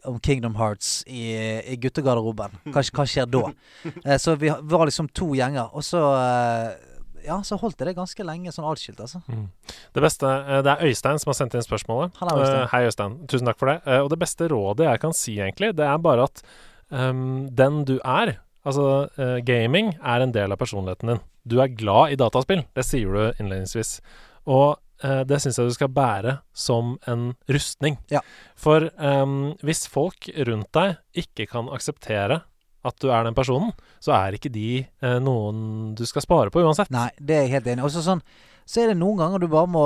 A: om Kingdom Hearts i, i guttegarderoben? Hva, hva skjer da? Eh, så vi har- var liksom to gjenger. Og så eh, ja, så holdt jeg det ganske lenge sånn atskilt, altså.
D: Det beste, eh, det er Øystein som har sendt inn spørsmålet.
A: Hallo, Øystein.
D: Eh, Hei, Øystein. Tusen takk for det. Eh, Og det beste rådet jeg kan si, egentlig, det er bare at ehm, den du er Altså, eh, gaming er en del av personligheten din. Du er glad i dataspill, det sier du innledningsvis. Og eh, det syns jeg du skal bære som en rustning. For ehm, hvis folk rundt deg ikke kan akseptere at du er den personen, så er ikke de eh, noen du skal spare på uansett.
A: Nei, det er jeg helt enig i. Og så sånn, så er det noen ganger du bare må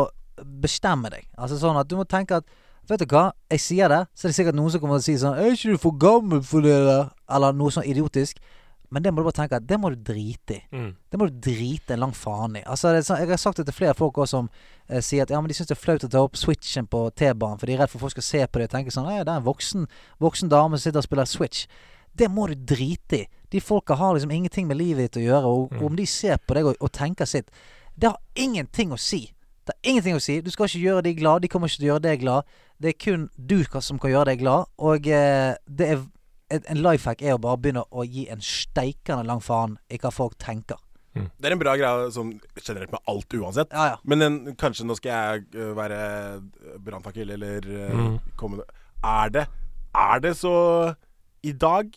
A: bestemme deg. Altså sånn at du må tenke at Vet du hva, jeg sier det, så er det sikkert noen som kommer til å si sånn Er ikke du for gammel for det der? Eller noe sånn idiotisk. Men det må du bare tenke at det må du drite i.
D: Mm.
A: Det må du drite en lang faen i. Altså, det er sånn, jeg har sagt det til flere folk også som eh, sier at ja, men de syns det er flaut å ta opp switchen på T-banen, for de er redd for folk skal se på det og tenke sånn Nei, det er en voksen, voksen dame som sitter og spiller switch. Det må du drite i. De folka har liksom ingenting med livet ditt å gjøre, og, og om de ser på deg og, og tenker sitt Det har ingenting å si. Det har ingenting å si. Du skal ikke gjøre de glad, de kommer ikke til å gjøre deg glad. Det er kun du ka- som kan gjøre deg glad, og eh, det er en- en life hack er å bare begynne å gi en steikende lang faen i hva folk tenker.
H: Det er en bra greie sånn generelt med alt uansett. Men en, kanskje nå skal jeg øh, være brannfakkel eller øh,
D: Mm.
H: komme Er det Er det så i dag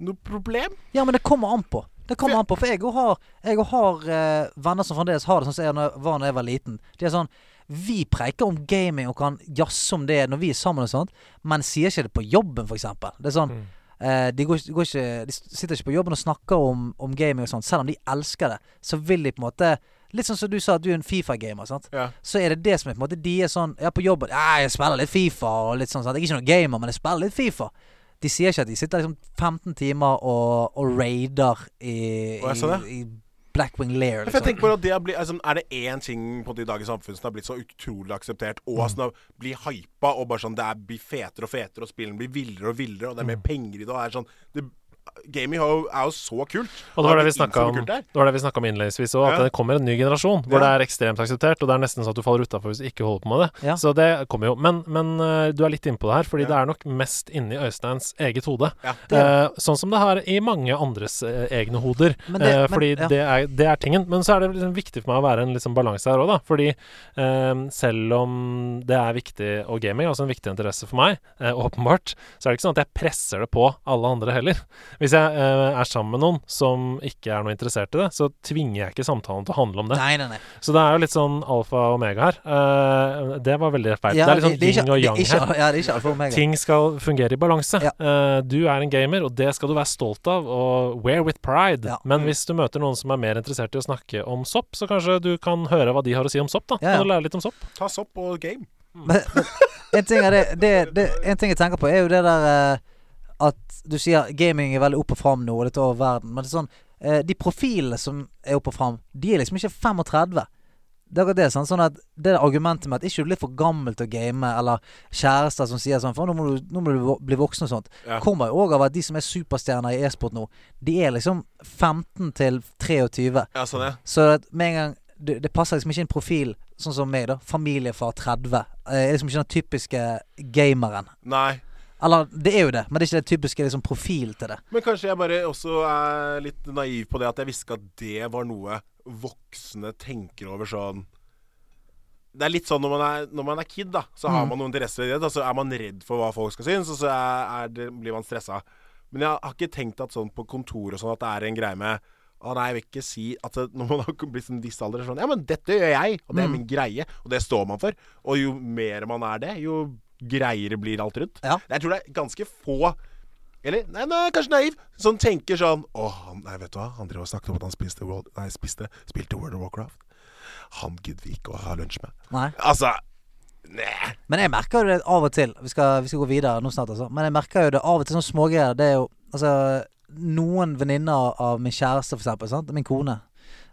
H: noe problem?
A: Ja, men det kommer an på. Det kommer an på, for jeg òg har, jeg og har eh, venner som fremdeles har det sånn som jeg når- var da jeg var liten. De er sånn Vi preiker om gaming og kan jazze om det når vi er sammen og sånt, men sier ikke det på jobben, for eksempel. Det er sånn eh, de, går, ikke- de, går ikke, de sitter ikke på jobben og snakker om, om gaming og sånt. Selv om de elsker det, så vil de på en måte Litt sånn som du sa, at du er en Fifa-gamer. sant? Så er det det som er på en måte De er sånn Ja, på jobben Ja, jeg spiller litt Fifa og litt sånn. sant? Jeg er ikke noen gamer, men jeg spiller litt Fifa. De sier ikke at de sitter liksom 15 timer og, og raider i,
H: Å, jeg så det.
A: i, i Blackwing Lair. liksom.
H: For jeg tenker bare at det sånn- har blitt, altså, Er det én ting på en måte i dagens samfunn som har blitt så utrolig akseptert, og
D: Mm.
H: som har blir hypa, og bare sånn det er, blir fetere og fetere, og spillene blir villere og villere, og det er
D: Mm.
H: mer penger i det, og er sånn det, Gaming har jo, er jo så
D: Og
H: kult.
D: det var
H: Har
D: det vi
H: blitt
D: snakka
H: innsomt
D: om,
H: kult der.
D: det var det vi snakket om innledningsvis òg, at
H: Ja.
D: det kommer en ny generasjon hvor
H: Ja.
D: det er ekstremt akseptert, og det er nesten sånn at du faller utafor hvis du ikke holder på med det. Så det kommer jo. Men, men eh, du er litt inne på det her, fordi det er nok mest inni Øysteins eget hode.
A: Det er
D: Eh, sånn som det har i mange andres eh, egne hoder.
A: Men det- men-
D: Eh, fordi
A: ja.
D: det, er, det er tingen. Men så er det liksom viktig for meg å være en liksom balanse her òg, da. Fordi eh, selv om det er viktig, og gaming er også en viktig interesse for meg, eh, åpenbart, så er det ikke sånn at jeg presser det på alle andre heller. Hvis jeg eh, er sammen med noen som ikke er noe interessert i det, så tvinger jeg ikke samtalen til å handle om det.
A: Nei, nei, nei.
D: Så det er jo litt sånn alfa og omega her. Eh, det var veldig feil.
A: Ja,
D: det er litt sånn
A: det- det er ikke-
D: yin og
A: det er
D: yang
A: ikke-
D: her.
A: ja, det er ikke alfa og omega.
D: Ting skal fungere i balanse. Eh, du er en gamer, og det skal du være stolt av, og wear with pride.
A: Mm.
D: Men hvis du møter noen som er mer interessert i å snakke om sopp, så kanskje du kan høre hva de har å si om sopp, da.
A: Ja, ja.
D: Og lære litt om sopp.
H: Ta sopp og game.
A: en, ting er det, det, det, en ting jeg tenker på, er jo det der eh, at du sier gaming er veldig opp og fram nå, og det tar over verden. Men det er sånn, eh, de profilene som er opp og fram, de er liksom ikke 35. Det er akkurat det, sant? Sånn at det der argumentet med at ikke du er litt for gammel til å game, eller kjærester som sier sånn For nå må du, nå må du vo- bli voksen og sånt,
M: Ja.
A: kommer jo òg av at de som er superstjerner i e-sport nå, de er liksom 15 til 23.
H: Ja, sånn, ja.
A: Så at med en gang det, det passer liksom ikke en profil sånn som meg, da. Familiefar 30. Eh, er liksom ikke den typiske gameren.
H: Nei.
A: Eller det er jo det, men det er ikke den typiske liksom, profil til det.
H: Men kanskje jeg bare også er litt naiv på det at jeg visste ikke at det var noe voksne tenker over sånn Det er litt sånn når man er, når man er kid, da. Så har
A: Mm.
H: man noen interesser i det, da, så er man redd for hva folk skal synes, og så er, er det, blir man stressa. Men jeg har ikke tenkt at sånn på kontor og sånn at det er en greie med å nei, jeg vil ikke si at det, Når man har blitt en viss alder, så er det sånn Ja, men dette gjør jeg, og det er
A: Mm.
H: min greie, og det står man for. Og jo mer man er det, jo greiere blir alt rundt. Jeg tror det er ganske få eller nei, nei, kanskje naiv. Som tenker sånn Å, han, nei, vet du hva. Han drev og snakket om at han spiste World, nei, spiste, spilte World of Warcraft. Han gidder vi ikke å ha lunsj med.
A: Nei.
H: Altså
A: Men jeg merker jo det av og til. Vi skal, vi skal gå videre nå snart, altså. Men jeg merker jo det av og til sånn smågreier. Det er jo altså Noen venninner av min kjæreste, for eksempel. Sant? Min kone.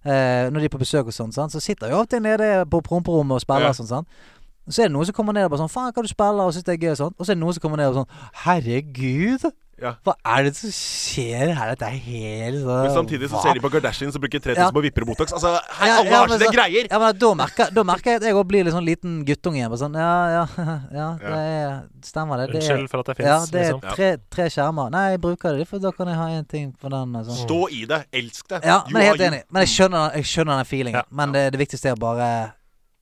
A: Eh, når de er på besøk og sånn, sant? så sitter jeg jo alltid nede på promperommet og spiller
M: Ja.
A: og sånn. Sant? Så er det noen som kommer ned og bare sånn 'Faen, hva du spiller?' og syns det er gøy og sånn. Og så er det noen som kommer ned og sånn 'Herregud, Hva er det som skjer her? Dette er helt sånn
H: Men samtidig så
A: hva?
H: ser de på Kardashian som bruker 3000
A: Ja.
H: på vipper og Botox. Altså, hei,
A: Ja,
H: alle
A: ja,
H: har
A: men
H: sine
A: så-
H: greier!
A: Ja, men da merker, da merker jeg at jeg òg blir litt sånn liten guttunge igjen. Bare sånn, ja, ja, ja, det er, stemmer det. det er-
D: Unnskyld for at jeg finnes,
A: Ja, det er
D: liksom.
A: tre, tre skjermer. Nei, jeg bruker det, for da kan jeg ha én ting på den. og sånn.
H: Stå i det. Elsk det.
A: Ja,
H: You
A: men jeg er
H: are
A: helt enig.
H: you.
A: Men jeg skjønner, jeg skjønner den feelingen. Men det, det viktigste er å bare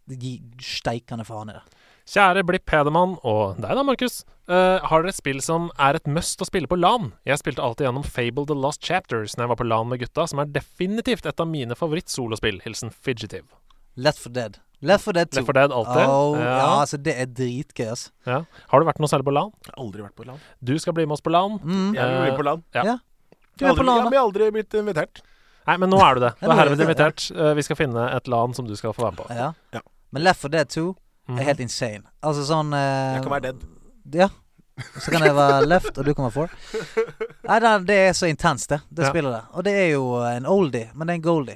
A: gi steikende faen i det.
D: Kjære Blipp Hedemann og deg da, Markus. Eh, har dere et spill som er et must å spille på LAN? Jeg spilte alltid gjennom Fable The Last Chapters når jeg var på LAN med gutta, som er definitivt et av mine favoritt-solospill. Hilsen Fidgetive.
A: Left for dead. Left for dead 2.
D: Left 4 Dead alltid.
A: Oh, ja.
D: Ja.
A: altså det er dritgøy, altså.
D: Ja. Har du vært noe særlig på LAN?
H: Aldri vært på LAN.
D: Du skal bli med oss på LAN.
A: Mm.
H: Jeg
D: Eh,
H: vil bli på LAN.
D: Ja.
A: Ja.
H: Jeg har aldri, jeg har aldri blitt invitert.
D: Nei, men nå er du det. Du
A: Ja, nå
D: er
A: er jeg
D: herved
A: det, ja.
D: invitert. Eh, Vi skal finne et LAN som du skal få være med på.
A: Ja. Men Left for dead 2
D: Mhm.
A: er helt insane. Altså sånn eh,
H: Jeg kan være dead.
A: Ja. Så kan jeg være left, og du kan være for. Nei, den- det er så intenst, det. Det
D: Ja.
A: spillet der. Og det er jo en oldie, men det er en goldie.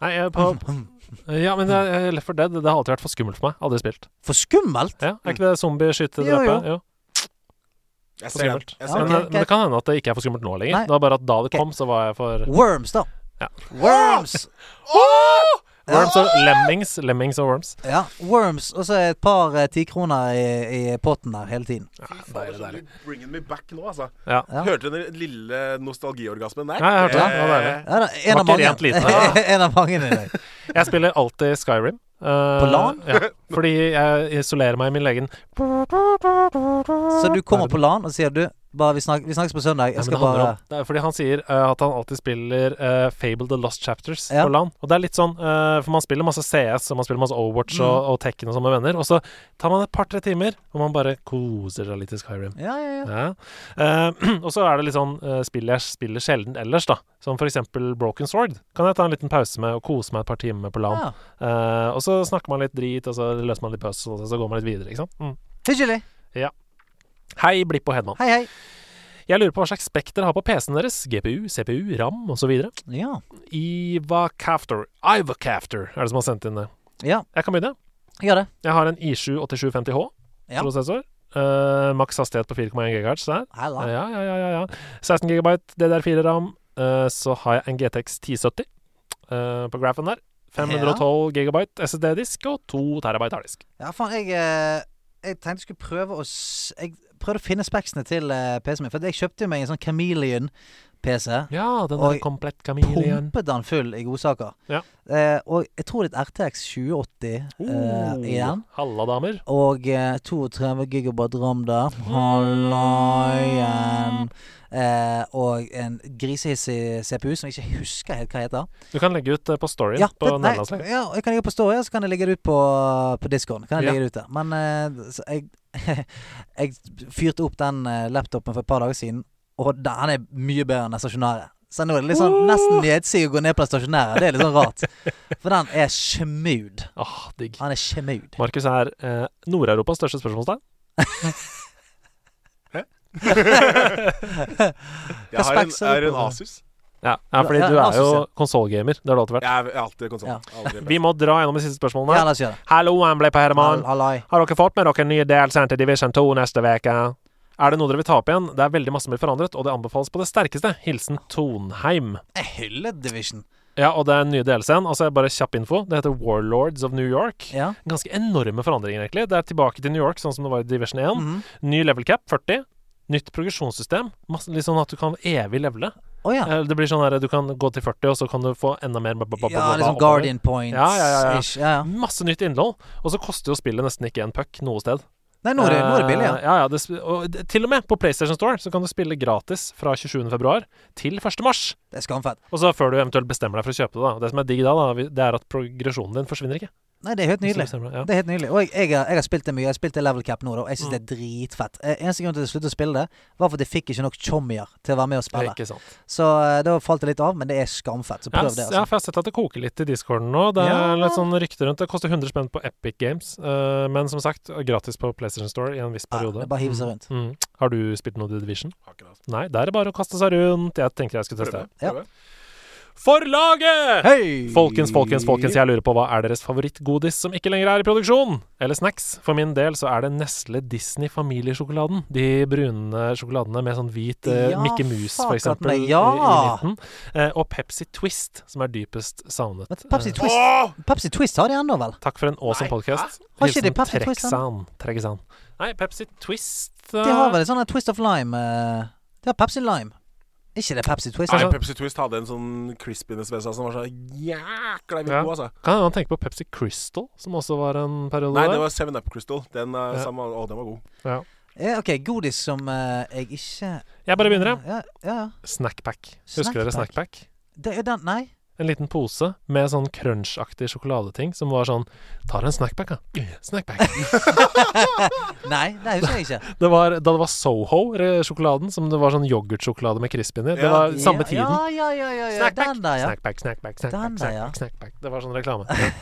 D: Nei, jeg er på Ja, men det, er- eh, Left 4 Dead det har alltid vært for skummelt for meg. Aldri spilt.
A: For skummelt?
D: Ja, Er ikke det
A: Jo,
D: zombieskyte-drepe?
A: jo.
D: Jo.
H: Jeg
D: For
H: ser den.
D: skummelt.
H: Jeg
A: ser
D: men,
A: den.
D: men det kan hende at det ikke er for skummelt nå lenger.
A: Nei.
D: Det var bare at da det kom, så var jeg for
A: Worms, da.
D: Ja.
A: Worms!
D: Worms og Lemmings. Lemmings og Worms.
A: Ja, Worms, og så et par eh, tikroner i, i potten der hele tiden.
H: Fy fader, så du Bringing me back nå, altså.
D: Ja.
A: Ja.
H: Hørte du den lille nostalgiorgasmen der? Eh,
D: Ja, jeg hørte det. Det var deilig.
A: Ja, da, en,
D: Var
A: av
D: ikke
A: mange.
D: rent lite.
A: en av mange i dag.
D: Jeg spiller alltid Skyrim. eh,
A: LAN?
D: Ja, fordi jeg isolerer meg i min egen
A: Så du kommer på LAN og sier du bare, vi, snak, 'Vi snakkes på søndag', jeg
D: Nei, men
A: skal
D: det handler
A: bare
D: om, det er fordi han sier eh, at han alltid spiller eh, Fable The Lost Chapters
A: Ja.
D: på LAN. Og det er litt sånn, eh, for man spiller masse CS, og man spiller masse Overwatch
A: Mm.
D: og, og Tekken og sånn med venner, og så tar man et par-tre timer, og man bare koser seg litt i Skyrim.
A: Ja, ja, ja.
D: Ja. Eh, og så er det litt sånn eh, spill jeg spiller sjelden ellers, da. Som for eksempel Broken Sword. Kan jeg ta en liten pause med og kose meg et par timer med på LAN. Eh, og så snakker man litt drit, og så løser man litt puzzles, og så går man litt videre, ikke sant. Mm.
A: Hyggelig.
D: Ja. Hei, Blipp og Hedman.
A: Hei, hei.
D: Jeg lurer på hva slags spekk dere har på PC-en deres. GPU, CPU, RAM osv.
A: Ja.
D: Iva Cafter. Iva Cafter er det som har sendt inn det.
A: Ja.
D: Jeg kan begynne.
A: Gjør det.
D: Jeg har en i7 8750H
A: Ja.
D: prosessor. Eh, Maks hastighet på 4,1 GHz der.
A: Hella.
D: Ja, ja, ja, ja, ja. 16 GB DDR4 RAM. Eh, så har jeg en GTX 1070 eh, på grafen der. 512 GB SSD-disk og 2 TB harddisk.
A: Ja, faen, jeg, eh, jeg tenkte jeg skulle prøve å s Jeg prøvde å finne speksene til eh, PC-en min, for jeg kjøpte jo meg en sånn Chameleon-PC.
D: Ja, den
A: Oi.
D: er komplett kameleon.
A: Pumpet den full i godsaker.
D: Ja.
A: Eh, og jeg tror det er et RTX 2080 eh, igjen.
D: Halla, damer.
A: Og eh, 32 gigabyte ram der. Hallaien. Eh, og en grisehissig CPU som jeg ikke husker helt hva heter.
D: Du kan legge ut eh, på storyen
A: Ja,
D: på
A: det- nei,
D: nederlandslaget.
A: ja, og jeg kan legge på story, og så kan jeg legge det ut på, på discoen. Kan jeg
D: Ja.
A: legge det ut der. Men eh, så jeg, jeg fyrte opp den eh, laptopen for et par dager siden, og den er mye bedre enn den stasjonære. Så nå er det litt sånn nesten nedsig å gå ned på den stasjonære. Det er litt sånn rart. For den er smooth.
D: Ah, digg.
A: Han er smooth.
D: Markus er eh, Nord-Europas største spørsmålstegn.
H: Jeg har en,
A: Specs er
H: er
A: det
H: en
A: på.
H: Asus.
D: Ja, ja fordi
A: Ja,
D: du
A: ja,
D: er jo
A: Asus, ja.
D: konsollgamer. Det har du alltid vært.
H: Jeg er alltid konsoll.
A: Ja.
H: Aldri
D: Vi må dra gjennom de siste spørsmålene.
A: Ja, la oss gjøre det.
D: Hallo, Amblay på Herman.
A: Hall- Hallai.
D: Har dere fått med dere nye delseeren til Division 2 neste uke? Er det noe dere vil ta opp igjen? Det er veldig masse som blir forandret, og det anbefales på det sterkeste. Hilsen Tonheim.
A: Jeg hyller Division.
D: Ja, og det er en ny delscene. Altså, bare kjapp info. Det heter Warlords of New York.
A: Ja.
D: Ganske enorme forandringer, egentlig. Det er tilbake til New York, sånn som det var i Division 1.
A: Mhm.
D: Ny level cap, 40. Nytt progresjonssystem. Masse, litt sånn at du kan evig levele.
A: Å ja.
D: Eh, Det blir sånn her, Du kan gå til 40, og så kan du få enda mer bla, bla, bla,
A: Ja,
D: bla, bla,
A: liksom
D: oppover.
A: Guardian Points-ish.
D: Ja, ja, ja, ja.
A: ja, ja.
D: Masse nytt innhold. Og så koster jo spillet nesten ikke en puck noe sted.
A: Nei, nå er det, nå er det billig, ja.
D: Eh, ja, ja det, sp- og det- til og med på PlayStation Store så kan du spille gratis fra 27. februar til 1. mars.
A: Det er skamfett.
D: Og så før du eventuelt bestemmer deg for å kjøpe det, da. Det som er digg da, da vi- det er at progresjonen din forsvinner ikke.
A: Nei, det er helt
D: Hvis du
A: nydelig.
D: bestemmer deg, ja. Mm.
A: Det er helt nydelig. Og jeg, jeg, har- jeg har spilt det mye. Jeg har spilt det level cap nå, da. og Jeg syns det er dritfett. Eh, Eneste grunn til at jeg sluttet å spille det, var for at jeg fikk ikke nok chommier til å være med og
D: Det er
A: spille.
D: ikke sant.
A: Så eh, da falt det litt av, men det er skamfett. Så
D: Ja,
A: prøv
D: s-
A: det,
D: ja,
A: altså.
D: for jeg har sett at det koker litt i discorden nå. Det er
A: Ja.
D: litt sånn rykter rundt. Det koster 100 spenn på Epic Games, eh, men som sagt, gratis på PlayStation Store i en viss
A: Ja,
D: periode.
A: det er bare å hive seg rundt.
D: Mm. Har du spilt noe The Division?
H: Har ikke det, altså.
D: Nei, der er det bare å kaste seg rundt. Jeg tenker jeg skulle teste
H: Prøve.
D: det.
A: Ja.
H: Prøve.
D: for laget!
A: Hei!
D: Folkens, folkens, folkens, jeg lurer på hva er deres favorittgodis som ikke lenger er i produksjon? Eller snacks? For min del så er det Nestle Disney familiesjokoladen. De brune sjokoladene med sånn hvit eh,
A: Ja,
D: Mikke Mus,
A: fuck
D: for
A: at
D: eksempel,
A: meg,
D: i-
A: ja!
D: i midten. Eh, og Pepsi Twist, som er dypest savnet.
A: Pepsi
D: Eh,
A: Twist Pepsi Twist har de ennå, vel?
D: Takk for en awesome podcast.
A: Har ikke de
D: Hilsen
A: Pepsi Twist
D: Treksan. Treksan. Nei, Pepsi Twist
A: De har vel en sånn Twist of Lime eh, De har Pepsi Lime. Ikke det Pepsi Twist?
H: Nei,
A: altså?
H: Pepsi Twist hadde en sånn crispiness ved seg som var så jækla
D: Ja.
H: god, altså.
D: Kan hende han tenker på Pepsi Crystal, som også var en periode
H: Nei,
D: der.
H: det var Seven Up Crystal. Den, er
D: Ja.
H: samme, å, den var god.
D: ja.
A: Eh, OK, godis som eh, jeg ikke
D: Jeg bare begynner, jeg.
A: Ja, ja, ja.
D: Snackpack. Husker dere
A: Snackpack?
D: Snackpack?
A: Det er den Nei.
D: En liten pose med sånn crunch-aktig sjokoladeting som var sånn Tar en snackpack, da. Snackpack.
A: Nei, det husker jeg ikke.
D: Det var da det var Soho-sjokoladen, som det var sånn yoghurtsjokolade med crisp inni. Det var samme tiden.
A: Ja, ja, ja. ja, ja.
D: Snackpack.
A: Den der, ja.
D: Snackpack, snackpack, snackpack,
A: Den der, ja.
D: snackpack, snackpack. Det var sånn reklame.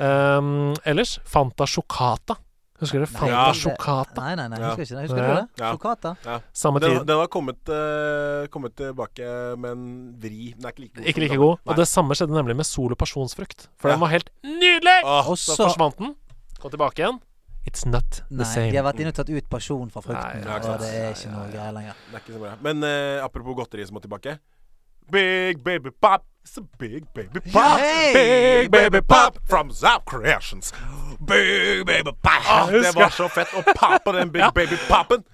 D: Ja. um, ellers Fanta Chocata. Husker dere Fanta
H: Ja.
D: Chocata?
A: Nei, nei, nei.
H: Ja.
A: Husker jeg ikke. Husker
D: Ja.
A: du det?
H: Ja.
A: Chocata?
H: Ja.
D: Samme
H: den,
D: tid.
H: Den har kommet, eh, kommet tilbake med en vri. Den er ikke like god.
D: Ikke like god. Og det samme skjedde nemlig med Sol og pasjonsfrukt. For
H: Ja.
D: den var helt nydelig!
H: Åh,
D: Ah, så
A: så-
D: forsvant den. Kom tilbake igjen. It's not
A: Nei,
D: the same.
A: de har vært inne og tatt ut pasjon fra frukten,
D: Nei, ja,
A: og det er ikke noe greier lenger.
H: Det er ikke så bra. Men eh, apropos godteri som må tilbake. Big baby pop. It's a big baby pop.
A: Hey!
H: Big baby pop from Zap Creations. Big baby pop. Ah, det var så fett å pappe den big
D: Ja.
H: baby popen.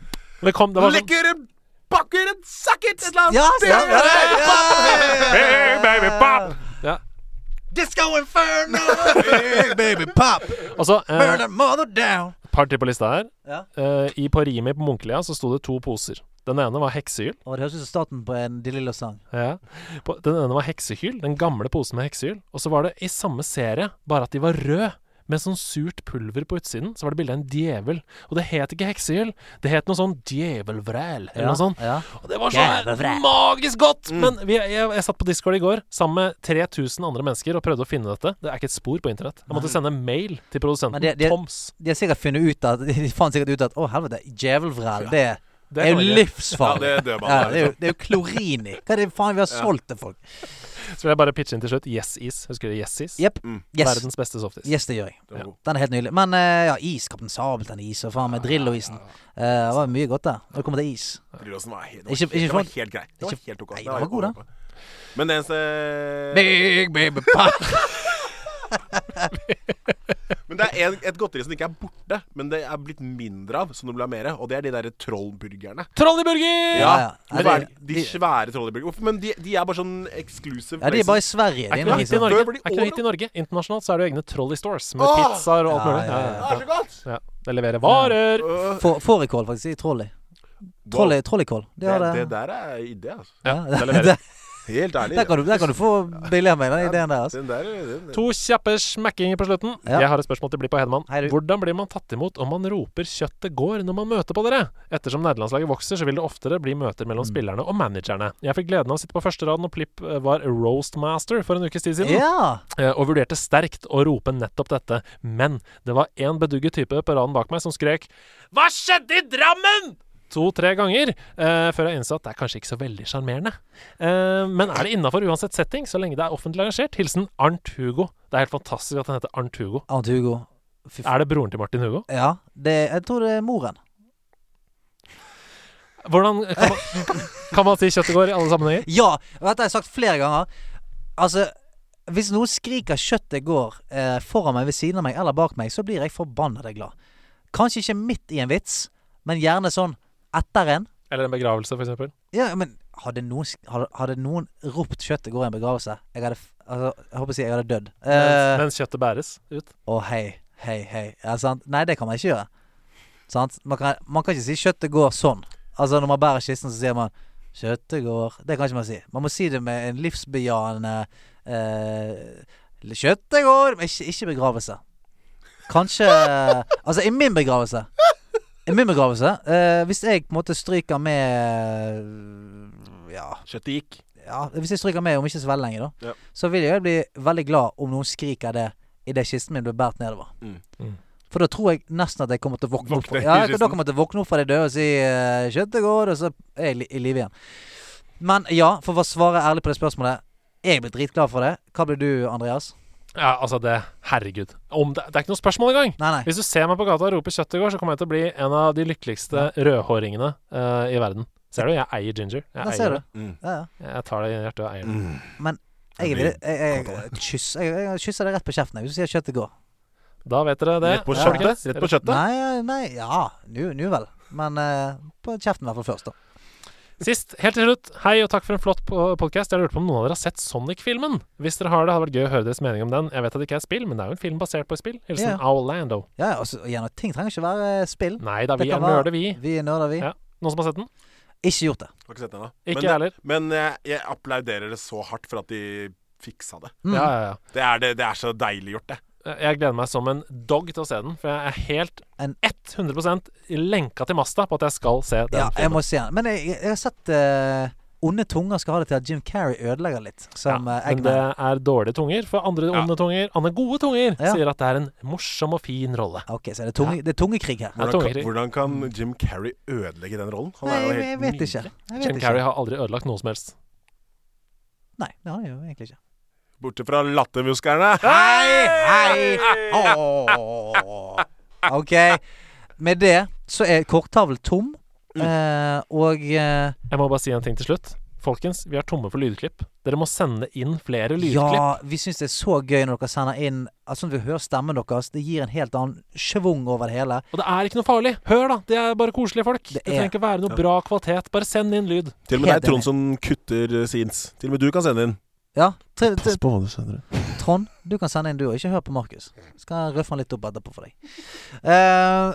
D: Det kom, det var sånn
H: Lick it and buck it and suck it. It's like
A: Ja,
H: big
A: stemmer det!
H: baby pop. Big baby pop.
D: ja.
H: Disco inferno. big baby pop.
D: Og så
A: Burn
D: eh,
A: that mother down!
D: par til på lista her.
A: Ja.
D: Eh, i, på Rimi på Munkelia så sto det to poser. Den ene var heksehyl.
A: Og det høres ut som starten på en De Lillo-sang.
D: Ja. På, den ene var heksehyl, den gamle posen med heksehyl. Og så var det i samme serie, bare at de var røde. Med sånn surt pulver på utsiden, så var det bilde av en djevel. Og det het ikke heksehyl, det het noe sånn djevelvræl, eller noe sånt.
A: Ja. Mm.
D: Og det var
A: Jævla
D: så magisk godt! Men vi, jeg, jeg satt på Discord i går sammen med 3000 andre mennesker og prøvde å finne dette. Det er ikke et spor på internett. Jeg måtte sende mail til produsenten
A: Men det- det-
D: Toms.
A: De har sikkert funnet ut at De fant sikkert ut at Å, helvete, djevelvræl, det,
D: Det
A: er jo
D: kan jeg.
A: livsfarlig.
H: Ja, det dør man
A: ja,
H: av,
A: det, er jo, det er jo klorin i. Hva er det faen vi har solgt til folk?
D: Så vil jeg bare pitche inn til slutt Yes Is. Husker dere Yes Is?
A: Jepp. Yes.
D: Verdens beste softis.
A: yes, det gjør jeg.
H: Den var god.
A: Den er helt nydelig. Men eh, ja, is. Kaptein Sabeltann-is og faen meg Drillo-isen. Eh, det var mye godt der. Når det kommer til is.
H: Brylåsen var helt,
A: Ikke-
H: det var
A: ikke for-
H: helt, det var helt grei. Det var
A: ikke-
H: helt ok.
A: Nei,
H: Det
A: den var god,
H: ikke noe å gjøre på. Men det eneste
A: Big baby pop.
H: Men det er en, et godteri som ikke er borte, men det er blitt mindre av, som det blir mer av, og det er de derre trollburgerne.
D: Troll i burger!
A: Ja, ja.
H: Men
A: Ja,
H: det
A: de-
H: er de svære trollburgerne. Hvorfor- Men de, de er bare sånn exclusive
A: Ja, de er bare i Sverige.
D: Er
A: De
D: ikke noe hit i
A: liksom.
D: Norge.
H: Før
D: Er
H: var de
D: ikke noe hit i Norge. Internasjonalt så er det jo egne Trolley Stores med
H: Åh!
D: pizzaer og alt
A: Ja,
D: mulig. Ja,
A: ja,
H: Det er så godt!
D: ja. Det leverer varer.
H: Øh,
A: Få- Fårikål, faktisk, i trolley. Trolley- Trolleycål. Det har
H: det,
A: det.
H: det der er idé, altså.
A: Ja,
D: det leverer.
H: Helt ærlig.
A: Der kan du, der kan du få billig av meg, den ideen der. Altså.
H: Den der, den, den.
D: To kjappe smekkinger på slutten.
A: Ja.
D: Jeg har et spørsmål til Blippa Hedman.
A: Hei, du.
D: Hvordan blir man tatt imot om man roper 'kjøttet går' når man møter på dere? Ettersom nederlandslaget vokser, så vil det oftere bli møter
A: Mm.
D: mellom spillerne og managerne. Jeg fikk gleden av å sitte på første rad når Plipp eh, var roastmaster for en ukes tid siden.
A: Ja!
D: eh, og vurderte sterkt å rope nettopp dette, men det var en bedugget type på raden bak meg som skrek 'Hva skjedde i Drammen?!' to-tre ganger eh, før jeg innså at det er kanskje ikke så veldig sjarmerende. Eh, men er det innafor uansett setting, så lenge det er offentlig arrangert? Hilsen Arnt Hugo. Det er helt fantastisk at han heter Arnt Hugo.
A: Arnt Hugo. Fy f-
D: Er det broren til Martin Hugo?
A: Ja, det, jeg tror det er moren.
D: Hvordan kan man, kan man si Kjøttegård i alle sammenhenger?
A: Ja! og Dette har jeg sagt flere ganger. Altså, hvis noen skriker 'kjøttet går' eh, foran meg, ved siden av meg eller bak meg, så blir jeg forbanna glad. Kanskje ikke midt i en vits, men gjerne sånn etter en.
D: Eller en begravelse, for eksempel.
A: Ja, men hadde noen, sk- hadde, hadde noen ropt 'kjøttet går' i en begravelse, jeg hadde f- altså, Jeg håper å si jeg hadde dødd. Eh,
D: Mens kjøttet bæres ut.
A: Å, hei, hei, hei. Ja, sant? Nei, det kan man ikke gjøre. Sant? Man, kan, man kan ikke si 'kjøttet går sånn'. Altså Når man bærer kisten, så sier man 'kjøttet går'. Det kan ikke man si. Man må si det med en livsbejaende eh, 'Kjøttet går', men ikke, ikke begravelse. Kanskje Altså, i min begravelse I min begravelse eh, Hvis jeg på en måte stryker med Ja
H: Kjøttet gikk.
A: ja, hvis jeg stryker med om ikke så veldig lenge, da,
H: Ja.
A: så vil jeg bli veldig glad om noen skriker det idet kisten min blir båret nedover.
H: Mm.
D: Mm.
A: For da tror jeg nesten at jeg kommer til å våkne opp.
H: Våkne i
A: Ja, jeg, da
H: kisten.
A: kommer jeg til å våkne opp fra de døde og si eh, 'Kjøttet går', og så er jeg li- i live igjen. Men ja, for å svare ærlig på det spørsmålet Jeg ble dritglad for det. Hva ble du, Andreas?
D: Ja, altså det Herregud. Om det, det er ikke noe spørsmål engang! Hvis du ser meg på gata og roper 'kjøtt' i går, så kommer jeg til å bli en av de lykkeligste rødhåringene eh, i verden. Ser du? Jeg eier ginger. Jeg
A: Der
D: eier
A: ser du.
D: det.
H: Mm.
A: Ja, ja.
D: Jeg tar det i hjertet og eier det.
A: Men jeg, vil, jeg, jeg, jeg, kyss- jeg, jeg kysser deg rett på kjeften jeg, hvis du sier 'kjøttet går'.
D: Da vet dere det. Eh,
H: Rett på
D: folkens.
H: kjøttet? Rett på kjøttet?
A: Nei, nei ja. Nu nu vel. Men eh, på kjeften i hvert fall først, da.
D: Sist, helt til slutt, hei og takk for en flott podkast. Jeg lurte på om noen av dere har sett Sonic-filmen? Hvis dere har det, hadde det vært gøy å høre deres mening om den. Jeg vet at det ikke er et spill, men det er jo en film basert på et spill. Hilsen
A: Ja.
D: Orlando.
A: Ja, ja, og så- og igjen, ting trenger ikke være eh, spill.
D: Nei da,
A: Det
D: vi
A: kan
D: er
A: være-
D: nerder, vi.
A: Vi er nerder, vi.
D: Noen som har sett den?
A: Ikke gjort det.
H: Har ikke sett den ennå.
D: Ikke
H: Men-
D: jeg heller.
H: Men jeg, jeg applauderer det så hardt for at de fiksa det.
D: Mm. Ja, ja, ja.
H: Det, er det. Det er så deilig gjort, det.
D: Jeg gleder meg som en dog til å se den, for jeg er helt 100 lenka til masta på at jeg skal se den.
A: Ja, jeg
D: filmen.
A: må se den. Men jeg, jeg har sett eh, Onde tunger skal ha det til at Jim Carrey ødelegger litt, som eh, ja,
D: Men det er dårlige tunger, for andre onde tunger, andre gode tunger,
A: Ja.
D: sier at det er en morsom og fin rolle.
A: Ok, så er det, tunge, det er tungekrig her.
D: Ja,
H: Hvordan kan,
D: tungekrig.
H: hvordan kan Jim Carrey ødelegge den rollen? Han
A: Nei,
H: er jo
A: jeg,
H: helt
A: jeg vet ikke. Jeg vet
D: Jim
A: ikke.
D: Carrey har aldri ødelagt noe som helst.
A: Nei, det har jeg jo egentlig ikke.
H: borte fra lattermusklene.
A: Hei, hei!
D: Ah.
A: OK. Med det så er korttavlen tom,
D: Mm.
A: eh, og eh,
D: Jeg må bare si en ting til slutt. Folkens, vi er tomme for lydklipp. Dere må sende inn flere lydklipp.
A: ja, vi syns det er så gøy når dere sender inn altså, Når vi hører stemmen deres. Det gir en helt annen schwung over det hele.
D: Og det er ikke noe farlig. Hør, da. Det er bare koselige folk. Det,
A: er-
D: trenger ikke være noe bra kvalitet. Bare send inn lyd.
H: Til og med deg, Trond, som kutter eh, scenes. Til og med du kan sende inn.
A: Ja, tre- tre-
H: Pass på hva du sender inn.
A: Trond, du kan sende inn du òg. Ikke hør på Markus. Skal jeg røffe han litt opp etterpå for deg. Eh,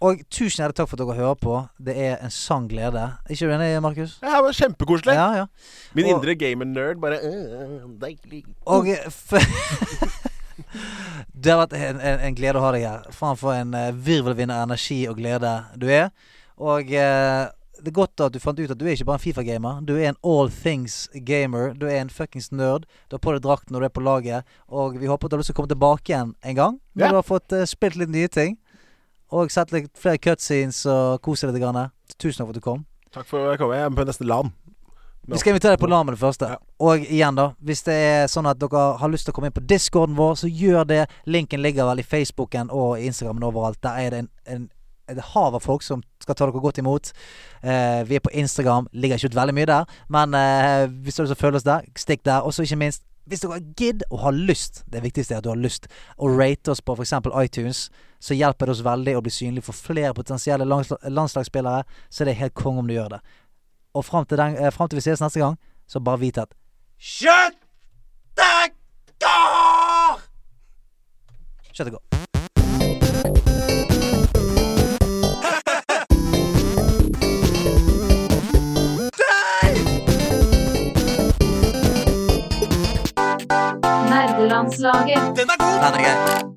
A: og tusen hjertelig takk for at dere hører på. Det er en sann glede. Ikke du enig, Markus?
H: Ja, det var kjempekoselig.
A: Ja, ja.
H: Min
A: Og-
H: indre gamer-nerd bare øh, Deilig.
A: Og eh, f Det har vært en, en, en glede å ha deg her. Faen for en eh, virvelvind av energi og glede du er. Og eh, det er godt at du fant ut at du er ikke bare en Fifa-gamer. Du er en all things gamer. Du er en fuckings nerd. Du har på deg drakten når du er på laget. Og vi håper at du har lyst til å komme tilbake igjen en gang. Når
H: Ja.
A: du har fått eh, spilt litt nye ting. Og sett litt flere cutscenes og kose deg litt. Grann. Tusen takk for at du kom.
H: Takk for at jeg kom. Jeg er med på neste LAN.
A: Vi skal invitere deg på LAN med det første. Og igjen, da. Hvis det er sånn at dere har lyst til å komme inn på discorden vår, så gjør det. Linken ligger vel i Facebooken og i Instagramen overalt. Der er det en, en et hav av folk som skal ta dere godt imot. Eh, vi er på Instagram, ligger ikke ut veldig mye der. Men eh, hvis du har lyst til å følge oss der, stikk der. Og så ikke minst, hvis dere gidder og har lyst, det viktigste er at du har lyst, å rate oss på f.eks. iTunes, så hjelper det oss veldig å bli synlig for flere potensielle landsla- landslagsspillere. Så det er helt konge om du gjør det. Og fram til, den, eh, frem til vi ses neste gang, så bare vit at
K: Kjøttet går!
A: kjøttet går.
M: Nerdelandslaget.
A: Den er grei.